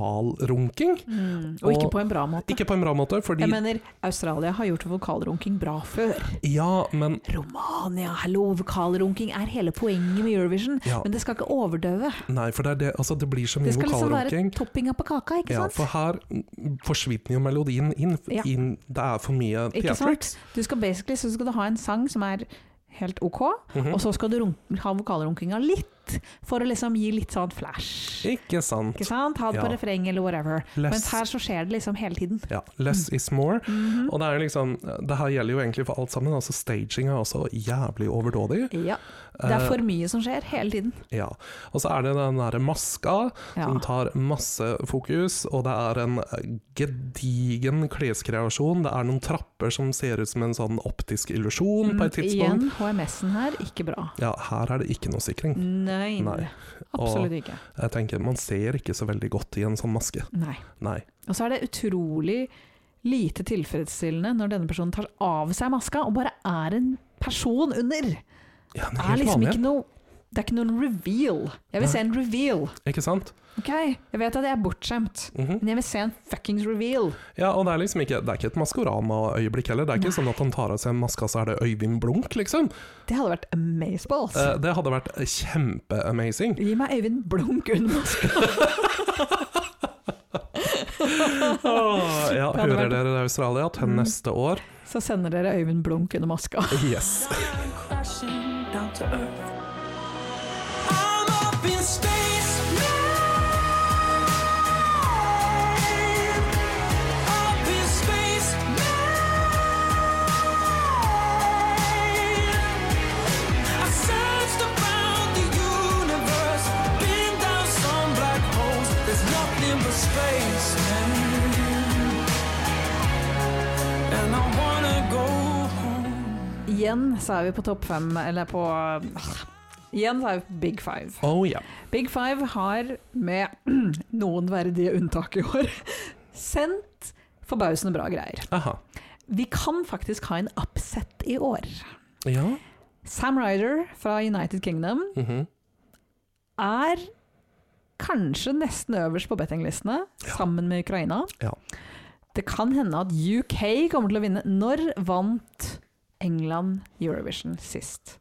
[SPEAKER 3] vokalrunking.
[SPEAKER 2] Mm. Og ikke på en bra måte.
[SPEAKER 3] Ikke på en bra måte, fordi
[SPEAKER 2] Jeg mener, Australia har gjort vokalrunking bra før.
[SPEAKER 3] Ja, men
[SPEAKER 2] Romania, hallo, vokalrunking er hele poenget med Eurovision.
[SPEAKER 3] Ja.
[SPEAKER 2] Men det skal ikke overdøve.
[SPEAKER 3] Nei, for det, er det, altså, det blir så mye
[SPEAKER 2] Det skal liksom være
[SPEAKER 3] vokalrunking.
[SPEAKER 2] toppinga på kaka, ikke
[SPEAKER 3] ja,
[SPEAKER 2] sant?
[SPEAKER 3] for her mm, forsvinner jo melodien inn.
[SPEAKER 2] Ja.
[SPEAKER 3] inn det er for mye
[SPEAKER 2] Ikke sant?
[SPEAKER 3] theatrics.
[SPEAKER 2] Du skal basically så skal du ha en sang som er helt ok,
[SPEAKER 3] Mhm.
[SPEAKER 2] og så skal du runk- ha vokalrunkinga litt, for å liksom gi litt sånn flash.
[SPEAKER 3] Ikke sant.
[SPEAKER 2] Ikke sant? Ha det på
[SPEAKER 3] Ja.
[SPEAKER 2] refreng eller whatever.
[SPEAKER 3] Less-
[SPEAKER 2] Mens her så skjer det liksom hele tiden.
[SPEAKER 3] Ja,
[SPEAKER 2] Mm.
[SPEAKER 3] less is more.
[SPEAKER 2] Mhm.
[SPEAKER 3] Og det er jo liksom Det her gjelder jo egentlig for alt sammen. Altså Staging er også jævlig overdådig.
[SPEAKER 2] Ja. Det
[SPEAKER 3] Eh,
[SPEAKER 2] er for mye som skjer hele tiden.
[SPEAKER 3] Ja. Og så er det den derre maska
[SPEAKER 2] Ja.
[SPEAKER 3] som tar masse fokus, og det er en gedigen kleskreasjon. Det er noen trapper som ser ut som en sånn optisk illusjon på et
[SPEAKER 2] Mhm,
[SPEAKER 3] tidspunkt.
[SPEAKER 2] Mm, Igjen, HMS-en her, ikke bra.
[SPEAKER 3] Ja, her er det ikke noe sikring.
[SPEAKER 2] Nei.
[SPEAKER 3] Nei.
[SPEAKER 2] Absolutt ikke.
[SPEAKER 3] Jeg tenker, Man ser ikke så veldig godt i en sånn maske.
[SPEAKER 2] Nei.
[SPEAKER 3] Nei.
[SPEAKER 2] Og så er det utrolig lite tilfredsstillende når denne personen tar av seg maska og bare er en person under.
[SPEAKER 3] Ja, den
[SPEAKER 2] Det er
[SPEAKER 3] helt
[SPEAKER 2] liksom
[SPEAKER 3] vanlig.
[SPEAKER 2] ikke noe Det er ikke noen reveal. Jeg vil se en reveal.
[SPEAKER 3] Ikke sant?
[SPEAKER 2] Ok, Jeg vet at jeg er bortskjemt,
[SPEAKER 3] Mhm.
[SPEAKER 2] men jeg vil se en fuckings reveal.
[SPEAKER 3] Ja, og det er liksom ikke, det er ikke et Maskorama-øyeblikk heller. Det er ikke sånn at han tar av seg maska, så er det Øyvind Blunk, liksom.
[SPEAKER 2] Det hadde vært amazeballs.
[SPEAKER 3] Eh, det hadde vært kjempe-amazing.
[SPEAKER 2] Gi meg Øyvind Blunk under maska.
[SPEAKER 3] Åh, ja,
[SPEAKER 2] Det hadde
[SPEAKER 3] hører
[SPEAKER 2] vært- Mm.
[SPEAKER 3] dere det, Australia? Til neste år.
[SPEAKER 2] Så sender dere Øyvind Blunk under maska.
[SPEAKER 3] Yes.
[SPEAKER 4] I'm up in space now. Up in space now. I searched around the universe, been down some black holes. There's nothing but space now. And I wanna go home.
[SPEAKER 2] Igjen så er vi på topp fem, eller på ah, Igjen så er vi på Big Five.
[SPEAKER 3] Oh ja.
[SPEAKER 2] Big Five har, med noen verdige unntak i år, sendt forbausende bra greier.
[SPEAKER 3] Aha.
[SPEAKER 2] Vi kan faktisk ha en upset i år.
[SPEAKER 3] Ja.
[SPEAKER 2] Sam Ryder fra United Kingdom
[SPEAKER 3] mhm.
[SPEAKER 2] er kanskje nesten øverst på bettinglistene, sammen med Ukraina.
[SPEAKER 3] Ja.
[SPEAKER 2] Det kan hende at UK kommer til å vinne. Når vant England Eurovision sist?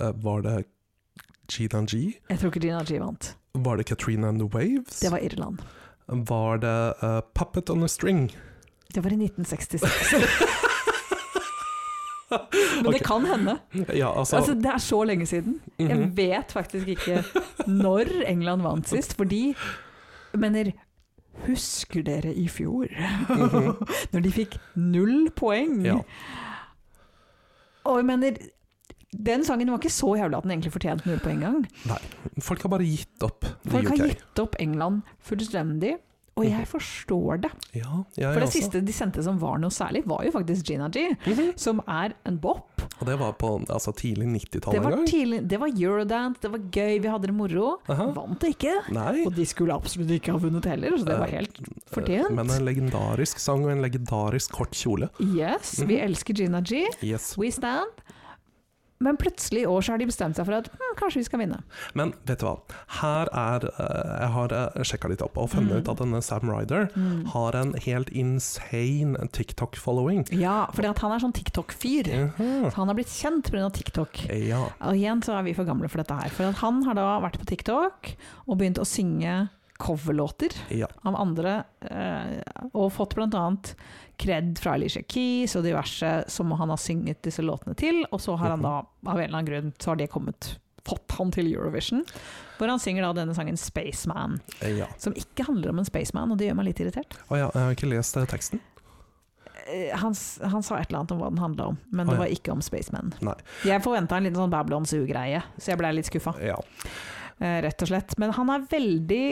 [SPEAKER 3] Eh, Var det Gina G?
[SPEAKER 2] Jeg tror ikke Gina G vant.
[SPEAKER 3] Var det Katrina and the Waves?
[SPEAKER 2] Det var Irland.
[SPEAKER 3] Var det eh, Puppet on a String?
[SPEAKER 2] Det var i 1966. Men
[SPEAKER 3] Ok.
[SPEAKER 2] det kan hende.
[SPEAKER 3] Ja, altså,
[SPEAKER 2] Altså, det er så lenge siden. Jeg
[SPEAKER 3] mhm.
[SPEAKER 2] vet faktisk ikke når England vant sist, fordi jeg mener Husker dere i fjor, når de fikk null poeng?
[SPEAKER 3] Mhm. Ja.
[SPEAKER 2] Og jeg mener, den sangen var ikke så jævla at den egentlig fortjente null poeng engang.
[SPEAKER 3] Folk har bare gitt opp the
[SPEAKER 2] Folk
[SPEAKER 3] UK.
[SPEAKER 2] har gitt opp England fullstendig, og jeg forstår det.
[SPEAKER 3] Mhm. Ja, jeg
[SPEAKER 2] For det
[SPEAKER 3] også. Mhm.
[SPEAKER 2] siste de sendte som var noe særlig, var jo faktisk Gina G, som er en bop.
[SPEAKER 3] Og det var på altså, tidlig
[SPEAKER 2] Det
[SPEAKER 3] 90-tallet en
[SPEAKER 2] var,
[SPEAKER 3] gang?
[SPEAKER 2] tidlig, det var eurodance, det var gøy, vi hadde det moro.
[SPEAKER 3] Aha.
[SPEAKER 2] Vant det ikke.
[SPEAKER 3] Nei.
[SPEAKER 2] Og de skulle absolutt ikke ha vunnet heller, så det var
[SPEAKER 3] Eh,
[SPEAKER 2] helt fortjent.
[SPEAKER 3] Men eh, en legendarisk sang og en legendarisk kort kjole.
[SPEAKER 2] Yes,
[SPEAKER 3] Mhm.
[SPEAKER 2] vi elsker Gina G.
[SPEAKER 3] Yes.
[SPEAKER 2] We stand. Men plutselig i år så har de bestemt seg for at hm, kanskje vi skal vinne.
[SPEAKER 3] Men vet du hva, her er eh, Jeg har sjekka litt opp og
[SPEAKER 2] Mm.
[SPEAKER 3] funnet ut at denne Sam Ryder har en helt insane TikTok-following.
[SPEAKER 2] Ja, for han er sånn TikTok-fyr.
[SPEAKER 3] Mhm.
[SPEAKER 2] Han har blitt kjent pga. TikTok.
[SPEAKER 3] Ja.
[SPEAKER 2] Og igjen så er vi for gamle for dette her. For at han har da vært på TikTok og begynt å synge coverlåter.
[SPEAKER 3] ja.
[SPEAKER 2] av andre, eh, og fått bl.a. kred fra Alicia Keys og diverse som han har synget disse låtene til, og så har han da, av en eller annen grunn, så har det kommet fått han til Eurovision, hvor han synger da denne sangen 'Spaceman',
[SPEAKER 3] ja.
[SPEAKER 2] som ikke handler om en spaceman, og det gjør meg litt irritert.
[SPEAKER 3] Å ja, jeg har ikke lest eh, teksten.
[SPEAKER 2] Eh, Han, s- han sa et eller annet om hva den handla om, men
[SPEAKER 3] Å,
[SPEAKER 2] det
[SPEAKER 3] ja.
[SPEAKER 2] var ikke om spaceman.
[SPEAKER 3] Nei.
[SPEAKER 2] Jeg forventa en liten sånn Babylon Zoo-greie, så jeg blei litt skuffa.
[SPEAKER 3] Ja.
[SPEAKER 2] eh, rett og slett. Men han er veldig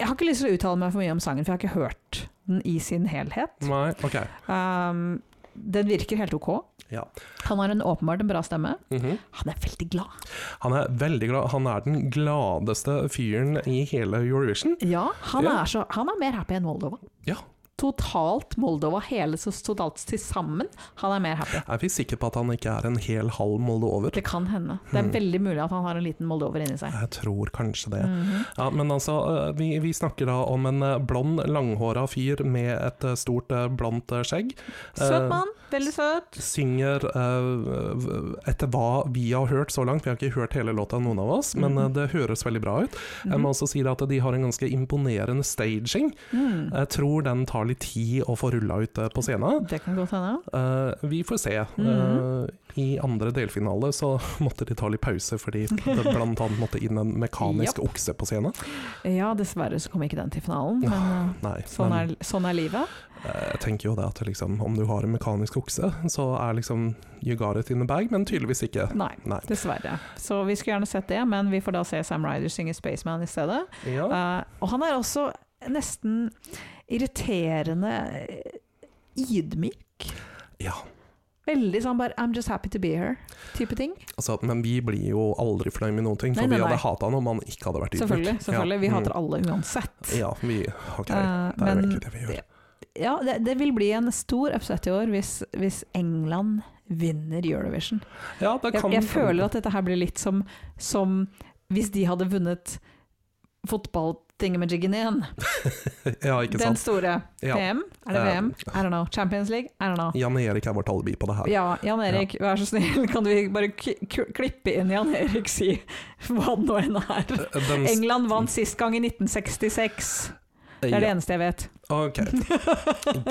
[SPEAKER 2] Jeg har ikke lyst til å uttale meg for mye om sangen, for jeg har ikke hørt den i sin helhet.
[SPEAKER 3] Nei, OK.
[SPEAKER 2] Um, den virker helt ok.
[SPEAKER 3] Ja.
[SPEAKER 2] Han har en åpenbart en bra stemme.
[SPEAKER 3] Mhm.
[SPEAKER 2] Han er veldig glad.
[SPEAKER 3] Han er veldig glad. Han er den gladeste fyren i hele Eurovision.
[SPEAKER 2] Ja, han,
[SPEAKER 3] Ja.
[SPEAKER 2] Er, så, han er mer happy enn Moldova.
[SPEAKER 3] Ja.
[SPEAKER 2] Totalt Moldova, hele så totalt til sammen. Han er mer happy.
[SPEAKER 3] Er vi sikre på at han ikke er en hel halv moldover?
[SPEAKER 2] Det kan hende.
[SPEAKER 3] Mm.
[SPEAKER 2] Det er veldig mulig at han har en liten moldover inni seg.
[SPEAKER 3] Jeg tror kanskje
[SPEAKER 2] Mm.
[SPEAKER 3] det.
[SPEAKER 2] Mhm.
[SPEAKER 3] ja, men altså, eh, vi, vi snakker da om en eh, blond, langhåra fyr med et eh, stort, eh, blondt eh, skjegg.
[SPEAKER 2] Søt
[SPEAKER 3] Eh,
[SPEAKER 2] mann, veldig søt.
[SPEAKER 3] Synger eh, v- etter hva vi har hørt så langt, vi har ikke hørt hele låta noen av oss, men
[SPEAKER 2] Mm.
[SPEAKER 3] eh, det høres veldig bra ut. Jeg må også si det at de har en ganske imponerende staging.
[SPEAKER 2] Mhm.
[SPEAKER 3] Jeg tror den tar litt tid å få rulla ut eh, på scenen.
[SPEAKER 2] Det kan godt hende.
[SPEAKER 3] Eh, vi får se. Eh,
[SPEAKER 2] Mhm.
[SPEAKER 3] I andre delfinale så måtte de ta litt pause, fordi det blant annet måtte inn en mekanisk okse på scenen.
[SPEAKER 2] Ja, dessverre så kom ikke den til finalen, men eh,
[SPEAKER 3] Nei,
[SPEAKER 2] sånn
[SPEAKER 3] men
[SPEAKER 2] er, sånn er livet.
[SPEAKER 3] eh, jeg tenker jo det at liksom, om du har en mekanisk okse, så er liksom you got it in the bag, men tydeligvis ikke.
[SPEAKER 2] Nei,
[SPEAKER 3] Nei.
[SPEAKER 2] dessverre. Så vi skulle gjerne sett det, men vi får da se Sam Ryder synge 'Spaceman' i stedet.
[SPEAKER 3] Ja.
[SPEAKER 2] Eh, og han er også nesten irriterende eh, ydmyk.
[SPEAKER 3] ja.
[SPEAKER 2] Veldig sånn bare 'I'm just happy to be here'-type ting.
[SPEAKER 3] Altså, men vi blir jo aldri fornøyd med noen ting, for
[SPEAKER 2] Nei, nei,
[SPEAKER 3] vi
[SPEAKER 2] nei.
[SPEAKER 3] hadde hata han om han ikke hadde vært ydmyk.
[SPEAKER 2] Selvfølgelig. selvfølgelig. Vi
[SPEAKER 3] Ja. Mm.
[SPEAKER 2] hater alle uansett.
[SPEAKER 3] Ja, vi har ikke det.
[SPEAKER 2] Eh,
[SPEAKER 3] Det er jo
[SPEAKER 2] men
[SPEAKER 3] egentlig det vi gjør.
[SPEAKER 2] ja, det, det vil bli en stor upset i år hvis, hvis England vinner Eurovision.
[SPEAKER 3] Ja, det
[SPEAKER 2] Jeg,
[SPEAKER 3] kan
[SPEAKER 2] jeg føler at dette her blir litt som, som hvis de hadde vunnet fotballtinget med Jiggen igjen.
[SPEAKER 3] Ja, ikke
[SPEAKER 2] Den
[SPEAKER 3] sant.
[SPEAKER 2] store.
[SPEAKER 3] Ja.
[SPEAKER 2] VM? Er det
[SPEAKER 3] Eh,
[SPEAKER 2] VM? I don't know. Champions League? I don't know.
[SPEAKER 3] Jan Erik er vårt alibi på det her.
[SPEAKER 2] Ja, Jan Erik, vær så snill, kan du ikke bare k k klippe inn Jan Erik si hva det nå enn er?
[SPEAKER 3] Den,
[SPEAKER 2] England vant sist gang i 1966. Det er det eneste jeg vet.
[SPEAKER 3] Ok,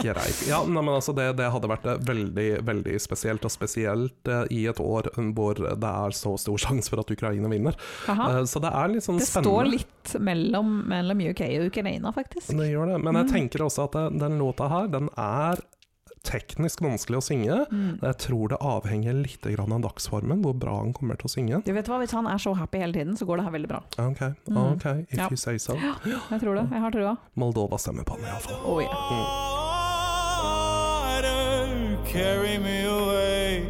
[SPEAKER 3] greit. Ja, nei, men altså det, det hadde vært eh, veldig, veldig spesielt, og spesielt eh, i et år hvor det er så stor sjanse for at Ukraina vinner.
[SPEAKER 2] Aha.
[SPEAKER 3] Eh, så det er litt sånn
[SPEAKER 2] Det står
[SPEAKER 3] spennende.
[SPEAKER 2] litt mellom, mellom UK og Ukraina, faktisk.
[SPEAKER 3] Det gjør det, men
[SPEAKER 2] Mm.
[SPEAKER 3] jeg tenker også at eh, den låta her, den er teknisk vanskelig å synge.
[SPEAKER 2] Mm.
[SPEAKER 3] Jeg tror det avhenger litt grann av dagsformen, hvor bra han kommer til å synge.
[SPEAKER 2] Du vet hva, Hvis han er så happy hele tiden, så går det her veldig bra.
[SPEAKER 3] Ok, ok,
[SPEAKER 2] Mm.
[SPEAKER 3] if
[SPEAKER 2] Ja.
[SPEAKER 3] you say so.
[SPEAKER 2] Jeg tror det. Jeg har trua.
[SPEAKER 3] Moldova stemmer på han iallfall.
[SPEAKER 2] Oh, yeah.
[SPEAKER 4] Water, carry me away,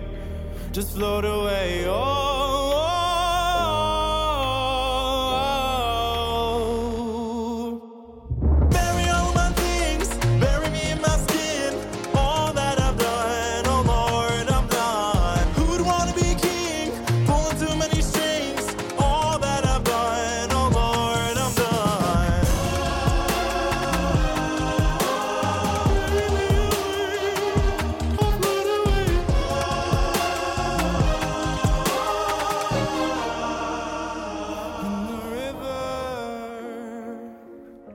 [SPEAKER 4] just float away. Oh, oh. bury all my things, bury me in my skin. All that I've done, oh Lord, I've done. Who'd wanna be king? Pulling too many strings. All that I've done, oh Lord, I've done.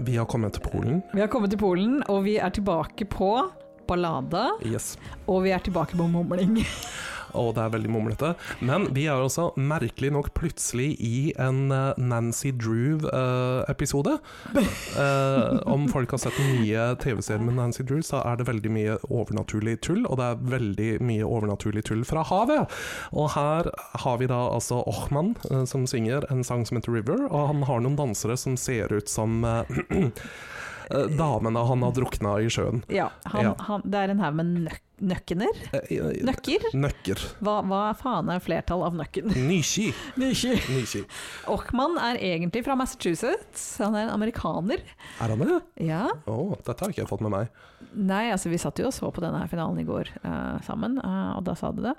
[SPEAKER 3] Vi har kommet til Polen.
[SPEAKER 2] Vi har kommet til Polen, og vi er tilbake på ballade,
[SPEAKER 3] Yes.
[SPEAKER 2] og vi er tilbake på mumling.
[SPEAKER 3] Og det er veldig mumlete. Men vi er også merkelig nok plutselig i en eh, Nancy Drew-episode. Eh, om folk har sett den nye TV-serien med Nancy Drew, så er det veldig mye overnaturlig tull. Og det er veldig mye overnaturlig tull fra havet. Og her har vi da altså Ochman eh, som synger en sang som heter River, og han har noen dansere som ser ut som eh, eh, damene han har drukna i sjøen.
[SPEAKER 2] Ja, han,
[SPEAKER 3] Ja.
[SPEAKER 2] Han, det er en haug med nøk nøkkener.
[SPEAKER 3] Eh, eh,
[SPEAKER 2] Nøkker?
[SPEAKER 3] Nøkker.
[SPEAKER 2] Hva, hva faen er flertall av nøkken?
[SPEAKER 3] Nishi.
[SPEAKER 2] Nøkker.
[SPEAKER 3] Nishi.
[SPEAKER 2] Ochman er egentlig fra Massachusetts. Han er en amerikaner.
[SPEAKER 3] Er han det?
[SPEAKER 2] Ja.
[SPEAKER 3] Å, dette har ikke jeg fått med meg.
[SPEAKER 2] Nei, altså vi satt jo og så på denne her finalen i går eh, sammen, eh, og da sa du det.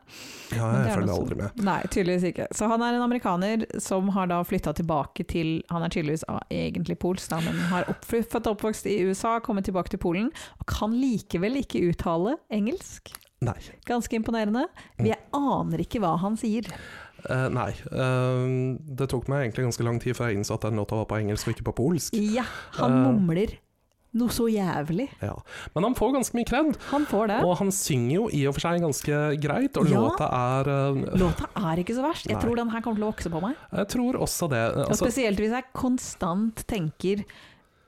[SPEAKER 3] Ja,
[SPEAKER 2] Men det
[SPEAKER 3] jeg
[SPEAKER 2] er
[SPEAKER 3] følger
[SPEAKER 2] noe
[SPEAKER 3] aldri
[SPEAKER 2] som-
[SPEAKER 3] med.
[SPEAKER 2] Nei, tydeligvis ikke. Så han er en amerikaner som har da flytta tilbake til Han er tydeligvis ah, egentlig polsk, da, men har oppf- født og oppvokst i USA, kommet tilbake til Polen, og kan likevel ikke uttale engelsk.
[SPEAKER 3] Nei.
[SPEAKER 2] Ganske imponerende. Vi aner ikke hva han sier.
[SPEAKER 3] Eh, nei. Eh, det tok meg egentlig ganske lang tid før jeg innså at den låta var på engelsk og ikke på polsk.
[SPEAKER 2] Ja, han
[SPEAKER 3] Eh.
[SPEAKER 2] mumler noe så jævlig.
[SPEAKER 3] Ja. Men han får ganske mye kred,
[SPEAKER 2] Han får det.
[SPEAKER 3] og han synger jo i og for seg ganske greit, og
[SPEAKER 2] Ja.
[SPEAKER 3] låta er eh,
[SPEAKER 2] Låta er ikke så verst. Jeg
[SPEAKER 3] Nei.
[SPEAKER 2] tror den her kommer til å vokse på meg.
[SPEAKER 3] Jeg tror også det. eh,
[SPEAKER 2] Og
[SPEAKER 3] Altså,
[SPEAKER 2] spesielt hvis jeg konstant tenker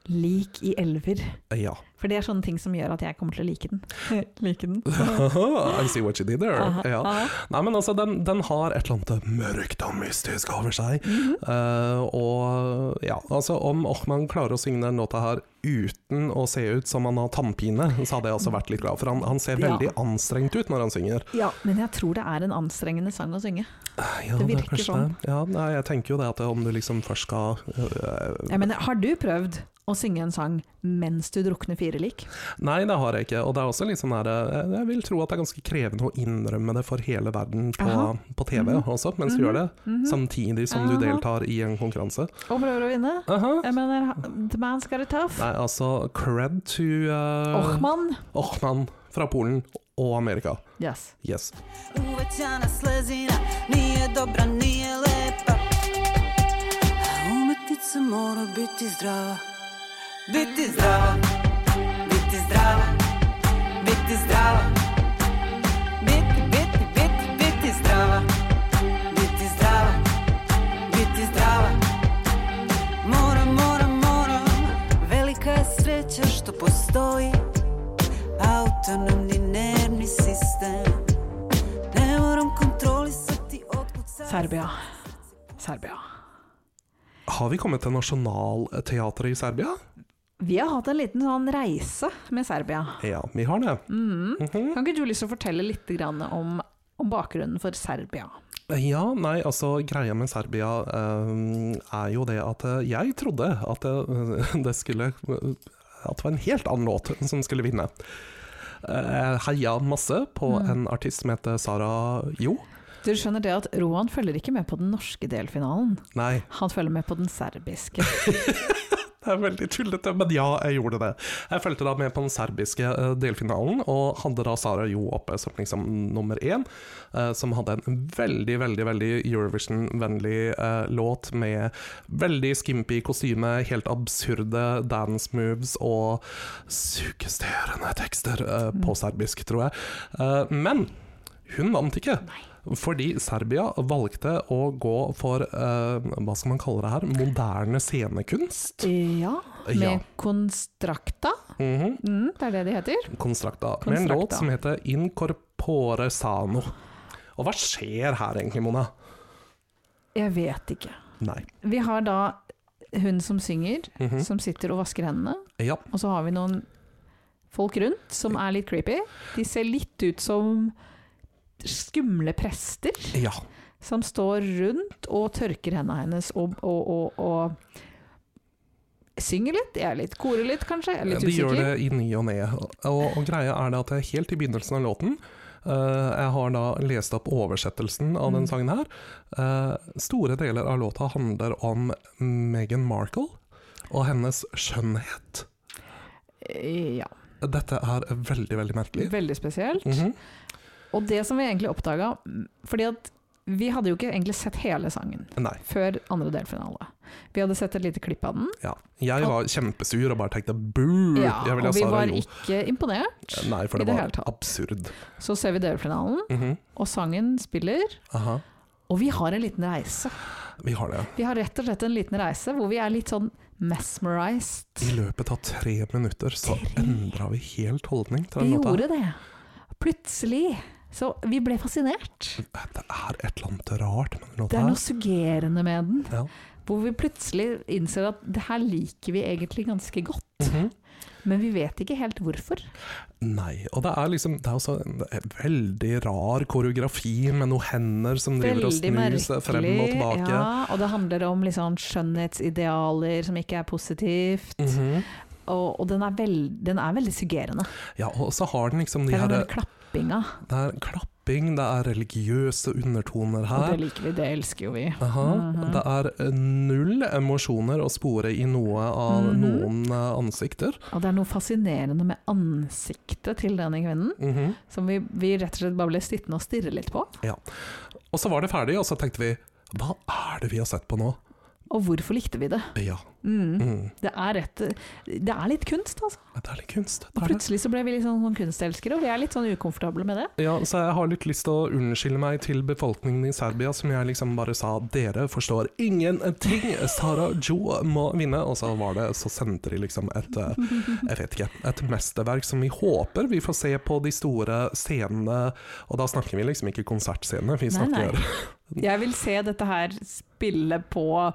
[SPEAKER 2] lik i elver.
[SPEAKER 3] ja.
[SPEAKER 2] For det er sånne ting som gjør at jeg kommer til å like den. like den.
[SPEAKER 3] I see what you did there.
[SPEAKER 2] Aha,
[SPEAKER 3] ja.
[SPEAKER 2] aha.
[SPEAKER 3] Nei, men altså, den, den har et eller annet mørkt og mystisk over seg.
[SPEAKER 2] Mhm.
[SPEAKER 3] Eh, og ja, altså om Ochman klarer å synge den låta her uten å se ut som han har tannpine, så hadde jeg også vært litt glad. For han, han ser
[SPEAKER 2] Ja.
[SPEAKER 3] veldig anstrengt ut når han synger.
[SPEAKER 2] Ja, men jeg tror det er en anstrengende sang å synge.
[SPEAKER 3] Ja,
[SPEAKER 2] Det
[SPEAKER 3] er
[SPEAKER 2] virker
[SPEAKER 3] kanskje
[SPEAKER 2] sånn.
[SPEAKER 3] det. Ja, nei, jeg tenker jo det at om du liksom først skal øh,
[SPEAKER 2] Jeg mener, har du prøvd å synge en sang mens du drukner fire lik?
[SPEAKER 3] Nei, det har jeg ikke. Og det er også litt sånn her eh, Jeg vil tro at det er ganske krevende å innrømme det for hele verden på,
[SPEAKER 2] Aha. Mhm.
[SPEAKER 3] på TV også, mens du gjør det. Samtidig som du
[SPEAKER 2] Aha.
[SPEAKER 3] deltar i en konkurranse.
[SPEAKER 2] Og prøver å vinne?
[SPEAKER 3] Aha.
[SPEAKER 2] Jeg mener, ha- the man's got it tough.
[SPEAKER 3] Nei, altså cred to eh,
[SPEAKER 2] Ochman.
[SPEAKER 3] Ochman fra Polen og Amerika.
[SPEAKER 2] Yes.
[SPEAKER 3] Yes.
[SPEAKER 8] Uvećana slezina nije dobra, nije lepa A umetnica mora biti zdrava Biti zdrava, biti zdrava, biti zdrava Biti, biti, biti, biti zdrava Biti zdrava, biti zdrava Moram, moram, moram Velika je sreća što postoji Autonomni nervni sistem ne moram kontrolisati otkud sad
[SPEAKER 2] Serbia. Serbia.
[SPEAKER 3] Har vi kommet til nasjonalteatret i Serbia?
[SPEAKER 2] Vi har hatt en liten sånn reise med Serbia.
[SPEAKER 3] Ja, vi har det.
[SPEAKER 2] Mm.
[SPEAKER 3] Mhm.
[SPEAKER 2] Kan ikke du lyst til å fortelle litt grann om, om bakgrunnen for Serbia?
[SPEAKER 3] Ja, nei, altså greia med Serbia eh, er jo det at eh, jeg trodde eh, at det, det skulle At det var en helt annen låt som skulle vinne. eh, heia masse på en artist som heter Sara Jo.
[SPEAKER 2] Du skjønner det at Roan følger ikke med på den norske delfinalen.
[SPEAKER 3] Nei,
[SPEAKER 2] Han følger med på den serbiske.
[SPEAKER 3] det er veldig tullete, men ja, jeg gjorde det. Jeg fulgte da med på den serbiske eh, delfinalen, og hadde da Sara Jo oppe som liksom nummer én, eh, som hadde en veldig, veldig veldig Eurovision-vennlig eh, låt med veldig skimpy kostyme, helt absurde dance moves og sugesterende tekster eh, på serbisk, tror jeg. Eh, Men hun vant ikke. Fordi Serbia valgte å gå for eh, hva skal man kalle det her, moderne scenekunst.
[SPEAKER 2] ja, med
[SPEAKER 3] Ja.
[SPEAKER 2] Konstrakta.
[SPEAKER 3] Mhm.
[SPEAKER 2] Mm, det er det de heter.
[SPEAKER 3] Konstrakta. Med en
[SPEAKER 2] Konstrakta.
[SPEAKER 3] låt som heter Incorpore Sano. Og hva skjer her egentlig, Mona?
[SPEAKER 2] Jeg vet ikke.
[SPEAKER 3] Nei.
[SPEAKER 2] Vi har da hun som synger,
[SPEAKER 3] Mhm.
[SPEAKER 2] som sitter og vasker hendene.
[SPEAKER 3] Ja,
[SPEAKER 2] Og så har vi noen folk rundt som er litt creepy. De ser litt ut som skumle prester
[SPEAKER 3] ja.
[SPEAKER 2] som står rundt og tørker hendene hennes og, og, og, og synger litt. Jeg er litt korer litt, kanskje. Jeg er litt
[SPEAKER 3] De gjør
[SPEAKER 2] usikker.
[SPEAKER 3] det i ny og ne. Og, og greia er det at det er helt i begynnelsen av låten eh, Jeg har da lest opp oversettelsen av
[SPEAKER 2] Mm.
[SPEAKER 3] den sangen her. Eh, store deler av låta handler om Meghan Markle og hennes skjønnhet.
[SPEAKER 2] Eh, Ja,
[SPEAKER 3] Dette er veldig, veldig merkelig.
[SPEAKER 2] veldig spesielt.
[SPEAKER 3] Mhm.
[SPEAKER 2] Og det som vi egentlig oppdaga Fordi at vi hadde jo ikke egentlig sett hele sangen
[SPEAKER 3] Nei.
[SPEAKER 2] før andre delfinale. Vi hadde sett et lite klipp av den.
[SPEAKER 3] Ja. Jeg var kjempesur og bare tenkte boo!
[SPEAKER 2] Ja,
[SPEAKER 3] jeg ville altså
[SPEAKER 2] og vi
[SPEAKER 3] ha Sara
[SPEAKER 2] var
[SPEAKER 3] Jo.
[SPEAKER 2] ikke imponert.
[SPEAKER 3] Nei, for
[SPEAKER 2] i
[SPEAKER 3] det,
[SPEAKER 2] det hele
[SPEAKER 3] var
[SPEAKER 2] tatt.
[SPEAKER 3] absurd.
[SPEAKER 2] Så ser vi delfinalen,
[SPEAKER 3] Mhm.
[SPEAKER 2] og sangen spiller.
[SPEAKER 3] Aha.
[SPEAKER 2] Og vi har en liten reise.
[SPEAKER 3] Vi har det.
[SPEAKER 2] Vi har rett og slett en liten reise hvor vi er litt sånn mesmerized.
[SPEAKER 3] I løpet av tre minutter så endra vi helt holdning til
[SPEAKER 2] Vi
[SPEAKER 3] den låta.
[SPEAKER 2] gjorde det. Plutselig. Så vi ble fascinert.
[SPEAKER 3] Det er et eller annet rart med den
[SPEAKER 2] Det
[SPEAKER 3] låta
[SPEAKER 2] er noe
[SPEAKER 3] her.
[SPEAKER 2] suggerende med den.
[SPEAKER 3] Ja.
[SPEAKER 2] Hvor vi plutselig innser at det her liker vi egentlig ganske godt.
[SPEAKER 3] Mhm.
[SPEAKER 2] Men vi vet ikke helt hvorfor.
[SPEAKER 3] Nei. Og det er liksom Det er også en det er veldig rar koreografi med noen hender som driver og
[SPEAKER 2] Veldig
[SPEAKER 3] snur seg frem og
[SPEAKER 2] merkelig.
[SPEAKER 3] tilbake.
[SPEAKER 2] Ja, og det handler om liksom skjønnhetsidealer som ikke er positivt.
[SPEAKER 3] Mhm.
[SPEAKER 2] Og, og den, er veld, den er veldig suggerende.
[SPEAKER 3] ja, og så har den liksom de
[SPEAKER 2] Det er
[SPEAKER 3] her
[SPEAKER 2] den der klappinga.
[SPEAKER 3] Det er klapping, det er religiøse undertoner
[SPEAKER 2] Og det
[SPEAKER 3] her.
[SPEAKER 2] liker vi, det elsker jo vi.
[SPEAKER 3] Aha.
[SPEAKER 2] Mhm.
[SPEAKER 3] Det er eh, null emosjoner å spore i noe av
[SPEAKER 2] Mhm.
[SPEAKER 3] noen eh, ansikter.
[SPEAKER 2] Og det er noe fascinerende med ansiktet til denne kvinnen,
[SPEAKER 3] Mhm.
[SPEAKER 2] som vi, vi rett og slett bare ble sittende og stirre litt på.
[SPEAKER 3] Og så var det ferdig, og så tenkte vi hva er det vi har sett på nå?
[SPEAKER 2] Og hvorfor likte vi det?
[SPEAKER 3] Ja,
[SPEAKER 2] Mm.
[SPEAKER 3] mm.
[SPEAKER 2] Det er rett Det er litt kunst, altså.
[SPEAKER 3] det er litt kunst.
[SPEAKER 2] Og
[SPEAKER 3] Det er det.
[SPEAKER 2] plutselig så ble vi litt sånn, sånn kunstelskere, og vi er litt sånn ukomfortable med det.
[SPEAKER 3] Ja, så jeg har litt lyst til å unnskylde meg til befolkningen i Serbia, som jeg liksom bare sa dere forstår ingenting, Sara Jo må vinne. Og så var det, så sendte de liksom et eh, jeg vet ikke, et mesterverk som vi håper vi får se på de store scenene. Og da snakker vi liksom ikke konsertscene, vi
[SPEAKER 2] Nei, nei.
[SPEAKER 3] snakker
[SPEAKER 2] Jeg vil se dette her spille på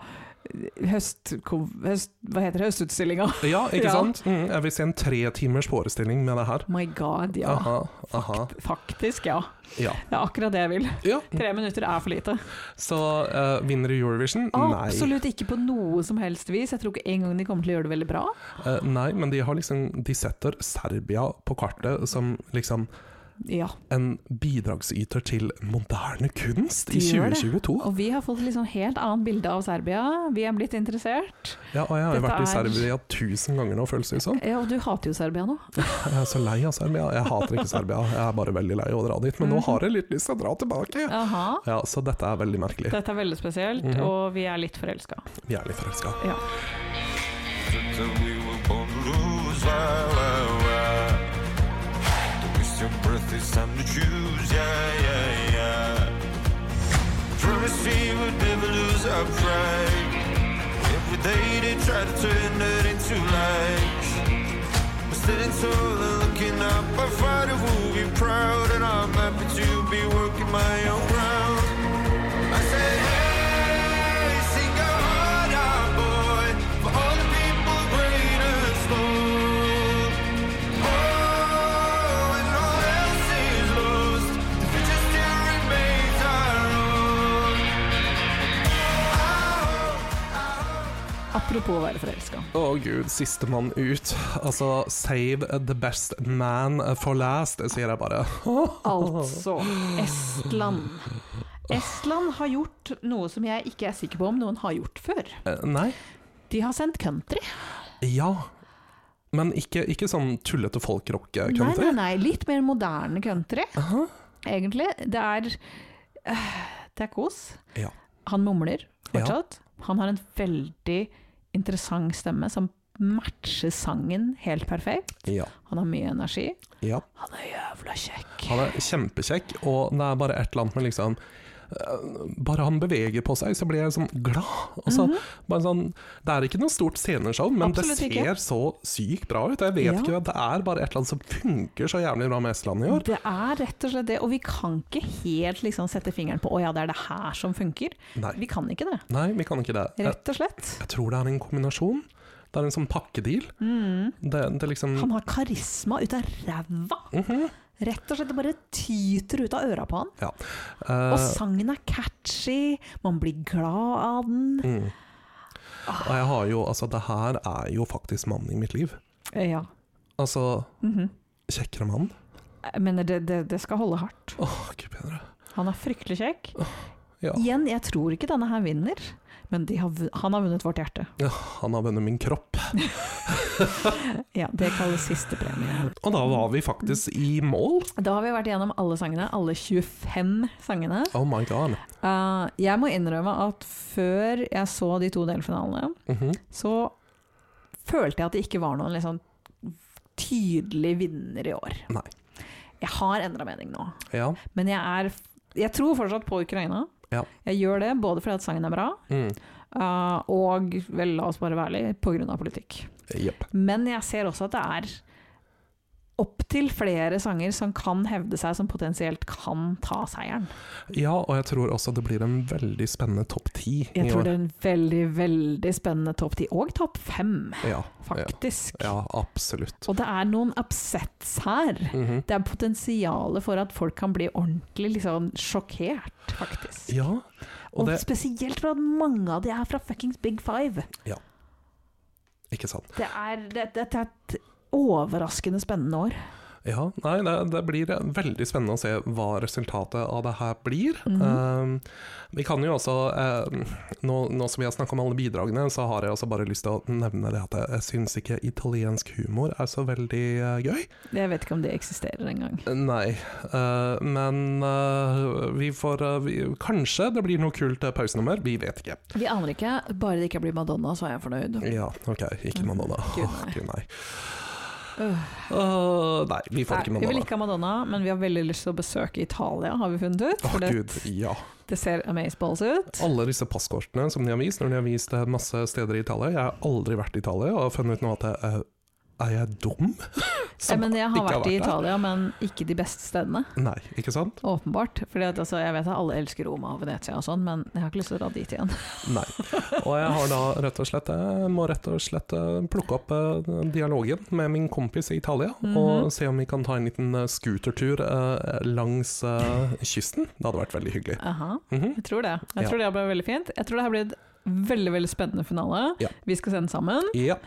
[SPEAKER 2] høst... høst hva heter det, høstutstillinga?
[SPEAKER 3] Ja, ikke
[SPEAKER 2] Ja.
[SPEAKER 3] sant? Mm, jeg vil se en tre timers forestilling med det her.
[SPEAKER 2] My god, ja.
[SPEAKER 3] Aha, aha,
[SPEAKER 2] Faktisk, ja.
[SPEAKER 3] ja.
[SPEAKER 2] Det er akkurat det jeg vil.
[SPEAKER 3] ja.
[SPEAKER 2] Tre minutter er for lite.
[SPEAKER 3] Så eh, vinner du Eurovision? Nei.
[SPEAKER 2] Ah, Absolutt ikke på noe som helst vis. Jeg tror ikke engang de kommer til å gjøre det veldig bra.
[SPEAKER 3] Eh, nei, men de har liksom De setter Serbia på kartet som liksom
[SPEAKER 2] Ja,
[SPEAKER 3] en bidragsyter til moderne kunst
[SPEAKER 2] De
[SPEAKER 3] i
[SPEAKER 2] gjør det.
[SPEAKER 3] 2022.
[SPEAKER 2] Og vi har fått et litt sånn helt annet bilde av Serbia. Vi er blitt interessert.
[SPEAKER 3] Ja, og jeg har jo
[SPEAKER 2] Dette
[SPEAKER 3] vært i
[SPEAKER 2] er-
[SPEAKER 3] Serbia tusen ganger nå, føles det som.
[SPEAKER 2] Ja, og du hater jo Serbia nå.
[SPEAKER 3] Jeg er så lei av Serbia. Jeg hater ikke Serbia, jeg er bare veldig lei av å dra dit.
[SPEAKER 2] Mm.
[SPEAKER 3] Men nå har jeg litt lyst til å dra tilbake.
[SPEAKER 2] Aha.
[SPEAKER 3] Ja, så dette er veldig merkelig.
[SPEAKER 2] Dette er veldig spesielt, og vi er litt forelska.
[SPEAKER 3] Vi er litt forelska.
[SPEAKER 2] Ja.
[SPEAKER 9] That we were born to lose. Why, why, why? Don't waste your breath, it's time to choose. Yeah, yeah, yeah. Promise we would never lose our pride. Every day they try to turn it into lies. We're standing tall and looking up. I fight it, will be proud, and I'm happy to be working my own ground. I said, hey, sing a heart out, boy, for all the people great and small. Oh, when all else is lost, the future still remains our own. I hope, I hope.
[SPEAKER 2] Apropos Apropos å være forelska.
[SPEAKER 3] Å gud, sistemann ut. Altså, save the best man for last, sier jeg bare.
[SPEAKER 2] Altså, Estland. Estland har gjort noe som jeg ikke er sikker på om noen har gjort før.
[SPEAKER 3] Eh, Nei.
[SPEAKER 2] De har sendt country.
[SPEAKER 3] Ja. Men ikke, ikke sånn tullete folkrock-country.
[SPEAKER 2] Nei, nei, nei. Litt mer moderne country,
[SPEAKER 3] Aha.
[SPEAKER 2] egentlig. Det er eh, Det er kos.
[SPEAKER 3] Ja.
[SPEAKER 2] Han mumler
[SPEAKER 3] Ja.
[SPEAKER 2] fortsatt. Han har en veldig interessant stemme som matcher sangen helt perfekt.
[SPEAKER 3] Ja.
[SPEAKER 2] Han har mye energi.
[SPEAKER 3] ja.
[SPEAKER 2] Han er jævla kjekk.
[SPEAKER 3] Han er kjempekjekk, og det er bare et eller annet med liksom eh, bare han beveger på seg, så blir jeg sånn glad. Og så, bare sånn, det er ikke noe stort sceneshow, men
[SPEAKER 2] Mhm. Absolutt
[SPEAKER 3] det
[SPEAKER 2] ikke.
[SPEAKER 3] ser så sykt bra ut. Jeg vet
[SPEAKER 2] Ja.
[SPEAKER 3] ikke, Det er bare et eller annet som funker så jævlig bra med Estland i år.
[SPEAKER 2] Det er rett og slett det, og vi kan ikke helt liksom sette fingeren på å ja, det er det her som funker.
[SPEAKER 3] Nei.
[SPEAKER 2] Vi kan ikke det,
[SPEAKER 3] Nei, vi kan ikke det. Jeg,
[SPEAKER 2] rett og slett.
[SPEAKER 3] jeg tror det er en kombinasjon. Det er en sånn pakkedeal. Det, det liksom
[SPEAKER 2] Mm.
[SPEAKER 3] Mhm.
[SPEAKER 2] Han har karisma ut av ræva. Rett og slett, det bare tyter ut av øra på han.
[SPEAKER 3] Ja.
[SPEAKER 2] Og
[SPEAKER 3] Eh,
[SPEAKER 2] sangen er catchy, man blir glad av den.
[SPEAKER 3] mm. og jeg har jo Altså, det her er jo faktisk mannen i mitt liv.
[SPEAKER 2] Ja, Mhm.
[SPEAKER 3] Altså Kjekkere mann?
[SPEAKER 2] men det, det, det skal holde hardt.
[SPEAKER 3] Åh, gud bedre.
[SPEAKER 2] Han er fryktelig kjekk.
[SPEAKER 3] Ja.
[SPEAKER 2] Igjen, jeg tror ikke denne her vinner, men de har, vun- han har vunnet vårt hjerte.
[SPEAKER 3] ja. Han har vunnet min kropp.
[SPEAKER 2] Ja, Det kalles siste premie.
[SPEAKER 3] Og da var vi faktisk i mål.
[SPEAKER 2] Da har vi vært igjennom alle sangene, alle 25 sangene.
[SPEAKER 3] Oh my god.
[SPEAKER 2] Eh, jeg må innrømme at før jeg så de to delfinalene,
[SPEAKER 3] Mhm.
[SPEAKER 2] så følte jeg at det ikke var noen liksom tydelig vinner i år.
[SPEAKER 3] Nei.
[SPEAKER 2] Jeg har endra mening nå.
[SPEAKER 3] Ja.
[SPEAKER 2] Men jeg er Jeg tror fortsatt på Ukraina.
[SPEAKER 3] Ja.
[SPEAKER 2] Jeg gjør det både fordi at sangen er bra,
[SPEAKER 3] Mm.
[SPEAKER 2] eh, og vel, la oss bare være ærlig, pga. politikk.
[SPEAKER 3] Jepp.
[SPEAKER 2] Men jeg ser også at det er opptil flere sanger som kan hevde seg, som potensielt kan ta seieren.
[SPEAKER 3] Ja, og jeg tror også det blir en veldig spennende topp ti
[SPEAKER 2] Jeg
[SPEAKER 3] i
[SPEAKER 2] tror
[SPEAKER 3] år.
[SPEAKER 2] det er en veldig, veldig spennende topp ti, og topp fem,
[SPEAKER 3] Ja,
[SPEAKER 2] faktisk.
[SPEAKER 3] ja, absolutt.
[SPEAKER 2] Og det er noen upsets her.
[SPEAKER 3] Mhm.
[SPEAKER 2] Det er potensialet for at folk kan bli ordentlig liksom, sjokkert, faktisk.
[SPEAKER 3] Ja, og
[SPEAKER 2] Og
[SPEAKER 3] det
[SPEAKER 2] spesielt for at mange av de er fra fuckings Big Five.
[SPEAKER 3] Ikke sant.
[SPEAKER 2] Det er, det, dette er et overraskende spennende år.
[SPEAKER 3] Ja, nei, det, det blir eh, veldig spennende å se hva resultatet av det her blir.
[SPEAKER 2] Mhm.
[SPEAKER 3] Um, vi kan jo også, eh, nå, nå som vi har snakket om alle bidragene, så har jeg også bare lyst til å nevne det at jeg- jeg syns ikke italiensk humor er så veldig eh, gøy.
[SPEAKER 2] Jeg vet ikke om det eksisterer engang.
[SPEAKER 3] Nei, eh, men eh, vi får eh, vi, Kanskje det blir noe kult eh, pausenummer, vi vet ikke.
[SPEAKER 2] Vi aner ikke. Bare det ikke blir Madonna, så er jeg fornøyd.
[SPEAKER 3] Ja, ok, ikke Madonna.
[SPEAKER 2] Gud,
[SPEAKER 3] Åh,
[SPEAKER 2] nei.
[SPEAKER 3] Gud, nei. Åh, nei, vi får ikke
[SPEAKER 2] Nei, vi vil
[SPEAKER 3] Madonna.
[SPEAKER 2] ikke ha Madonna, men vi har veldig lyst til å besøke Italia, har vi funnet ut.
[SPEAKER 3] Åh,
[SPEAKER 2] For det,
[SPEAKER 3] Gud, ja.
[SPEAKER 2] det ser amazeballs ut.
[SPEAKER 3] Alle disse passkortene som de har vist, når de har vist eh, masse steder i Italia Jeg har aldri vært i Italia og har funnet ut nå at jeg, eh, er jeg dum?
[SPEAKER 2] Nei, men jeg har
[SPEAKER 3] ikke
[SPEAKER 2] vært i
[SPEAKER 3] der.
[SPEAKER 2] Italia, men ikke de beste stedene.
[SPEAKER 3] Nei, ikke sant?
[SPEAKER 2] Åpenbart. Fordi at, altså, jeg vet at alle elsker Roma og Venezia og sånn, men jeg har ikke lyst til å dra dit igjen.
[SPEAKER 3] Nei. Og jeg har da rett og slett Jeg må rett og slett eh, plukke opp eh, dialogen med min kompis i Italia
[SPEAKER 2] Mhm.
[SPEAKER 3] og se om vi kan ta en liten eh, scootertur eh, langs eh, kysten. Det hadde vært veldig hyggelig.
[SPEAKER 2] Aha.
[SPEAKER 3] Mhm.
[SPEAKER 2] Jeg tror det. Jeg
[SPEAKER 3] Ja.
[SPEAKER 2] tror det ble veldig fint. Jeg tror det her blir et veldig veldig spennende finale.
[SPEAKER 3] Ja.
[SPEAKER 2] Vi skal sende sammen.
[SPEAKER 3] Ja.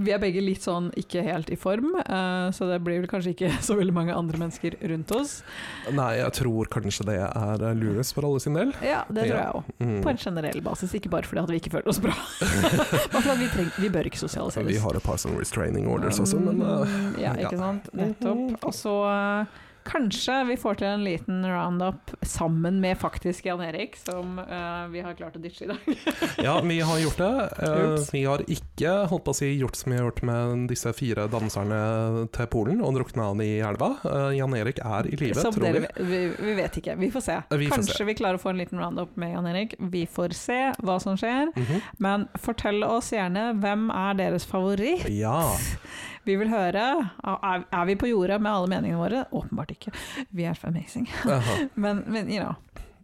[SPEAKER 2] Vi er begge litt sånn ikke helt i form, eh, så det blir vel kanskje ikke så veldig mange andre mennesker rundt oss.
[SPEAKER 3] Nei, jeg tror kanskje det er eh, lurest for alle sin del.
[SPEAKER 2] Ja, det tror
[SPEAKER 3] Ja.
[SPEAKER 2] jeg òg.
[SPEAKER 3] Mm.
[SPEAKER 2] På en generell basis, ikke bare fordi at vi ikke føler oss bra. Bare fordi at vi, treng, vi bør ikke
[SPEAKER 3] Så Vi
[SPEAKER 2] sosialiseres.
[SPEAKER 3] har et par sånne restraining orders også, men eh,
[SPEAKER 2] Mm, Ja, ikke
[SPEAKER 3] ja.
[SPEAKER 2] sant. Nettopp. Og så eh, Kanskje vi får til en liten roundup sammen med faktisk Jan Erik, som eh, vi har klart å ditche i dag.
[SPEAKER 3] Ja, vi har gjort det. Eh,
[SPEAKER 2] Ups.
[SPEAKER 3] vi har ikke holdt på å si gjort som vi har gjort med disse fire danserne til Polen og drukna han i elva. Eh, Jan Erik er i live,
[SPEAKER 2] Som
[SPEAKER 3] tror vi.
[SPEAKER 2] dere, vi, vi vet ikke. Vi får se.
[SPEAKER 3] Vi får
[SPEAKER 2] Kanskje
[SPEAKER 3] se.
[SPEAKER 2] vi klarer å få en liten roundup med Jan Erik. Vi får se hva som skjer.
[SPEAKER 3] Mhm.
[SPEAKER 2] Men fortell oss gjerne hvem er deres favoritt.
[SPEAKER 3] Ja.
[SPEAKER 2] Vi vil høre. Er, er vi på jordet med alle meningene våre? Åpenbart ikke. Vi er for amazing.
[SPEAKER 3] aha.
[SPEAKER 2] Men, men you know.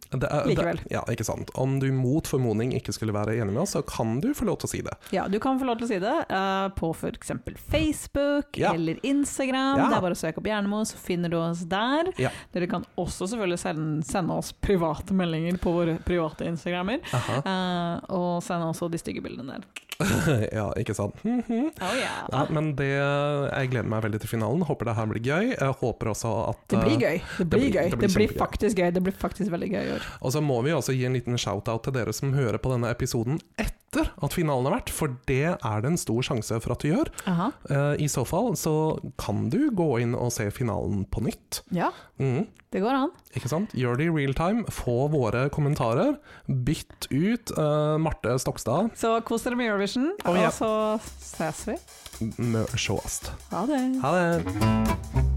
[SPEAKER 3] Det er,
[SPEAKER 2] Likevel.
[SPEAKER 3] Det, ja, ikke sant. Om du mot formodning ikke skulle være enig med oss, så kan du få lov til å si det.
[SPEAKER 2] Ja, du kan få lov til å si det eh, på f.eks. Facebook
[SPEAKER 3] Ja.
[SPEAKER 2] eller Instagram.
[SPEAKER 3] Ja.
[SPEAKER 2] Det er bare å søke opp Hjernemo, så finner du oss der.
[SPEAKER 3] Ja.
[SPEAKER 2] Dere kan også selvfølgelig sende, sende oss private meldinger på våre private Instagrammer.
[SPEAKER 3] Aha.
[SPEAKER 2] Eh, og send også de stygge bildene der.
[SPEAKER 3] ja, ikke sant?
[SPEAKER 2] Oh, yeah.
[SPEAKER 3] Ja, men det, jeg gleder meg veldig til finalen. Håper det her blir gøy. Jeg håper også at eh,
[SPEAKER 2] Det blir gøy. Det blir, gøy.
[SPEAKER 3] blir- det
[SPEAKER 2] Det
[SPEAKER 3] blir
[SPEAKER 2] blir,
[SPEAKER 3] kjempegøy.
[SPEAKER 2] faktisk gøy. Det blir faktisk veldig gøy i år.
[SPEAKER 3] Og så må vi også gi en liten shout-out til dere som hører på denne episoden etter at finalen har vært, for det er det en stor sjanse for at du gjør. Eh, I så fall så kan du gå inn og se finalen på nytt.
[SPEAKER 2] Ja,
[SPEAKER 3] Mhm,
[SPEAKER 2] det går an.
[SPEAKER 3] ikke sant? Gjør det i real time, få våre kommentarer. Bytt ut eh, Marte Stokstad.
[SPEAKER 2] Så kos dere med Eurovision,
[SPEAKER 3] Oh, ja.
[SPEAKER 2] og så ses vi.
[SPEAKER 3] Mørsjåast.
[SPEAKER 2] Ha det.
[SPEAKER 3] Ha det!
[SPEAKER 9] Thank